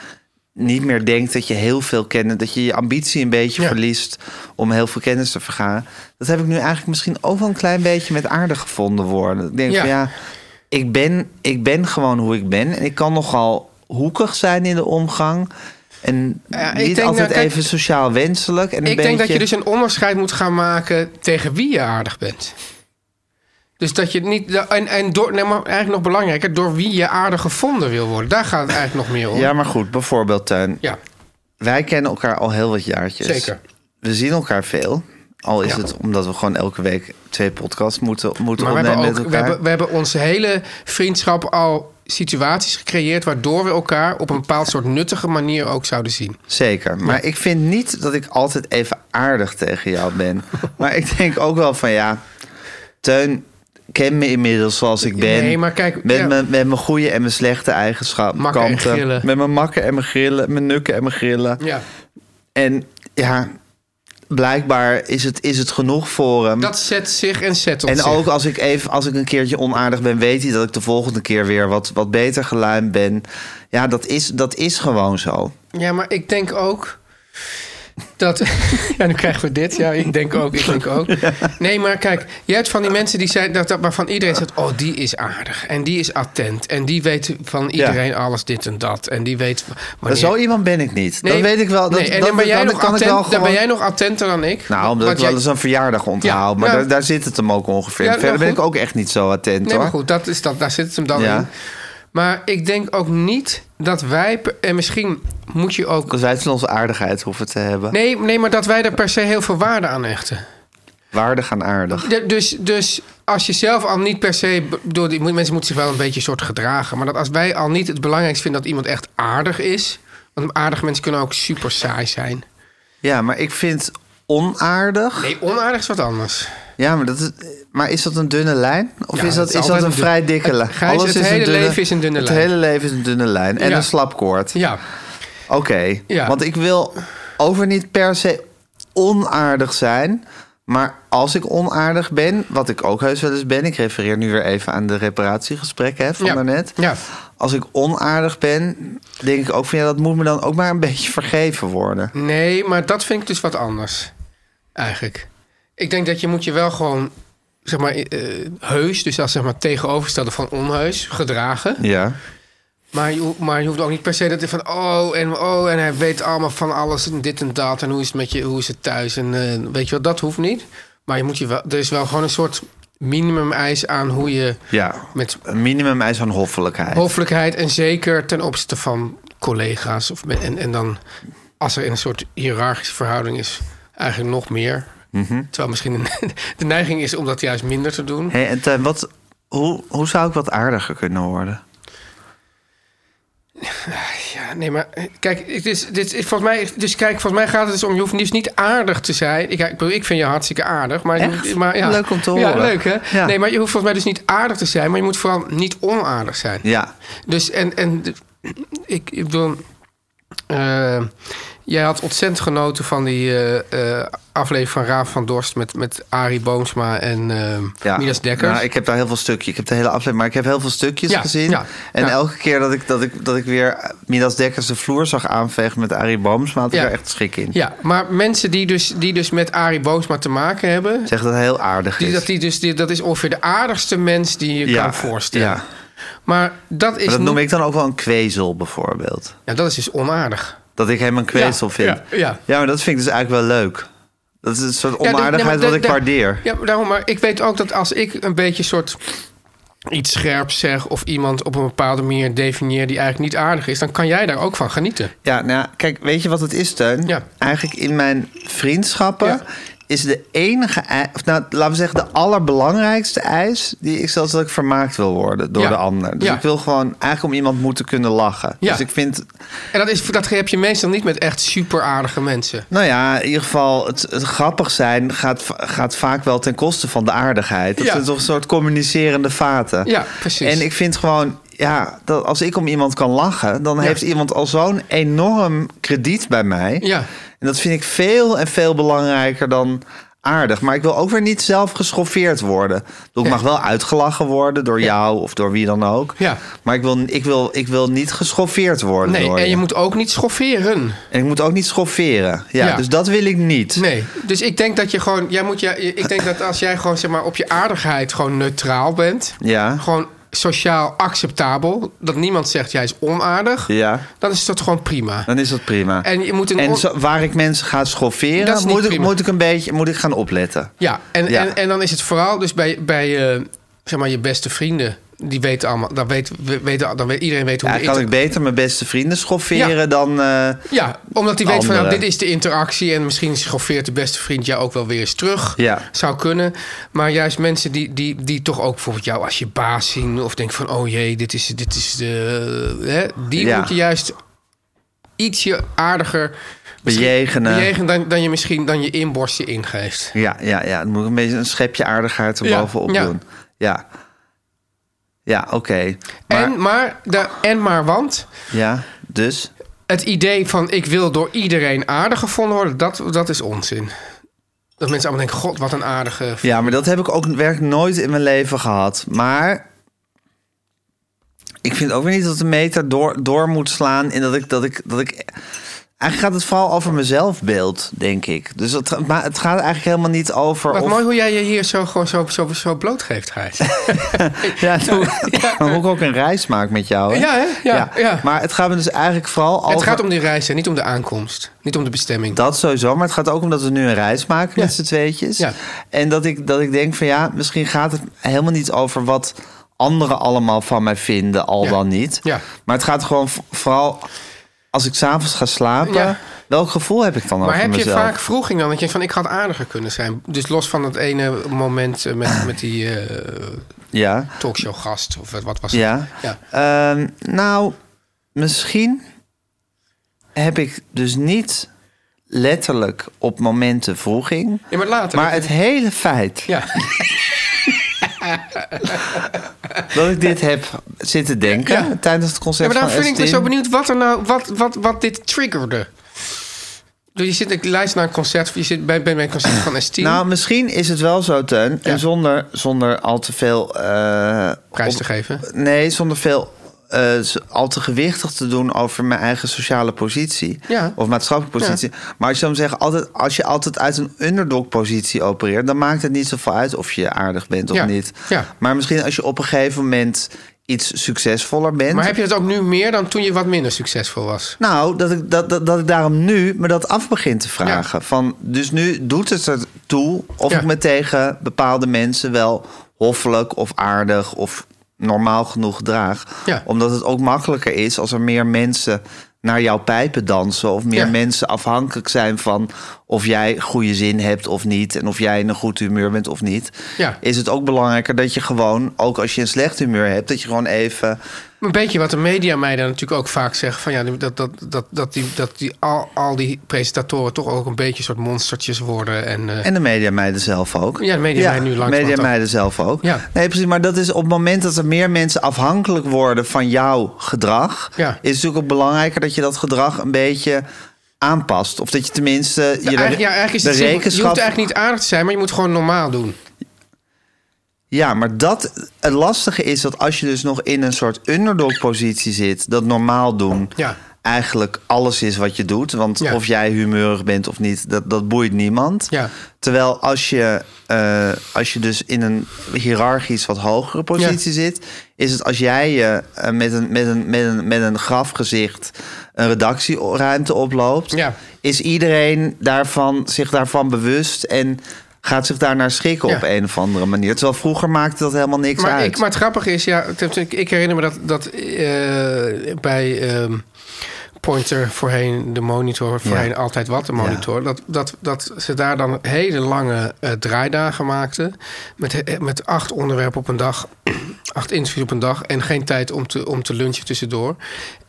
niet meer denkt dat je heel veel kennis, dat je je ambitie een beetje
Ja.
verliest om heel veel kennis te vergaren. Dat heb ik nu eigenlijk misschien ook wel een klein beetje met aardig gevonden worden. Ik denk
Ja.
van ja, ik ben, ik ben gewoon hoe ik ben en ik kan nogal hoekig zijn in de omgang. En
Ja, ik
niet
denk,
altijd
nou, kijk,
even sociaal wenselijk. En een
Ik denk dat
beetje-
je dus een onderscheid moet gaan maken tegen wie je aardig bent. Dus dat je niet. En, en door, nee, maar eigenlijk nog belangrijker, door wie je aardig gevonden wil worden. Daar gaat het eigenlijk nog meer om.
Ja, maar goed, bijvoorbeeld Tuin.
dus- Ja,
Wij kennen elkaar al heel wat jaartjes.
zeker.
We zien elkaar veel. Al is
Ja.
het omdat we gewoon elke week twee podcasts moeten, moeten
Maar we
opnemen
hebben, ook,
met
we,
elkaar.
hebben, we hebben onze hele vriendschap al situaties gecreëerd waardoor we elkaar op een bepaald soort nuttige manier ook zouden zien.
Zeker. Maar ik vind niet dat ik altijd even aardig tegen jou ben. maar ik denk ook wel van ja, Teun ken me inmiddels zoals ik ben.
Nee, maar kijk,
met,
ja.
mijn, met mijn goede en mijn slechte eigenschappen.
Makken en
kanten.
grillen.
Met mijn makken en mijn grillen, mijn nukken en mijn grillen.
Ja,
En ja, blijkbaar is het, is het genoeg voor hem.
dat zet zich en zet ons.
En ook als ik even, als ik een keertje onaardig ben, weet hij dat ik de volgende keer weer wat, wat beter geluimd ben. Ja, dat is, dat is gewoon zo.
Ja, maar ik denk ook dat. ja, nu krijgen we dit. Ja, ik denk ook. Ik denk ook. Nee, maar kijk, je hebt van die mensen die zijn. Dat, dat, waarvan iedereen zegt: Oh, die is aardig. En die is attent. En die weet van iedereen alles dit en dat. En die weet.
Maar
Wanneer...
zo iemand ben ik niet.
Nee,
dat weet ik wel. Dat,
nee, en
dat,
dan ben jij,
dat
nog
kan ik wel
attent, dan ben
gewoon-
jij nog attenter dan ik.
Nou, omdat
Want
ik wel
jij-
eens een verjaardag onthaal.
Ja,
maar
nou-
daar, daar zit het hem ook ongeveer.
Ja, nou
Verder ben
goed.
ik ook echt niet zo attent
Nee,
hoor.
maar goed, dat is dat, daar zit het hem dan
Ja.
in. Maar ik denk ook niet dat wij. per- En misschien moet je ook.
Dat wij het van onze aardigheid hoeven te hebben.
Nee, nee, maar dat wij er per se heel veel waarde aan hechten.
Waardig aan aardig.
De- dus, dus als je zelf al niet per se... be- Door die, mensen moeten zich wel een beetje soort gedragen. Maar dat als wij al niet het belangrijkste vinden dat iemand echt aardig is... Want aardige mensen kunnen ook super saai zijn.
Ja, maar ik vind onaardig.
Nee, onaardig is wat anders.
Ja, maar, dat is, maar is dat een dunne lijn? Of
Ja,
is
het
dat,
is
is dat
altijd
een
een dun-
vrij dikke
het-
lijn?
Gijs, het
een
hele leven is een dunne
Het
lijn.
hele leven is een dunne lijn. En
Ja.
een slapkoord.
Ja,
Oké,
Ja.
want ik wil over niet per se onaardig zijn. Maar als ik onaardig ben, wat ik ook heus wel eens ben... ik refereer nu weer even aan de reparatiegesprekken hè, van
Ja.
daarnet.
Ja.
Als ik onaardig ben, denk ik ook van... ja, dat moet me dan ook maar een beetje vergeven worden.
nee, maar dat vind ik dus wat anders. Eigenlijk. Ik denk dat je moet je wel gewoon... Zeg maar eh, heus, dus als zeg maar tegenovergestelde van onheus, gedragen.
Ja.
Maar je, ho- maar je hoeft ook niet per se dat van oh en oh en hij weet allemaal van alles en dit en dat en hoe is het met je, hoe is het thuis en eh, weet je wel, dat hoeft niet. Maar je moet je wel, er is wel gewoon een soort minimum eis aan hoe je
ja.
met
Een minimum eis aan hoffelijkheid.
hoffelijkheid en zeker ten opzichte van collega's of met, en, en dan als er in een soort hiërarchische verhouding is, eigenlijk nog meer. Terwijl misschien de neiging is om dat juist minder te doen.
Hey, en Tuin, wat, hoe, hoe zou ik wat aardiger kunnen worden?
Ja, nee, maar eh, kijk, het is, dit, is- volgens mij, dus kijk, volgens mij gaat het dus om, je hoeft dus niet aardig te zijn. Ik, ik, bedoel, ik vind je hartstikke aardig, maar,
Echt?
maar ja.
Leuk om te
Ja,
horen.
leuk hè?
Ja.
Nee, maar je hoeft volgens mij dus niet aardig te zijn, maar je moet vooral niet onaardig zijn.
Ja,
Dus en, en ik, ik bedoel, eh, jij had ontzettend genoten van die eh, eh, aflevering van Raaf van Dorst met, met Arie Boomsma en eh
ja.
Midas Dekkers.
Nou, ik heb daar heel veel stukjes. Ik heb de hele aflevering, maar ik heb heel veel stukjes
Ja,
gezien.
ja,
en
ja.
elke keer dat ik, dat, ik, dat ik weer Midas Dekkers de vloer zag aanvegen met Arie Boomsma, had ik
Ja.
er echt schik in.
Ja, maar mensen die dus, die dus met Arie Boomsma te maken hebben,
Zeg dat hij heel aardig
die,
is.
dat, die dus, die, dat is ongeveer de aardigste mens die je
Ja,
kan voorstellen.
ja.
Maar dat is
Maar dat
niet-
noem ik dan ook wel een kwezel bijvoorbeeld.
Ja, dat is dus onaardig.
Dat ik hem een kwezel
Ja,
vind.
ja, ja.
maar dat vind ik dus eigenlijk wel leuk. Dat is een soort onaardigheid
Ja, nee, maar
wat ik
da- da-
waardeer.
Ja, maar daarom, maar ik weet ook dat als ik een beetje soort iets scherp zeg of iemand op een bepaalde manier definieer die eigenlijk niet aardig is, dan kan jij daar ook van genieten.
Ja, nou ja, kijk, weet je wat het is, Teun?
Ja.
Eigenlijk in mijn vriendschappen
Ja.
is de enige... ei- Of nou, laten we zeggen, de allerbelangrijkste eis... die ik stel is dat ik vermaakt wil worden door
Ja.
de ander. Dus
Ja.
ik wil gewoon eigenlijk om iemand moeten kunnen lachen.
Ja.
Dus ik vind...
En dat, is, dat heb je meestal niet met echt super aardige mensen.
Nou ja, in ieder geval, het, het grappig zijn gaat, va- gaat vaak wel ten koste van de aardigheid. Dat
Ja.
zijn toch een soort communicerende vaten.
Ja, precies.
En ik vind gewoon, ja, dat als ik om iemand kan lachen, dan
Ja.
heeft iemand al zo'n enorm krediet bij mij.
Ja.
En dat vind ik veel en veel belangrijker dan aardig. Maar ik wil ook weer niet zelf geschoffeerd worden. Ik bedoel, Ik
Ja.
mag wel uitgelachen worden door jou of door wie dan ook.
Ja.
Maar ik wil, ik, wil, ik wil niet geschoffeerd worden.
Nee,
door
en je
je.
moet ook niet schofferen.
En ik moet ook niet schofferen. Ja,
Ja.
Dus dat wil ik niet.
Nee, dus ik denk dat je gewoon, jij moet, jij, ik denk dat als jij gewoon zeg maar op je aardigheid gewoon neutraal bent,
Ja.
gewoon sociaal acceptabel, dat niemand zegt jij is onaardig,
Ja.
dan is dat gewoon prima.
Dan is dat prima.
En je moet een on-
en zo- waar ik mensen ga schofferen,
Dat is niet
moet ik,
prima.
moet ik een beetje moet ik gaan opletten.
Ja, en,
Ja.
En, en dan is het vooral dus bij, bij eh, zeg maar je beste vrienden, die weten allemaal, dan weet, we- weten, dan weet iedereen weet hoe
Ja,
de
kan ik
inter-
beter mijn beste vrienden schofferen
Ja.
dan... eh,
Ja, omdat die weet van nou,
Anderen.
dit is de interactie en misschien schoffeert de beste vriend jou ook wel weer eens terug.
Ja.
Zou kunnen. Maar juist mensen die, die, die toch ook bijvoorbeeld jou als je baas zien of denken van oh jee, dit is, dit is de. Hè, die
Ja.
moet je juist ietsje aardiger misschien
Bejegenen.
bejegenen dan, dan je misschien dan je inborst je ingeeft.
ja, ja, ja. Dan moet ik een beetje een schepje aardigheid erbovenop
ja.
doen. Ja. Ja, oké. Maar,
en, maar de, en maar want.
ja, dus...
het idee van ik wil door iedereen aardig gevonden worden, dat, dat is onzin. Dat mensen allemaal denken, god, wat een aardige... v-
Ja, maar dat heb ik ook werkelijk nooit in mijn leven gehad. Maar ik vind ook weer niet dat de meter door, door moet slaan in dat ik, dat ik dat ik. Eigenlijk gaat het vooral over mijn zelfbeeld, denk ik. Dus het, maar het gaat eigenlijk helemaal niet over.
Wat
of-
mooi hoe jij je hier zo, gewoon zo, zo, zo blootgeeft, Gijs.
Ja, nou, maar hoe ik ook een reis maak met jou.
Ja, hè? Ja, ja.
Maar het gaat me dus eigenlijk vooral over.
Het gaat om die reis en niet om de aankomst. Niet om de bestemming.
Dat sowieso, maar het gaat ook om dat we nu een reis maken
Ja.
met z'n tweetjes.
Ja.
En dat ik, dat ik denk van ja, misschien gaat het helemaal niet over wat anderen allemaal van mij vinden, al
Ja.
dan niet.
Ja.
Maar het gaat gewoon v- vooral als ik s'avonds ga slapen,
Ja.
welk gevoel heb ik dan
maar
over
heb je
mezelf?
vaak vroeging dan dat je denkt van ik had aardiger kunnen zijn? Dus los van dat ene moment eh, met, met die eh,
Ja,
talkshow-gast of wat- wat was het?
ja.
ja.
Ehm, nou, misschien heb ik dus niet letterlijk op momenten vroeging.
Ja, maar later.
Maar het hele feit
Ja.
dat ik dit heb zitten denken
Ja.
tijdens het concert
Ja, maar
van
daarom vind ik me
S10.
zo benieuwd wat, er nou, wat, wat, wat dit triggerde. Dus je zit, ik luister naar een concert, je zit bij, bij mijn concert van S10.
Nou, misschien is het wel zo, Teun.
Ja.
En zonder, zonder al te veel... eh,
prijs te
op-
geven.
Nee, zonder veel... eh, z- al te gewichtig te doen over mijn eigen sociale positie.
Ja.
Of maatschappelijke positie. Maar als je dan zegt, altijd, als je altijd uit een underdog-positie opereert... dan maakt het niet zoveel uit of je aardig bent of
Ja.
niet.
Ja.
Maar misschien als je op een gegeven moment iets succesvoller bent...
Maar heb je dat ook nu meer dan toen je wat minder succesvol was?
Nou, dat ik, dat, dat, dat ik daarom nu me dat af begin te vragen. Van, dus nu doet het er toe of
Ja.
ik me tegen bepaalde mensen wel hoffelijk of aardig of normaal genoeg draag.
Ja.
Omdat het ook makkelijker is als er meer mensen naar jouw pijpen dansen. Of meer
Ja.
mensen afhankelijk zijn van of jij goede zin hebt of niet. En of jij in een goed humeur bent of niet.
Ja.
Is het ook belangrijker dat je gewoon, ook als je een slecht humeur hebt, dat je gewoon even.
Een beetje wat de media mij dan natuurlijk ook vaak zeggen. Van ja, dat, dat, dat, dat, die, dat die, al, al die presentatoren toch ook een beetje een soort monstertjes worden. En, eh,
En de media meiden zelf ook.
Ja, de media meiden nu langzamerhand
Media
ook.
meiden zelf ook.
Ja.
Nee, precies. Maar dat is op het moment dat er meer mensen afhankelijk worden van jouw gedrag,
Ja.
is het natuurlijk ook belangrijker dat je dat gedrag een beetje aanpast. Of dat je tenminste je
eigenlijk, ja, eigenlijk is
de
het simpel. Je
rekenschap.
hoeft eigenlijk niet aardig te zijn, maar je moet gewoon normaal doen.
Ja, maar dat het lastige is dat als je dus nog in een soort underdog-positie zit, dat normaal doen.
Ja.
Eigenlijk alles is wat je doet. Want
Ja.
of jij humeurig bent of niet, dat, dat boeit niemand.
Ja.
Terwijl als je, eh, als je dus in een hiërarchisch wat hogere positie zit, is het als jij je eh, met, een, met, een, met, een, met een grafgezicht een redactieruimte oploopt,
Ja.
is iedereen daarvan, zich daarvan bewust en gaat zich daarnaar schikken
Ja.
op een of andere manier. Terwijl vroeger maakte dat helemaal niks
Maar,
uit.
ik, maar het grappige is, ja, het heeft- ik, ik herinner me dat, dat eh, bij ehm, Pointer voorheen, de monitor, voorheen altijd wat, de monitor, dat, dat, dat ze daar dan hele lange eh, draaidagen maakten met, eh, met acht onderwerpen op een dag, acht interviews op een dag en geen tijd om te, om te lunchen tussendoor.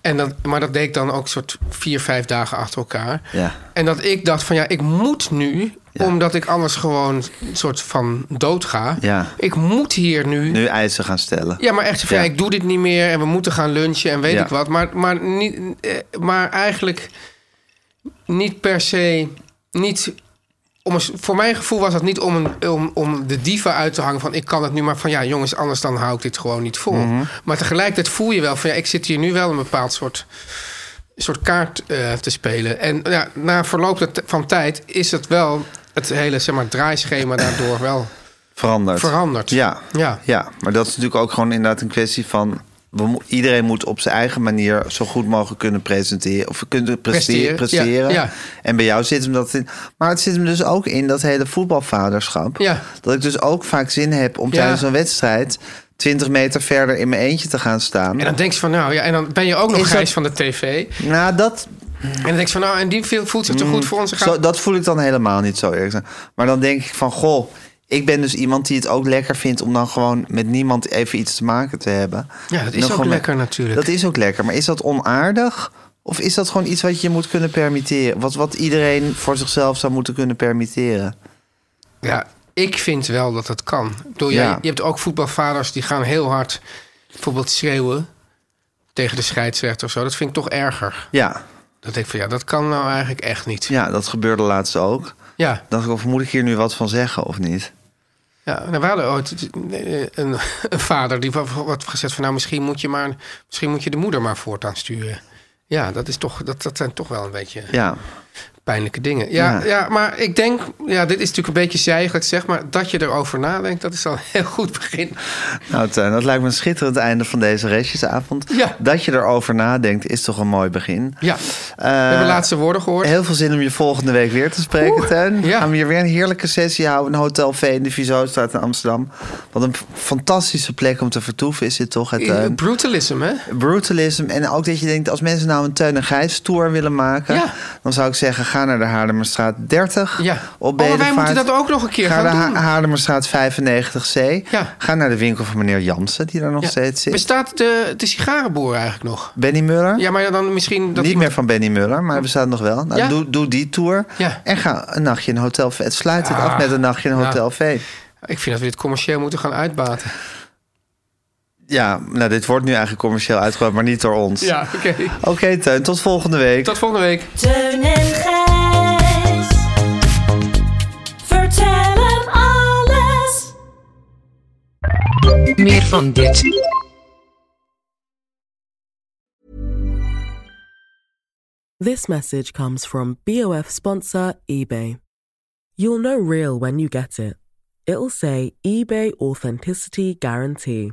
En dat, maar dat deed ik dan ook soort vier, vijf dagen achter elkaar.
Ja.
En dat ik dacht van ja, ik moet nu, omdat ik anders gewoon een soort van dood ga.
Ja.
Ik moet hier nu
Nu eisen gaan stellen.
ja, maar echt van
Ja.
ja, ik doe dit niet meer en we moeten gaan lunchen en weet
Ja.
ik wat. Maar, maar, niet, eh, maar eigenlijk niet per se. Niet om een, voor mijn gevoel was dat niet om, een, om, om de diva uit te hangen van ik kan het nu maar van ja jongens, anders dan hou ik dit gewoon niet vol.
Mhm.
Maar tegelijkertijd voel je wel van ja, ik zit hier nu wel een bepaald soort, soort kaart eh, te spelen. En ja, na verloop dat- van tijd is het wel het hele zeg maar, draaischema daardoor wel.
Veranderd.
Veranderd.
Ja.
Ja.
ja, maar dat is natuurlijk ook gewoon inderdaad een kwestie van... We, mo- iedereen moet op zijn eigen manier zo goed mogelijk kunnen presenteren. Of kunnen presteren.
Presteren,
presteren.
ja, ja.
En bij jou zit hem dat in. Maar het zit hem dus ook in dat hele voetbalvaderschap.
Ja.
Dat ik dus ook vaak zin heb om
Ja.
tijdens een wedstrijd... 20 meter verder in mijn eentje te gaan staan.
En dan denk je van nou ja, en dan ben je ook nog
Is dat-
grijs van de tv.
Nou, dat,
En dan denk je van, nou, en die viel- voelt zich te goed voor onze
Mm. zo,
gaat.
dat voel ik dan helemaal niet zo eerlijk. zijn. Maar dan denk ik van, goh, ik ben dus iemand die het ook lekker vindt... om dan gewoon met niemand even iets te maken te hebben.
Ja, dat
Dan
is ook
gewoon met-
lekker natuurlijk.
Dat is ook lekker, maar is dat onaardig? Of is dat gewoon iets wat je moet kunnen permitteren? Wat, wat iedereen voor zichzelf zou moeten kunnen permitteren?
Ja, ik vind wel dat dat kan. Ik bedoel,
Ja.
jij, je hebt ook voetbalvaders die gaan heel hard bijvoorbeeld schreeuwen tegen de scheidsrechter of zo. Dat vind ik toch erger.
Ja,
Dat denk ik van, ja, dat kan nou eigenlijk echt niet. Ja,
ja dat gebeurde laatst ook.
ja,
Dacht ik, of moet ik hier nu wat van zeggen of niet?
nou, we hadden ooit eh, een, een vader die wat, wat gezegd van, nou, misschien moet, je maar, misschien moet je de moeder maar voortaan sturen. Ja, dat, is toch, dat, dat zijn toch wel een beetje...
Ja,
pijnlijke dingen. Ja,
Ja.
ja. maar ik denk, ja, dit is natuurlijk een beetje zijgelijk zeg, maar dat je erover nadenkt, dat is al een heel goed begin.
nou Tuin, dat lijkt me een schitterend einde van deze restjesavond.
Ja.
Dat je erover nadenkt is toch een mooi begin.
Ja,
Eh,
we hebben laatste woorden gehoord.
Heel veel zin om je volgende week weer te spreken, Tuin.
ja.
Gaan we hier weer een heerlijke sessie houden. Een Hotel V in de Vizostraat in Amsterdam. Wat een fantastische plek om te vertoeven is dit toch, hè, Teun?
Brutalism, hè?
brutalism. En ook dat je denkt, als mensen nou een Teun en Gijs tour willen maken...
Ja.
dan zou ik zeggen, ga naar de Haarlemmerstraat 30.
Ja.
Op
Oh, maar wij
Bedevaart.
moeten dat ook nog een keer
Ga
gaan
naar de
doen.
Ha- Haarlemmerstraat 95C.
Ja.
Ga naar de winkel van meneer Jansen, die daar nog
Ja.
steeds zit.
Bestaat de, de sigarenboer eigenlijk nog?
Benny Muller.
Ja, maar dan misschien... Dat
Niet
iemand-
meer van Benny Muller, maar hij bestaat nog wel. Nou,
Ja.
doe, doe die tour
Ja.
en ga een nachtje in een Hotel V. Het sluit het af met een nachtje in een
nou.
Hotel V.
Ik vind dat we dit commercieel moeten gaan uitbaten.
Ja, nou, dit wordt nu eigenlijk commercieel uitgebracht, maar niet door ons.
Ja, oké.
Oké, Teun, tot volgende week.
Tot volgende week.
Teun en Gijs. Vertel hem alles.
Meer van dit.
This message comes from BOF sponsor eBay. You'll know real when you get it. It'll say eBay Authenticity Guarantee.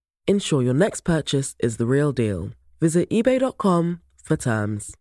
Ensure your next purchase is the real deal. Visit eBay.com for terms.